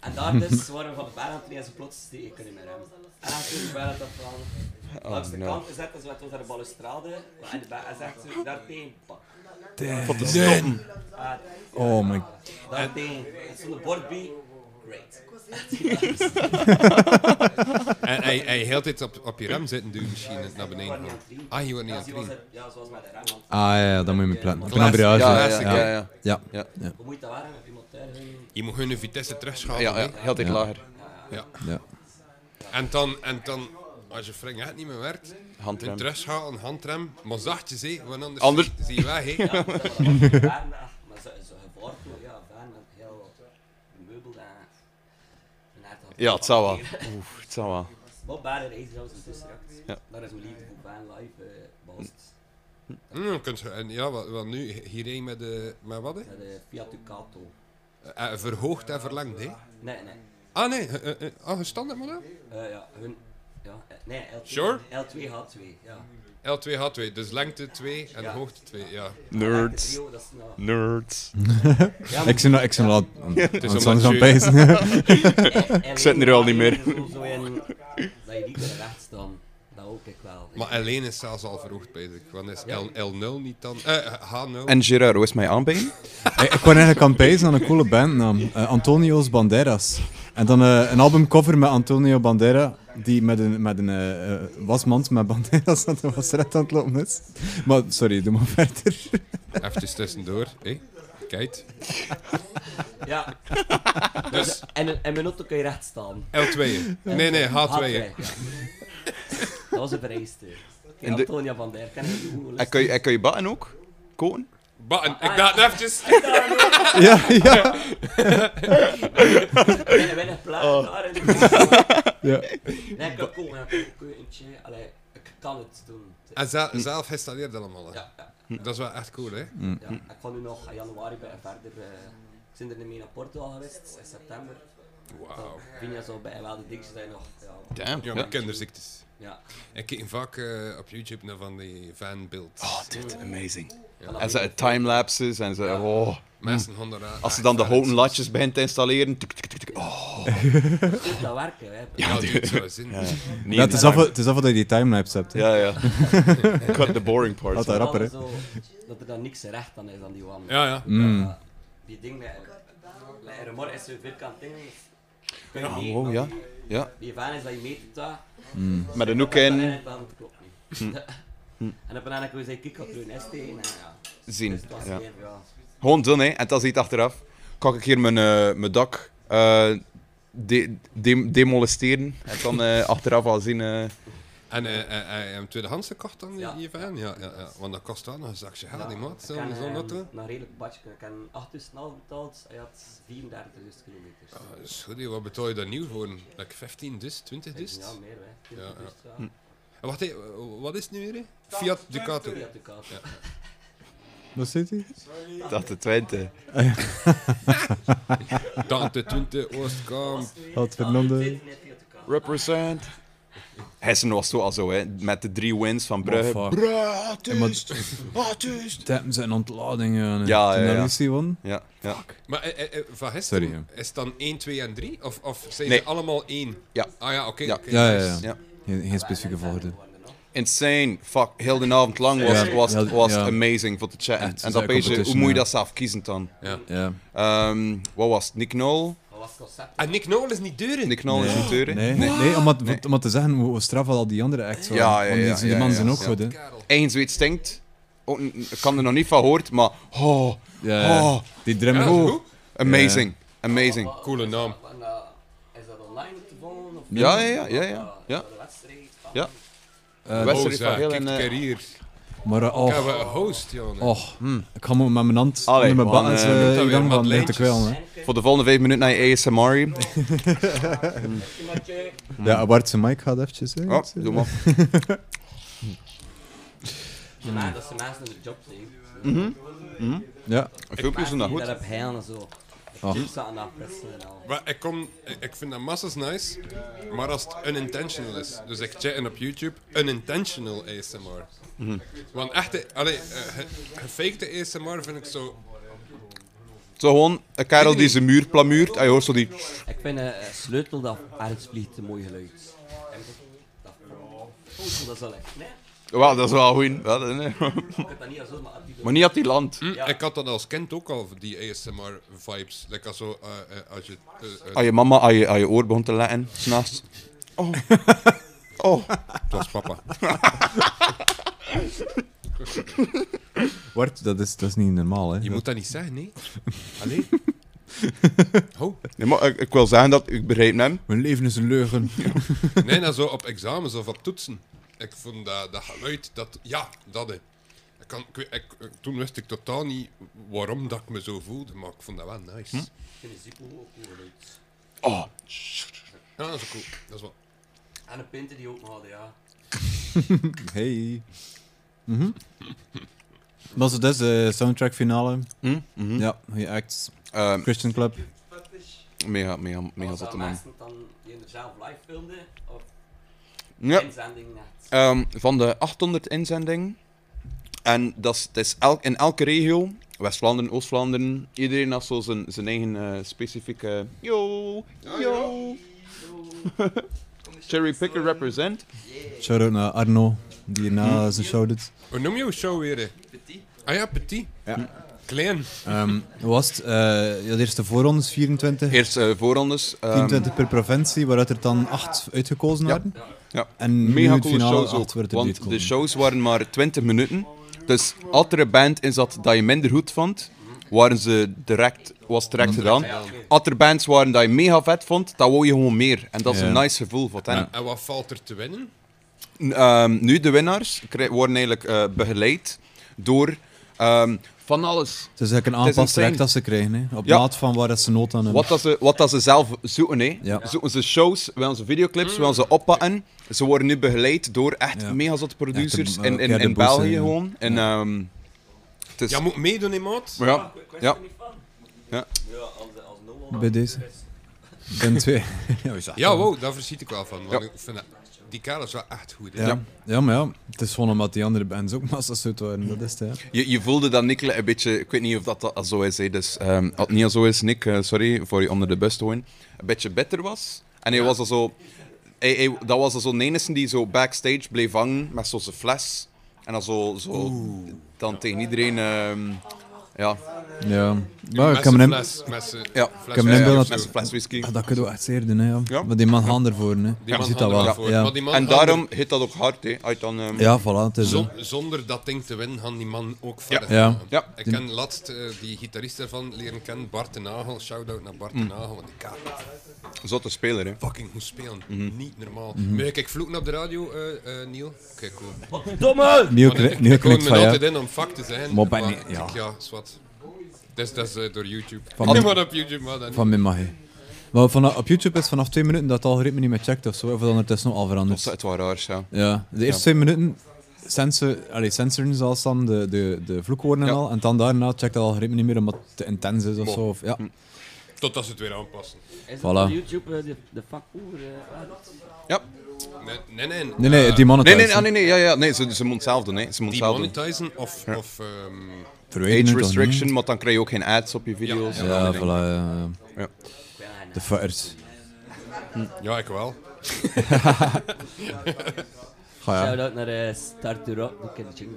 A: En daar dus waren we van de band aan het trainen en ze plots die ik kan niet meer remmen. En dan toen de band dat van, langs de
D: no.
A: kant zetten ze met ons naar de balustrade en de band en zegt ze, daarteen, pak. Ah,
B: Oh my
A: dat ding. Het stond een bord bij. Great.
E: En hij, hij heel tijd op, op je rem zitten duwen misschien naar beneden.
A: niet aan het trainen.
E: Ah, je wordt niet
A: Ja,
E: aan het
A: ze was
E: trainen.
A: het- ja, zoals met de remmen.
B: Ah ja, ja, dat moet je mee plannen.
E: Classic,
B: Penambrage. Ja,
D: Ja, ja, ja. ja, ja.
B: ja.
D: Ja,
A: Hoe moet je dat waren? Of iemand thuis? ging?
E: Je moet hun vitesse terugschalen.
D: ja, ja, heel tijd
B: Ja.
D: lager.
B: ja.
E: En, dan, en dan, als je frang echt niet meer werkt,
D: Handrem.
E: een terugschalen, handrem, maar zachtjes hé, want anders,
D: Anders-
E: zie je weg
D: (laughs)
E: hé.
A: Ja, dat was een baan, ah, Maar zo zo geborgen, maar ja, baan met heel meubel daar. En hij had dat-
D: Ja, het zou wel. Oeh, het zou wel.
A: Bob Baren is zelfs een tussenjacht.
D: Ja.
A: Daar is mijn liefde voor baan live eh behost.
E: Mm, kunt ge- en ja, wat, wat nu, hierheen met, de, met wat? hè?
A: Dat is Fiat Ducato.
E: Eh, verhoogd en verlengd hé.
A: Nee, nee.
E: Ah nee, eh, eh, eh, ah, gestandaard model?
A: Eh, ja, hun... Ja, eh, nee, L2.
E: Sure?
A: L2 H2, ja.
E: L2H2, dus lengte 2 en
A: Ja.
E: hoogte 2,
D: (laughs)
E: ja.
A: Echt,
D: Nerds.
A: joh, dat is nou...
D: Nerds.
A: Ja,
B: Ik zit nou- ik zit nou al aan aan
E: omdat
B: het anders aan
E: je-
B: het pijzen.
A: Ik
D: zit er al niet meer.
A: Zo in, dat je niet meer recht staan. Dat hoop ik wel.
E: Maar L1 is zelfs al verhoogd, weet ik. Want is L, L0 niet dan? Eh, H0.
D: En Gerard, hoe is mijn aanbeen?
B: (laughs) Ik ik wou eigenlijk aan het pijzen aan een coole bandnaam. Eh, Antonio's Banderas. En dan eh, een albumcover met Antonio Bandera, die met een, met een eh, eh, wasmand met Banderas aan de wasret aan het lopen is. Maar sorry, doe maar (laughs) verder.
E: Even tussendoor, hé. Kijk.
A: Ja,
E: Dus
A: en, en mijn auto kun je recht staan.
E: L2. E. Nee, E. nee, H2. hè.
A: ja. Dat was een vereiste.
D: In de-
A: Antonia van der, kan ik niet
D: En kun je, en kun je batten ook? Koten?
E: Button. Ik dacht eventjes.
B: Ja, ja.
A: Ik weinig
D: Oh.
A: plaats daar. in de-
B: ja.
A: Nee, ik kan komen, ja, ik kan keutentje. Allee, ik kan het doen.
E: En ze- zelf installeert dat allemaal. hè.
A: Ja, ja,
E: Dat is wel echt cool, hè?
A: ja. Ik ga nu nog in januari bij verder. eh, ik ben er niet mee naar Portugal geweest, in september.
E: Wauw.
A: Vinja zo bij wel de dikste zijn nog. Ja,
D: Damn.
E: Ja, maar kinderziektes.
A: ja.
E: Ik keek vaak eh, op YouTube naar van die fanbeelds.
D: Oh, dit, amazing.
A: Ja.
D: En ze timelapses en ze... Oh.
E: Mensen honden daar.
D: Als ze dan de houten latjes begint te installeren... Tuk, tuk, tuk, tuk. Oh,
A: Goed dat werken, hè.
E: Ja, die doet zo zin.
D: nee,
B: Ja, het is
D: die
B: af
D: time-
B: het is af dat je die timelapse hebt. hè.
D: Ja,
B: (laughs)
D: ja. Cut the boring part.
B: Had dat rapper, hè?
A: Vooral zo Dat er dan niks recht aan is aan die wand.
E: Ja, ja.
D: Mm.
A: Ja, Die ding met... met een remor is zo'n vierkant ding. Kun je meten,
D: Oh, ja. Ja,
A: Die van is dat je meet dat.
D: met een hoek
A: Dan
D: in.
A: eigenlijk dan het klopt niet.
D: Mm.
A: (laughs) En op een andere keer zei ik, ik ga doen ST. En ja, dus
D: Zien.
A: het was
D: Ja.
A: weer, ja.
D: Gewoon doen, hè. En dat is iets achteraf. Kan ik hier mijn, eh, mijn dak eh, de- de- demolesteren. En dan eh,
B: (laughs)
D: achteraf al zien. eh,
E: En eh, eh, hij heeft hem tweedehands gekocht dan, die die van? Ja, ja, ja. Want dat kost wel nog een zakje geld, die maat,
A: Ik
E: zo'n
A: ken,
E: zo
A: ehm,
E: auto.
A: Een redelijk badje. Ik heb 8.5 betaald. Hij had dus 34.000 kilometer.
E: Dat is Dus goed, joh. wat betaal je daar nieuw voor? Like 15 dus, 20 dus?
A: Ja, meer hè.
E: Ja, ja.
A: 20.000,
E: En Wacht, hé, wat is het nu weer? hè? Fiat Ducato.
A: Fiat Ducato.
B: Wat zit hij? Ah,
D: dat de twente.
E: Tante 20 Oostkamp.
B: Had Fernando.
A: Net Fiat Ducato.
D: Represent. Hessen was zo al zo, hè, met de drie wins van Brugge.
B: Oh, fuck.
D: Bratis,
B: Tappen zijn ontladingen. eh,
D: Ja, ja, ja.
B: Lucy won.
D: Ja, ja.
E: Maar eh, eh, eh, van
B: Sorry,
E: gisteren,
B: ja.
E: is het dan 1, 2 en 3? Of, of zijn
D: Nee.
E: ze allemaal 1?
D: Ja.
E: Ah ja, oké.
D: Ja.
E: oké,
B: Ja, ja,
E: nice.
B: ja.
D: Ja.
B: Geen, geen specifieke volgorde.
D: Insane. Fuck, heel de avond lang was,
B: Ja,
D: was,
B: ja,
D: was, was
B: ja.
D: amazing voor te chatten.
B: Echt, zo'n
D: en dan opeens, hoe
B: competition,
D: moet je
B: ja.
D: dat zelf kiezen dan?
B: Ja.
D: Ehm, wat was het? Nick Nol?
A: Wat was het concept?
E: En Nick Nol is niet deur in.
D: Nick Nol is een deur, hè?
B: Nee, nee. omdat, omdat te zeggen hoe straf al die andere acts waren.
D: Ja, ja, ja,
B: Want die, die
D: ja,
B: mannen
D: ja,
B: zijn ook
D: ja.
B: goed, hè.
E: Karel.
D: Eén zoiets stinkt. Ook n- Ik kan er nog niet van gehoord, maar... Oh,
B: Ja, ja.
D: Oh.
B: die drummer.
E: Ja, dat is goed.
D: amazing. Amazing.
E: Coole naam.
A: En, eh, Is dat online te volgen? Of
D: Ja, ja, ja, ja, ja. ja.
A: De wedstrijd. van-
D: Ja.
B: Eh,
D: West-
E: Oh,
D: Sorry, van
E: zeg,
D: heel
E: kijk,
D: een, eh,
E: carrière.
B: maar eh,
E: Ik heb
B: oh,
E: een host, jongen.
B: oh, ik ga maar met mijn hand
D: Hmm. Allee,
B: onder mijn
D: man,
B: band
D: eh,
E: doet dat
B: uh,
E: weer
B: gang
E: met
B: van leer te
E: lijntjes.
B: kwellen. Hè.
D: Voor de volgende vijf minuten naar je ASMR. (laughs)
B: Ja, Bart zijn mic gaat eventjes. Hè.
D: Oh, doe maar.
A: De ma- Dat ze mensen in de job zien.
B: Ja,
D: Filmpjes doen dat
A: Dat
D: goed. Ah.
A: heb hij en zo.
B: Oh.
A: Chips aan dat pressen en al.
E: Maar ik, kom, ik- ik vind dat massas nice, maar als het unintentional is. Dus ik chatten op YouTube, unintentional ASMR.
B: Mhm.
E: Want echte, allee, eh, ge- gefakte ASMR vind ik zo...
D: Zo gewoon, een kerel die zijn muur plamuurt. En je hoort zo die...
A: Ik vind een sleutel dat ergens vliegt een mooi geluid. En dat sleutel, dat is wel echt. Nee,
D: Wauw, dat is Mm. wel goed. Ja, dat- nee.
A: ik heb dat niet als zo, maar die
D: (laughs) Maar niet op die land.
E: Hm, Ik had dat als kind ook al, die ASMR-vibes. Lekker zo, eh, eh, als je... eh, eh,
D: Als je mama aan je, aan je oor begon te letten, s'nachts. Oh. Oh.
E: het was papa.
B: Bart, dat is, dat is niet normaal, hè.
E: Je moet dat niet zeggen,
D: (laughs)
E: nee. Allee. Ho.
D: Nee, maar ik, ik wil zeggen dat ik begrijp hem.
B: Mijn leven is een leugen.
E: Nee, nou zo op examens of op toetsen. Ik vond dat, dat geluid, dat... Ja, dat hè. Ik kan, ik, weet- ik- ik- toen wist ik totaal niet waarom dat ik me zo voelde, maar ik vond dat wel nice.
D: Hm?
A: kunnen zien hoe ook hoe geluid.
D: Oh.
E: Ja, dat is cool. Dat is wel...
A: En een pinten die ook nog hadden, ja.
B: Hey. Mhm. Maar zo, dat is de soundtrack finale.
D: Hm? Mhm.
B: Ja, je acts.
D: Ehm,
B: Christian Club.
D: mega, mega, mega
A: Was dat
D: zotte man.
A: mensen dan die in de zelf live filmden? Of
D: Ja.
A: inzending net?
D: Ehm, van de 800 inzendingen. En dat is, het is elk, in elke regio, West-Vlaanderen, Oost-Vlaanderen, iedereen had zo zijn, zijn eigen eh, specifieke. Yo, yo. (laughs) Cherry Picker represent.
B: Shout-out naar Arno, die na
D: Mhm.
B: zijn show doet.
E: Hoe noem je uw show weer? Petit. Ah ja, Petit.
B: Ja.
E: Klein.
B: Ehm, hoe was het? Eh, ja, de eerste voorrondes, 24.
D: Eerst eh voorrondes. ehm,
B: 24 per provincie, waaruit er dan 8 uitgekozen
D: Ja.
B: werden.
D: Ja.
B: En nu
D: Mega
B: het
D: coole
B: finale
D: shows
B: acht werd
D: ook.
B: er niet
D: Want de
B: gekozen.
D: shows waren maar 20 minuten. Dus als er een band in zat dat je minder goed vond, waren ze direct, was het direct gedaan. Als er bands waren dat je mega vet vond, dan wou je gewoon meer. En dat is
B: Ja.
D: een nice gevoel voor hen.
E: En wat valt er te winnen?
D: N- ehm, nu, de winnaars krij- worden eigenlijk eh, begeleid door ehm, van alles.
B: Het is eigenlijk een
D: Het is
B: aanpas
D: insane.
B: direct dat ze krijgen, hè. op
D: Ja.
B: maat van waar dat ze nood aan hebben.
D: Wat, dat ze, wat dat ze zelf zoeken, hè.
B: Ja.
D: Zoeken ze shows, willen ze videoclips, willen ze oppakken. Ze worden nu begeleid door echt
B: Ja.
D: mega zotte
B: Echt
D: producers
B: een,
D: in,
B: eh,
D: in, in
B: Pierre de
D: België
B: Bosse, ja.
D: gewoon. En, ehm, het is,
E: Ja, moet meedoen, hè, maat?
D: maar Dus- ja, ja.
A: Ja, als, als Noah.
B: Bij deze. Ben
D: (laughs)
B: twee. ja, we zagen
E: Ja,
B: het.
E: wow, daar verschiet ik wel van. Want
D: Ja.
E: ik vind dat, die kerel is wel echt goed. hè.
B: Ja. Ja. maar ja, het is gewoon omdat die andere bands ook massa's uit waren. Dat is het, hè.
D: Je, je voelde dat Nick een beetje, ik weet niet of dat, dat zo is, hè. dus ehm, als het niet al zo is, Nick, eh, sorry voor je onder de bus te gooien, een beetje bitter was. En hij was al zo, hij, hij- dat was al zo de enige die zo backstage bleef eh, hangen met zo'n fles. En dan zo, zo dan tegen iedereen ehm, Ja.
B: Ja. Maar Oh, ik heb
E: Met zijn
B: hem...
E: fles, met zijn
D: Ja.
E: fles
B: heb hem
E: whisky
B: inbeeld
E: of
B: dat-
E: zo.
D: Met een fles whisky.
B: Ah, dat kunnen we echt zeer doen, hè, ja.
D: Ja.
B: Maar die man gaan ervoor, hè.
E: Die
B: je
E: man
B: ziet dat
E: had
B: wel.
E: er voor.
B: Ja.
E: Maar die man
D: En
E: had er-
D: daarom hit dat ook hard, hè. Uit dan, ehm,
B: ja, voilà, het is
E: Zon- zonder dat ding te winnen, gaan die man ook verder.
B: Ja.
E: gaan.
D: Ja.
E: Ik ken laatst eh, die gitarist ervan leren kennen, Bart de Nagel. Shout-out naar
D: Mm.
E: Bart de Nagel, want die kaart kan
D: Zotte speler, hè.
E: fucking goed spelen.
D: Mhm.
E: Niet normaal.
B: Mhm.
E: Mag ik vloeken op de radio, eh, eh, Neil? Oké, cool.
A: Domme!
B: Nieuw,
E: Want ik-
B: kni- nieuw
E: ik hoor
B: knikt
E: me
B: van
E: altijd
B: ja.
E: in om fuck te zijn.
B: Maar bij
E: ik-
B: niet, ja.
E: ja. is wat. Dat is- dat is eh, door YouTube. (laughs)
B: Van
E: Van
B: mijn-
E: Niemand op YouTube, maar dat niet.
B: Van mij mag je. Maar van, eh, op YouTube is vanaf twee minuten dat het algoritme niet meer checkt of zo. Of dan ondertussen nog al
D: Dat is
B: veranderd.
D: het wel raars, ja.
B: Ja, de eerste twee minuten sensor, allee, sensoren zelfs dan de, de, de vloekwoorden en
D: Ja.
B: al. En dan daarna checkt dat algoritme niet meer omdat het te intens is of zo. Of, ja.
E: Totdat ze het weer aanpassen.
A: Is
B: Voilà.
A: op YouTube eh, de, de vakoer?
D: ja.
E: Nee, nee. Nee,
B: Nee, nee,
E: eh,
B: die
D: Nee,
B: monetizen.
D: nee, ah, nee, nee, ja, ja. nee ze, ze moet het zelf doen, hè. Ze moet het zelf doen.
E: Demonetizen of... of ehm,
B: Verwijder
D: Age
B: het toch niet?
D: restriction, maar dan krijg je ook geen ads op je video's.
E: Ja,
D: en
B: Ja,
D: andere
B: voilà.
D: dingen.
B: ja, ja.
D: Ja.
B: De fuckers.
E: ja, ik wel.
B: Ga ja.
A: Shout-out naar eh, Start to Rock, doe ik in de jingle.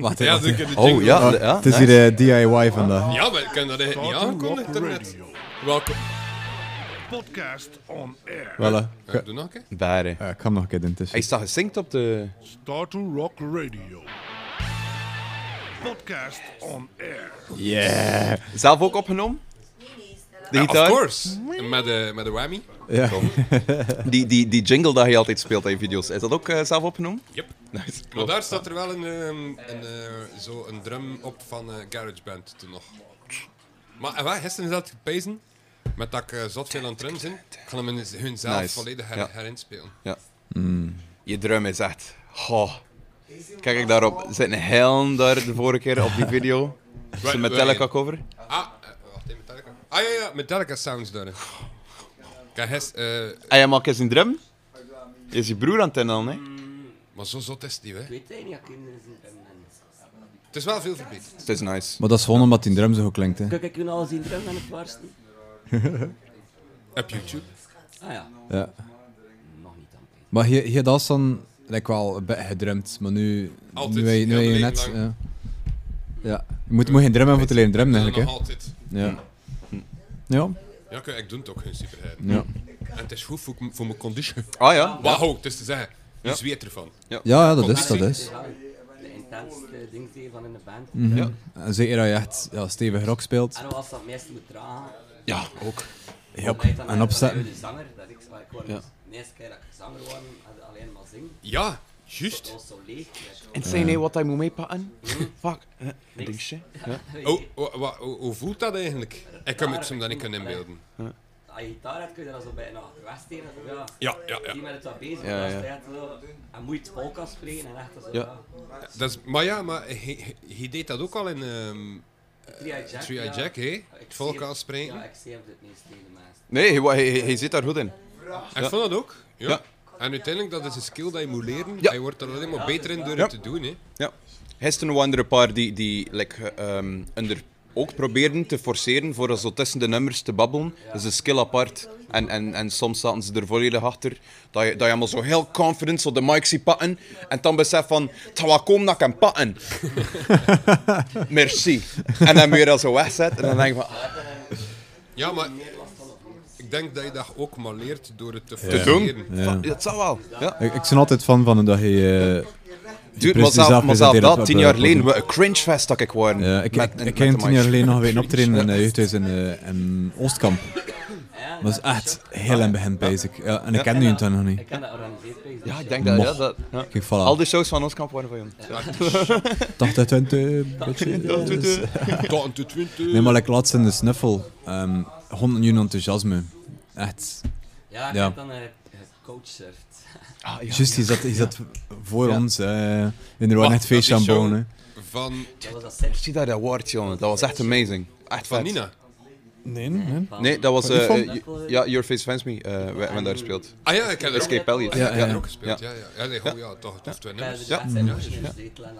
B: Wacht,
E: Ja,
B: wacht,
E: doe ik in de
D: Oh,
E: jingle.
D: ja,
B: Ah,
D: ja.
B: het is
D: nice.
B: hier eh, DIY vandaag.
E: Ja, maar ik kan dat echt niet aankondigen daarnet. Welkom.
C: Podcast on air.
B: Voilà.
E: Eh, Doe nog een keer.
D: Daar, hè.
B: Ja, ik ga hem nog een keer doen. het is-
D: Hij staat gezinkt op de...
C: Star to Rock Radio. Podcast on air.
B: Yeah!
D: Zelf ook opgenomen? De
E: Ja,
D: gitaar?
E: of course. Met de, met de whammy.
B: Ja.
D: Die, die, die jingle dat je altijd speelt in je video's, is dat ook eh, zelf
B: (laughs)
D: opgenomen?
E: Yep.
D: Nice.
E: Maar
D: cool.
E: daar staat er wel een, ehm, een, eh, zo een drum op van eh GarageBand toen nog. Maar eh, wel, gisteren is dat gepezen. Met dat ik eh, zot veel aan drums in. Ik ga hem in z- hun zelf
D: Nice.
E: volledig her,
D: Ja.
E: herinspelen.
D: Je drum is echt... Goh. Kijk ik daarop. Zit een helm daar de vorige
B: (laughs)
D: keer op die video?
E: Waar-
D: Zijn Metallica
E: waar-
D: cover?
E: Ah, eh, wacht even, Metallica. Ah ja, ja, Metallica Sounds daar. Kijk, gisteren... eh,
D: En jij maakt eens een drum? Is je broer aan het dan, hè?
E: maar zo zot is het niet, hè.
A: Ik weet het niet, ik heb
E: Het is wel veel verbeterd.
D: Het is nice.
B: Maar dat is gewoon omdat die drum zo goed klinkt, hè.
A: Kijk, ik kan al zien terug aan het waarsten.
E: Op YouTube.
A: Ah ja,
B: Ja.
A: nog niet dan. Peter.
B: Maar je, je had dat dan like, wel een beetje gedrumd, maar nu...
E: Altijd,
B: Nu, wij- nu
E: heel
B: wij je
E: leven
B: net...
E: lang.
B: Ja. ja. Je moet, moet geen drum hebben voor te leren drummen,
E: Dat is nog
B: eigenlijk, hè.
E: altijd.
B: Ja.
E: Hm.
B: Ja.
E: Ja, oké, ik doe het ook geen superheid.
B: Ja.
E: En het is goed voor, voor mijn condition.
D: Ah ja?
E: Wauw, het is te zeggen. Je zweet ervan.
B: Ja, ja, dat is, dat is.
A: Ja, de intense dingen die je van in de band.
D: Mm.
B: En zeker dat je echt ja, stevig rock speelt.
A: En als dat meestal moet dragen,
D: Ja, ook.
B: Ja, op-
A: omdat je dan
B: en
A: eigenlijk
B: opzetten.
A: alleen de zanger, dat ik, ik word de eerste keer dat ik zanger word, had ik alleen maar zingen.
E: Ja, juist.
A: Dat was zo leeg. dat ik zo-
D: En zei nee wat hij moet meepakken? Fuck. Ik denk shit.
E: Oh, wa- wa- hoe hoe voelt dat eigenlijk? Ik kan me dat niet kunnen inbeelden.
A: Als je gitaar hebt, kun je dat zo bijna achteruit steken. zo, Ja.
E: Ja, ja, ja.
A: Die met het wat bezig
D: Ja,
A: was,
D: ja.
A: hij had zo- en moet je het volk afspreken en echt zo.
D: Ja.
A: Ja.
E: Dat is, maar ja, maar hij, hij- hij deed dat ook al in ehm
A: Three-Eye Jack.
E: Three
A: ja.
E: Eye Jack, hè?
A: Ik
E: Het volk
A: zie-
E: aanspreken.
A: Ja, ik zie hem het meest tegen de mensen.
D: Nee, hij, hij, hij zit daar goed in.
E: Ik vond dat ook. Ja.
D: Ja.
E: En uiteindelijk, dat is een skill dat je moet leren.
D: Ja.
E: Hij wordt er alleen maar beter in door
D: Ja.
E: het te doen, hè?
D: Ja. Gisteren waren er een paar die, die like, eh, ehm, onder, ook probeerden te forceren voor zo tussen de nummers te babbelen. Dat is een skill apart. En, en, en soms zaten ze er volledig achter. Dat je, dat je allemaal zo heel confident zo de mic ziet pakken. En dan beseft van, het gaat wel komen dat ik hem pakken. Merci. En dan moet je dat zo wegzetten. En dan denk je van, ah,
E: Ja, maar ik denk dat je dat ook maar leert door het te
D: te
E: forceren.
D: doen? Van, dat zal wel. Ja.
B: Ik, ik ben altijd fan van dat je... eh,
D: Dude, maar
B: precies
D: zelf,
B: zelf
D: maar zelf
B: presenteert
D: dat,
B: op,
D: tien
B: eh,
D: jaar
B: podium.
D: geleden, we- een cringefest dat ik waren.
B: Ja, ik,
D: Met-
B: ik,
D: met
B: ik
D: de
B: heb tien jaar
D: mic.
B: geleden nog weer
D: (laughs)
B: optreden in uh, jeugdhuis in, eh, in Oostkamp. Dat was echt heel in het begin bezig. Ja, en ik ken nu toen nog niet.
A: Ik ken dat organiseerprijs.
D: Ja, ik denk dat, ja, dat ja.
B: Kijk, voilà.
D: al die shows van ons kamp waren van jou.
B: 80, 20, bitches.
E: Tot en toe 20.
B: Nee, maar ik laatst in de snuffel. ehm gewoon een nieuw enthousiasme. Echt.
A: Ja, ik
B: Ja.
A: heb dan eh, gecoachtsurfd.
B: Juist, die zat, die zat voor
D: Ah, Ja.
B: ons. eh in er waren echt
E: Wacht, dat is
B: feestje aan
E: zo-
B: bouwen. hè.
E: Van,
A: Dat was dat set
D: Zie daar dat woord, jongen. Dat was echt amazing. Echt
E: van
D: vet.
E: Nina.
B: Nee, nee.
A: van...
D: Nee, dat was... eh,
B: Van-
D: eh, je- ja, Your Face Fans Me. eh we hebben daar gespeeld.
E: Ah ja, ik heb er ook, ik
D: Escape Elliot.
B: Ja,
E: heb
B: ja.
E: er ook gespeeld. Ja, ja. ja. nee, oh, ja, toch, het hoeft twee nummers.
A: Ja.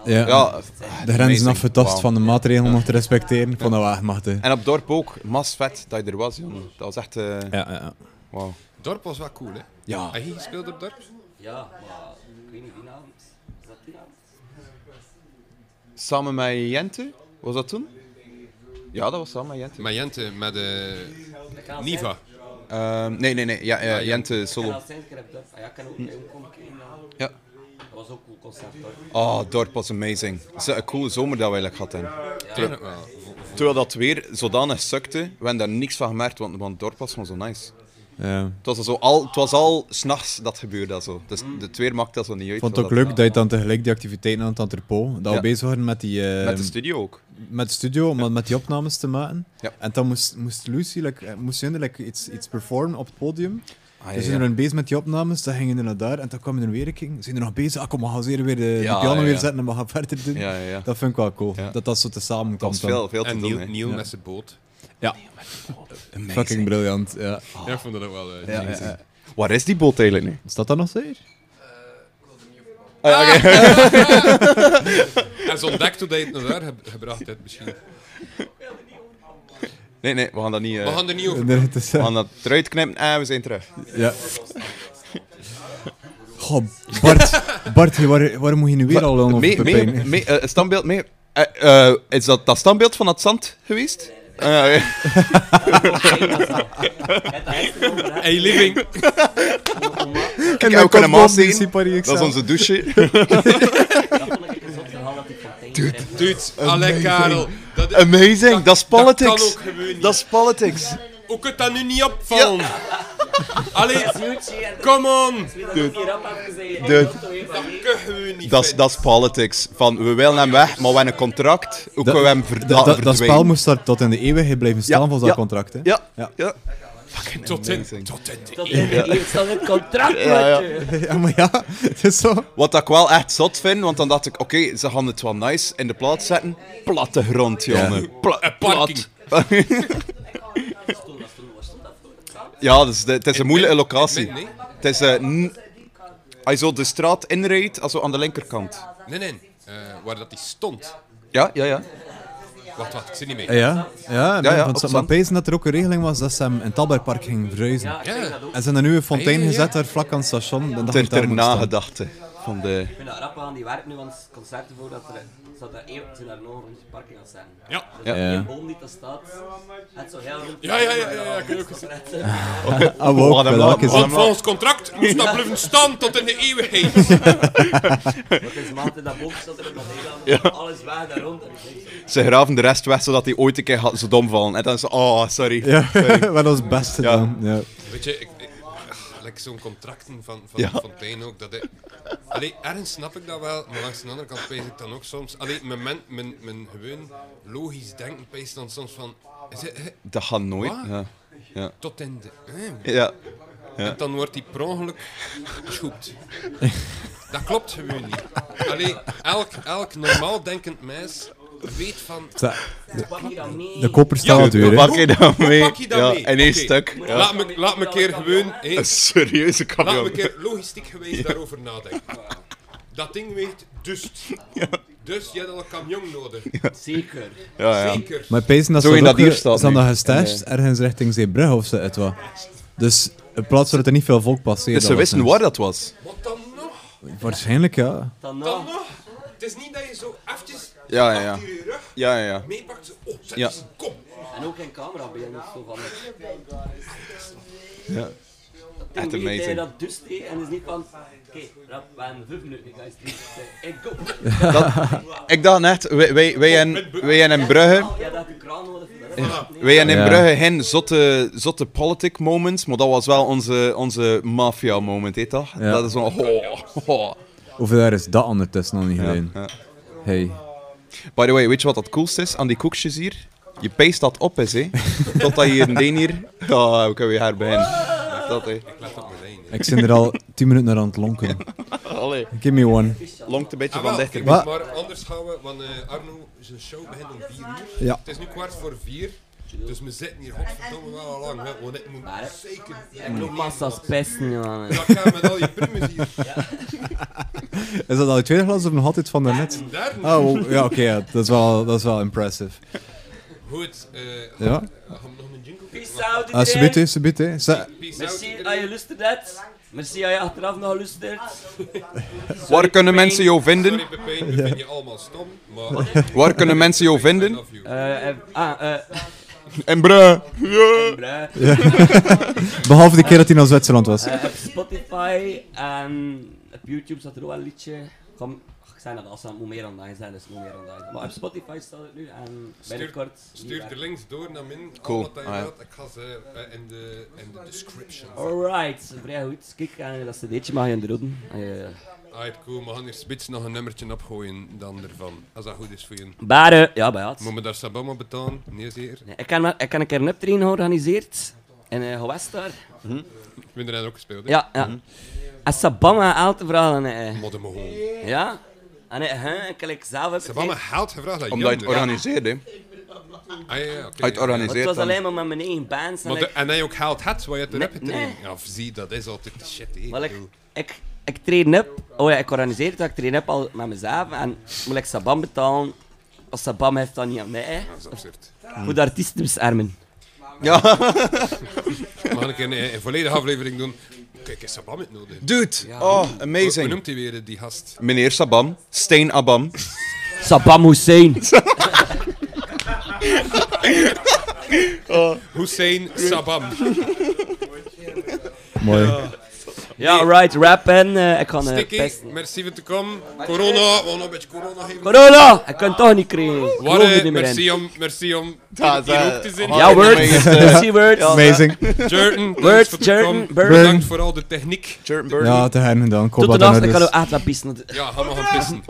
B: Ja.
D: Ja,
B: De grenzen afgetast
D: afgetast
B: van de maatregelen nog te respecteren. Ik vond dat wel echt machtig.
D: En op dorp ook. Mas vet dat je er was, jongen. Dat was echt... eh
B: Ja, ja, ja.
D: Wauw.
E: Dorp was wel cool, hè?
D: Ja.
E: Heb je gespeeld op Dorp?
A: Ja, maar ik weet niet wie naam. Is dat die naam?
D: Samen met Jente, was dat toen? Ja, dat was samen met Jente.
E: Met Jente, met eh, Niva.
D: Ehm, nee, nee, nee. Ja, eh, Jente solo.
A: Ja, ik kan ook Dat
D: Ja.
A: was ook een concert,
D: Oh, dorp was amazing. Het is een coole zomer dat we eigenlijk hadden.
E: Ken het wel. Vo- vo-
D: Terwijl dat weer zodanig sukte, we hebben daar niks van gemerkt, want, want het dorp was gewoon zo nice.
B: Ja.
D: Het was al, zo al, het was al s'nachts dat gebeurde dat zo. Dus
E: Mm.
D: het weer maakt dat zo niet uit.
B: Ik vond
D: wat
B: het ook leuk dat je dan tegelijk die activiteiten aan het entrepot, dat we
D: Ja.
B: bezig waren met die... eh,
D: Met de studio ook.
B: met de studio, om met die opnames te maken.
D: Ja.
B: En dan moest, moest Lucy like, eh, moest Jinder, like, iets, iets performen op het podium.
D: Ah,
B: dus we zijn bezig met die opnames, dan gingen we naar daar en dan kwam er weer een keer. Zijn er nog bezig? Ah, kom, we gaan zeer weer de, die
D: Ja,
B: piano
D: ja,
B: weer
D: ja.
B: zetten en we gaan verder doen.
D: Ja, ja, ja.
B: Dat vind ik wel cool,
D: Ja.
B: dat dat zo tezamen
D: Dat
B: komt. dan.
D: was veel, veel te
E: En
D: doen.
E: Niel,
D: hè.
E: Niel met zijn boot.
B: Ja,
D: Amazing.
B: fucking briljant. Ja.
D: Ah.
E: Ja, ik vond dat ook wel... eh,
B: Ja,
E: geniaal.
B: ja, ja.
D: Waar is die boot eigenlijk nu?
B: Staat dat nog zeer?
E: En ze ontdekt hoe dat je het naar daar ge- gebracht hebt, misschien. We
D: Nee, nee, we gaan dat niet... eh,
E: gaan er niet over...
B: (laughs) Inderdaad, het is,
D: we
B: eh,
D: gaan dat eruit knippen en we zijn terug.
B: Ja. (laughs) Goh, Bart, Bart hier, waar, waarom moet je nu weer al aan over
D: Mee-
B: Pepijn?
D: mee- mee- eh, standbeeld mee. Eh, eh, is dat dat standbeeld van het zand geweest? Eh, eh,
E: Hey, living!
D: kijk,
B: mijn
D: we kunnen hem
B: kostbom, die
D: afzien.
B: Sipar hier, ik
D: Dat is
B: sta.
D: onze douche.
A: (laughs)
E: Dude, alle Karel. Dat,
D: Amazing, dat
E: Dat
D: is
E: kan
D: politics.
E: ook gewoon niet.
D: Dat is politics.
E: Hoe kunt dat nu niet opvallen? Allee, come on!
D: Dude.
E: Dat kun je niet.
D: Dat is, dat is politics. Van, we willen hem weg, maar we hebben een contract. Hoe kunnen we hem verda-
B: Dat, dat, dat
D: verdwijnen?
B: spel moest daar tot in de eeuwigheid blijven staan
D: Ja,
B: volgens dat
D: ja,
B: contract. Hè?
D: Ja,
B: Ja.
D: ja. Fucking
E: Tot in,
D: amazing.
E: tot in de
A: Hier staat een contract,
D: Ja,
A: maatje.
D: ja.
B: (laughs) Ja, maar ja, het is zo.
D: Wat ik wel echt zot vind, want dan dacht ik, oké, ze gaan het wel nice in de plaats zetten. Platte grond, jongen. Pla-
E: parking.
D: plat. ja, dus de- het is een moeilijke locatie.
E: in- nee.
D: Het is... eh, n- als je zo de straat inrijdt, als zo aan de linkerkant.
E: Nee, nee. eh, waar dat die stond.
D: Ja, ja, ja.
E: Wacht, wacht, ik zit niet mee.
B: Ja, ja, ja,
D: ja,
B: want
D: op
B: ze
D: zand.
B: maar pezen dat er ook een regeling was dat ze hem in het Talbergpark gingen verhuizen.
E: Ja,
B: En ze hebben nu een fontein
E: Ah, ja, ja, ja.
B: gezet daar vlak aan het station. Dan dacht
D: Ter,
B: ik daar
D: ter
B: moet staan.
D: nagedachte van de...
A: Ik vind dat rap aan die werk nu, want concerten voor dat er zat daar één, zijn daar nog een rondje parking aan zijn.
E: Ja.
A: Dus
B: Ja.
A: die boom die daar staat, het zo heel goed.
E: Ja, ja, ja, ja, ja, ik heb ook gezien.
B: (laughs) Ah, wow,
D: Oh, We gaan hem
B: dat
D: laten-
B: is-
E: Want volgens contract moest dat blijven staan tot in de eeuwigheid.
A: Het is maand in dat boom staat er nog heel aan, alles weg daar rond. En ik denk zo,
D: Ze graven de rest weg, zodat hij ooit een keer gaat zo dom vallen. En dan is ze, oh, sorry.
B: Ja, (laughs) we hebben ons best gedaan. Ja.
E: Weet je, ik, ik, ah, like zo'n contracten van, van
D: Ja.
E: Fontaine ook. Dat ik, allee, ergens snap ik dat wel, maar langs de andere kant pees ik dan ook soms. Allee, mijn, men, mijn, mijn gewoon logisch denken pees dan soms van. Is het, eh,
D: Dat gaat nooit.
E: Wat?
D: Ja. Ja.
E: tot in de. eh,
D: ja.
E: En dan wordt die per ongeluk
D: (laughs)
E: geschoept. Dat klopt gewoon niet. Allee, elk, elk normaal denkend mens weet van.
B: Zo,
A: Pak je dat mee?
B: De koper staat
E: Ja,
B: weer. hè.
D: Pak je dat mee?
E: Pak je dat
D: ja,
E: mee?
D: In één
E: Oké.
D: stuk. Ja.
E: Laat me, laat me een keer gewoon. eh,
D: Een serieuze
E: Laat
D: kampioen.
E: me een keer logistiek geweest daarover nadenken. Dat ding weegt dust. Dus je hebt al een camion nodig.
A: Zeker.
D: Ja, ja.
E: Zeker.
B: Maar pezen dat
D: Zo
B: ze
D: in
B: dat ook,
D: dat hier
B: eh,
D: staat
B: ze hadden
D: nu.
B: dat gestashed ergens richting Zeebrugge of zo. Het was. Dus een plaats waar er niet veel volk passeert.
D: Dus ze
B: dat was
D: wisten
B: nice.
D: waar dat was.
E: Wat dan nog?
B: Waarschijnlijk, ja.
A: Dan
E: Dan
A: nog.
E: nog? Het is niet dat je zo eventjes
D: Ja, ja, ja.
E: achter je rug
D: Ja, ja, ja.
E: meepakt. zo, Oh, zet
D: Ja.
E: eens, kom.
A: En ook geen camerabeelden of zo van het.
D: Echt
A: Toen deed hij
D: amazing.
A: dat dus deed en is niet van, oké, rap, we hebben vijf minuten, ik ga eens doen. Ik go.
D: Ik dacht net, wij, wij, wij, en, wij en in Brugge...
A: Ja, dat had de kraan nodig. dat is rap, nee.
D: Wij en in
B: Ja.
D: Brugge geen zotte, zotte politic moments, maar dat was wel onze, onze mafia moment, heet dat?
B: Ja.
D: Dat is zo... ho, ho.
B: Hoeveel daar is dat ondertussen nog niet geleden?
D: ja.
B: Hey.
D: (laughs) By the way, weet je wat het coolste is aan die koekjes hier? Je peest dat op is,
B: (laughs)
D: hè. Totdat je hier een deen hier... Ja, we kunnen weer haar beginnen. Dat, hè.
E: Let op mijn lijn. hè.
B: Ik zit er
D: (laughs)
B: al 10 minuten naar aan het lonken.
D: Allee.
B: Give me one.
D: Longt een beetje
E: Ah,
D: van
E: wel,
D: dichter.
E: ik moet
B: Wat?
E: maar anders gaan we, want eh, Arno, zijn show begint om 4 uur.
B: Ja.
E: Het is nu kwart voor 4. Dus we zitten hier, godverdomme, wel al lang. hè, Want ik moet zeker...
A: Ik loop massa's pesten, jongen.
E: Dat gaan met al je primus hier.
B: Is dat al je tweede glas of nog altijd van
D: (laughs)
B: daarnet?
E: Daar
B: Oh, wow. ja, oké, ja. dat, is wel, dat is wel impressive.
E: Goed, eh
B: Ja?
E: gaan we nog een jingle?
A: Peace out,
B: Ah, subiet,
A: iedereen.
B: hè, subiet, hè. Ze-
E: Peace out,
A: Merci
E: iedereen.
A: dat je luistert. Merci dat je achteraf nog geluisterd.
D: Waar kunnen
A: Pepijn.
D: mensen jou vinden?
E: Sorry Pepijn, we vinden je allemaal stom, maar...
D: Waar kunnen mensen jou
E: I
D: vinden?
E: love you.
A: Eh, eh, ah, eh,
D: En bruh.
A: bruh.
B: Behalve de keer dat hij naar Zwitserland was.
A: Eh, op Spotify en op YouTube zat er ook een liedje. Kom, ach, ik zei dat al, het moet meer online zijn, dus het moet meer online. zijn. Maar op Spotify staat het nu en binnenkort.
E: Stuur de links door naar min.
D: Cool.
E: Al wat dat je
D: Ah, ja.
E: wilt. Ik ga ze eh, in, de, in de description.
A: Alright, vrij goed. Kijk, en dat cd'tje mag je in de roden. Eh,
E: Alright, cool. We gaan hier spits nog een nummertje opgooien dan ervan. Als dat goed is voor je.
A: Baren, ja, bij het.
E: Moet me daar Sabama betalen? Nee, zeker.
A: Nee, ik, kan, maar- ik kan een keer een optreden georganiseerd. En eh gewest daar.
E: Ik ben er net ook gespeeld. hè?
A: Ja, ja. En Sabama aan te vragen. eh,
E: Modder me gewoon.
A: ja? En eh, huh, ik kan ik zelf op
E: Sabama haalt gevraagd dat
D: Omdat je het organiseert, hè.
E: Ah, ja, ja, oké.
D: Uit
A: Want het
D: organiseert
A: was
D: dan.
A: alleen maar met mijn eigen bands. En
E: Maar de-
A: ik,
E: en hij ook haalt het, wat je het
A: Nee,
E: erop hebt
A: nee.
E: erin. Ja, zie, dat is altijd de shit. hè.
A: wel,
E: Ik
A: ik,
E: bedoel,
A: ik, ik train op. Oh ja, ik organiseer het. Ik train op al met mezelf. En moet ik Sabam betalen. Als Sabam heeft dan niet aan mij.
E: Dat is absurd.
A: Moet de artiesten beschermen.
E: We gaan een keer een, een volledige aflevering doen. Kijk, is Sabama het nodig?
D: Dude, oh,
E: Hoe
D: amazing.
E: noemt hij weer, eh, die gast?
D: Meneer Sabam, Steen Abam.
A: Sabam Hussein.
E: Hussein Sabam.
B: Mooi.
A: Ja, alright, rap en eh, ik ga een
E: Sticky,
A: pesten.
E: merci voor te komen. Corona, we gaan een beetje corona geven.
A: Corona! Ik kan het toch niet krijgen. Ik geloof er
E: Warre,
A: niet meer in.
E: merci om, merci om
D: Ja,
E: hier ook te zijn.
A: (laughs) Ja,
D: word.
A: words. Merci, words.
B: Amazing.
E: Jurton, bedankt
A: Words,
E: voor te
A: Jordan,
E: komen.
A: Bird.
E: Bedankt voor al de techniek.
B: Ja, te heren gedaan. Kom
A: Tot
B: wat
A: de dag, ik
B: dan
A: kan ook
B: dus.
A: echt naar pissen.
E: Ja, ga maar gaan pissen.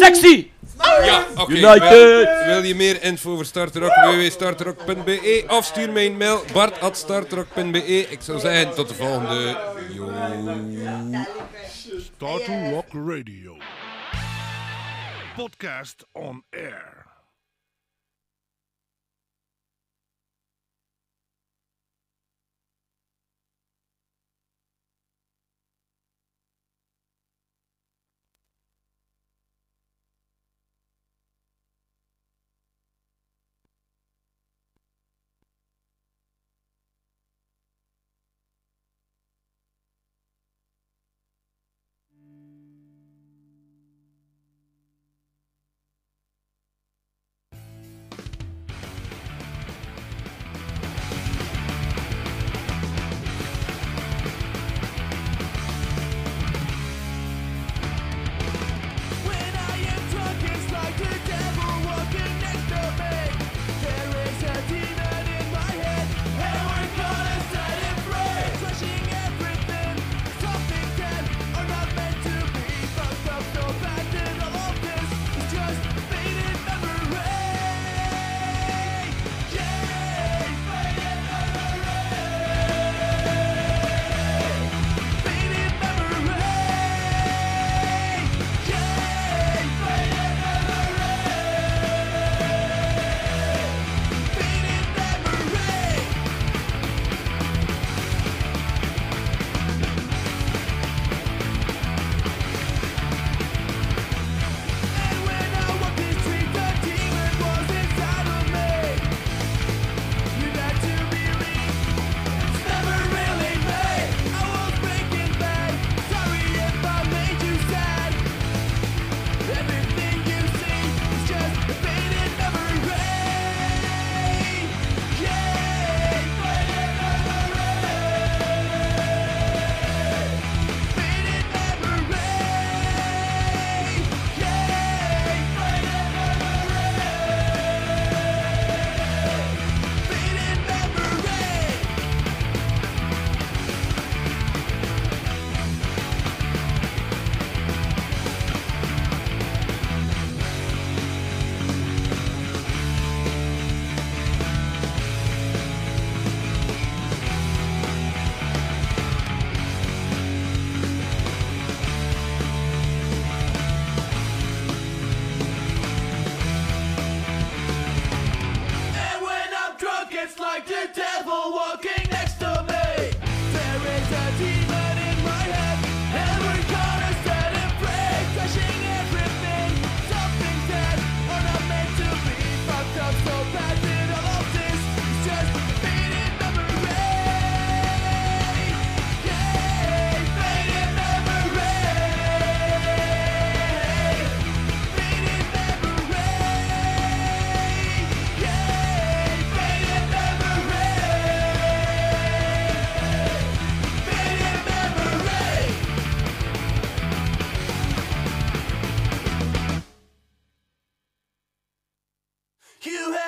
A: Sexy!
E: Ja, oké.
A: United.
E: Wil, wil je meer info over Startrock? www.startrock.be of stuur mij een mail bart.startrock.be. Ik zou zeggen, tot de volgende.
H: Star to Rock Radio. Podcast on air.
C: you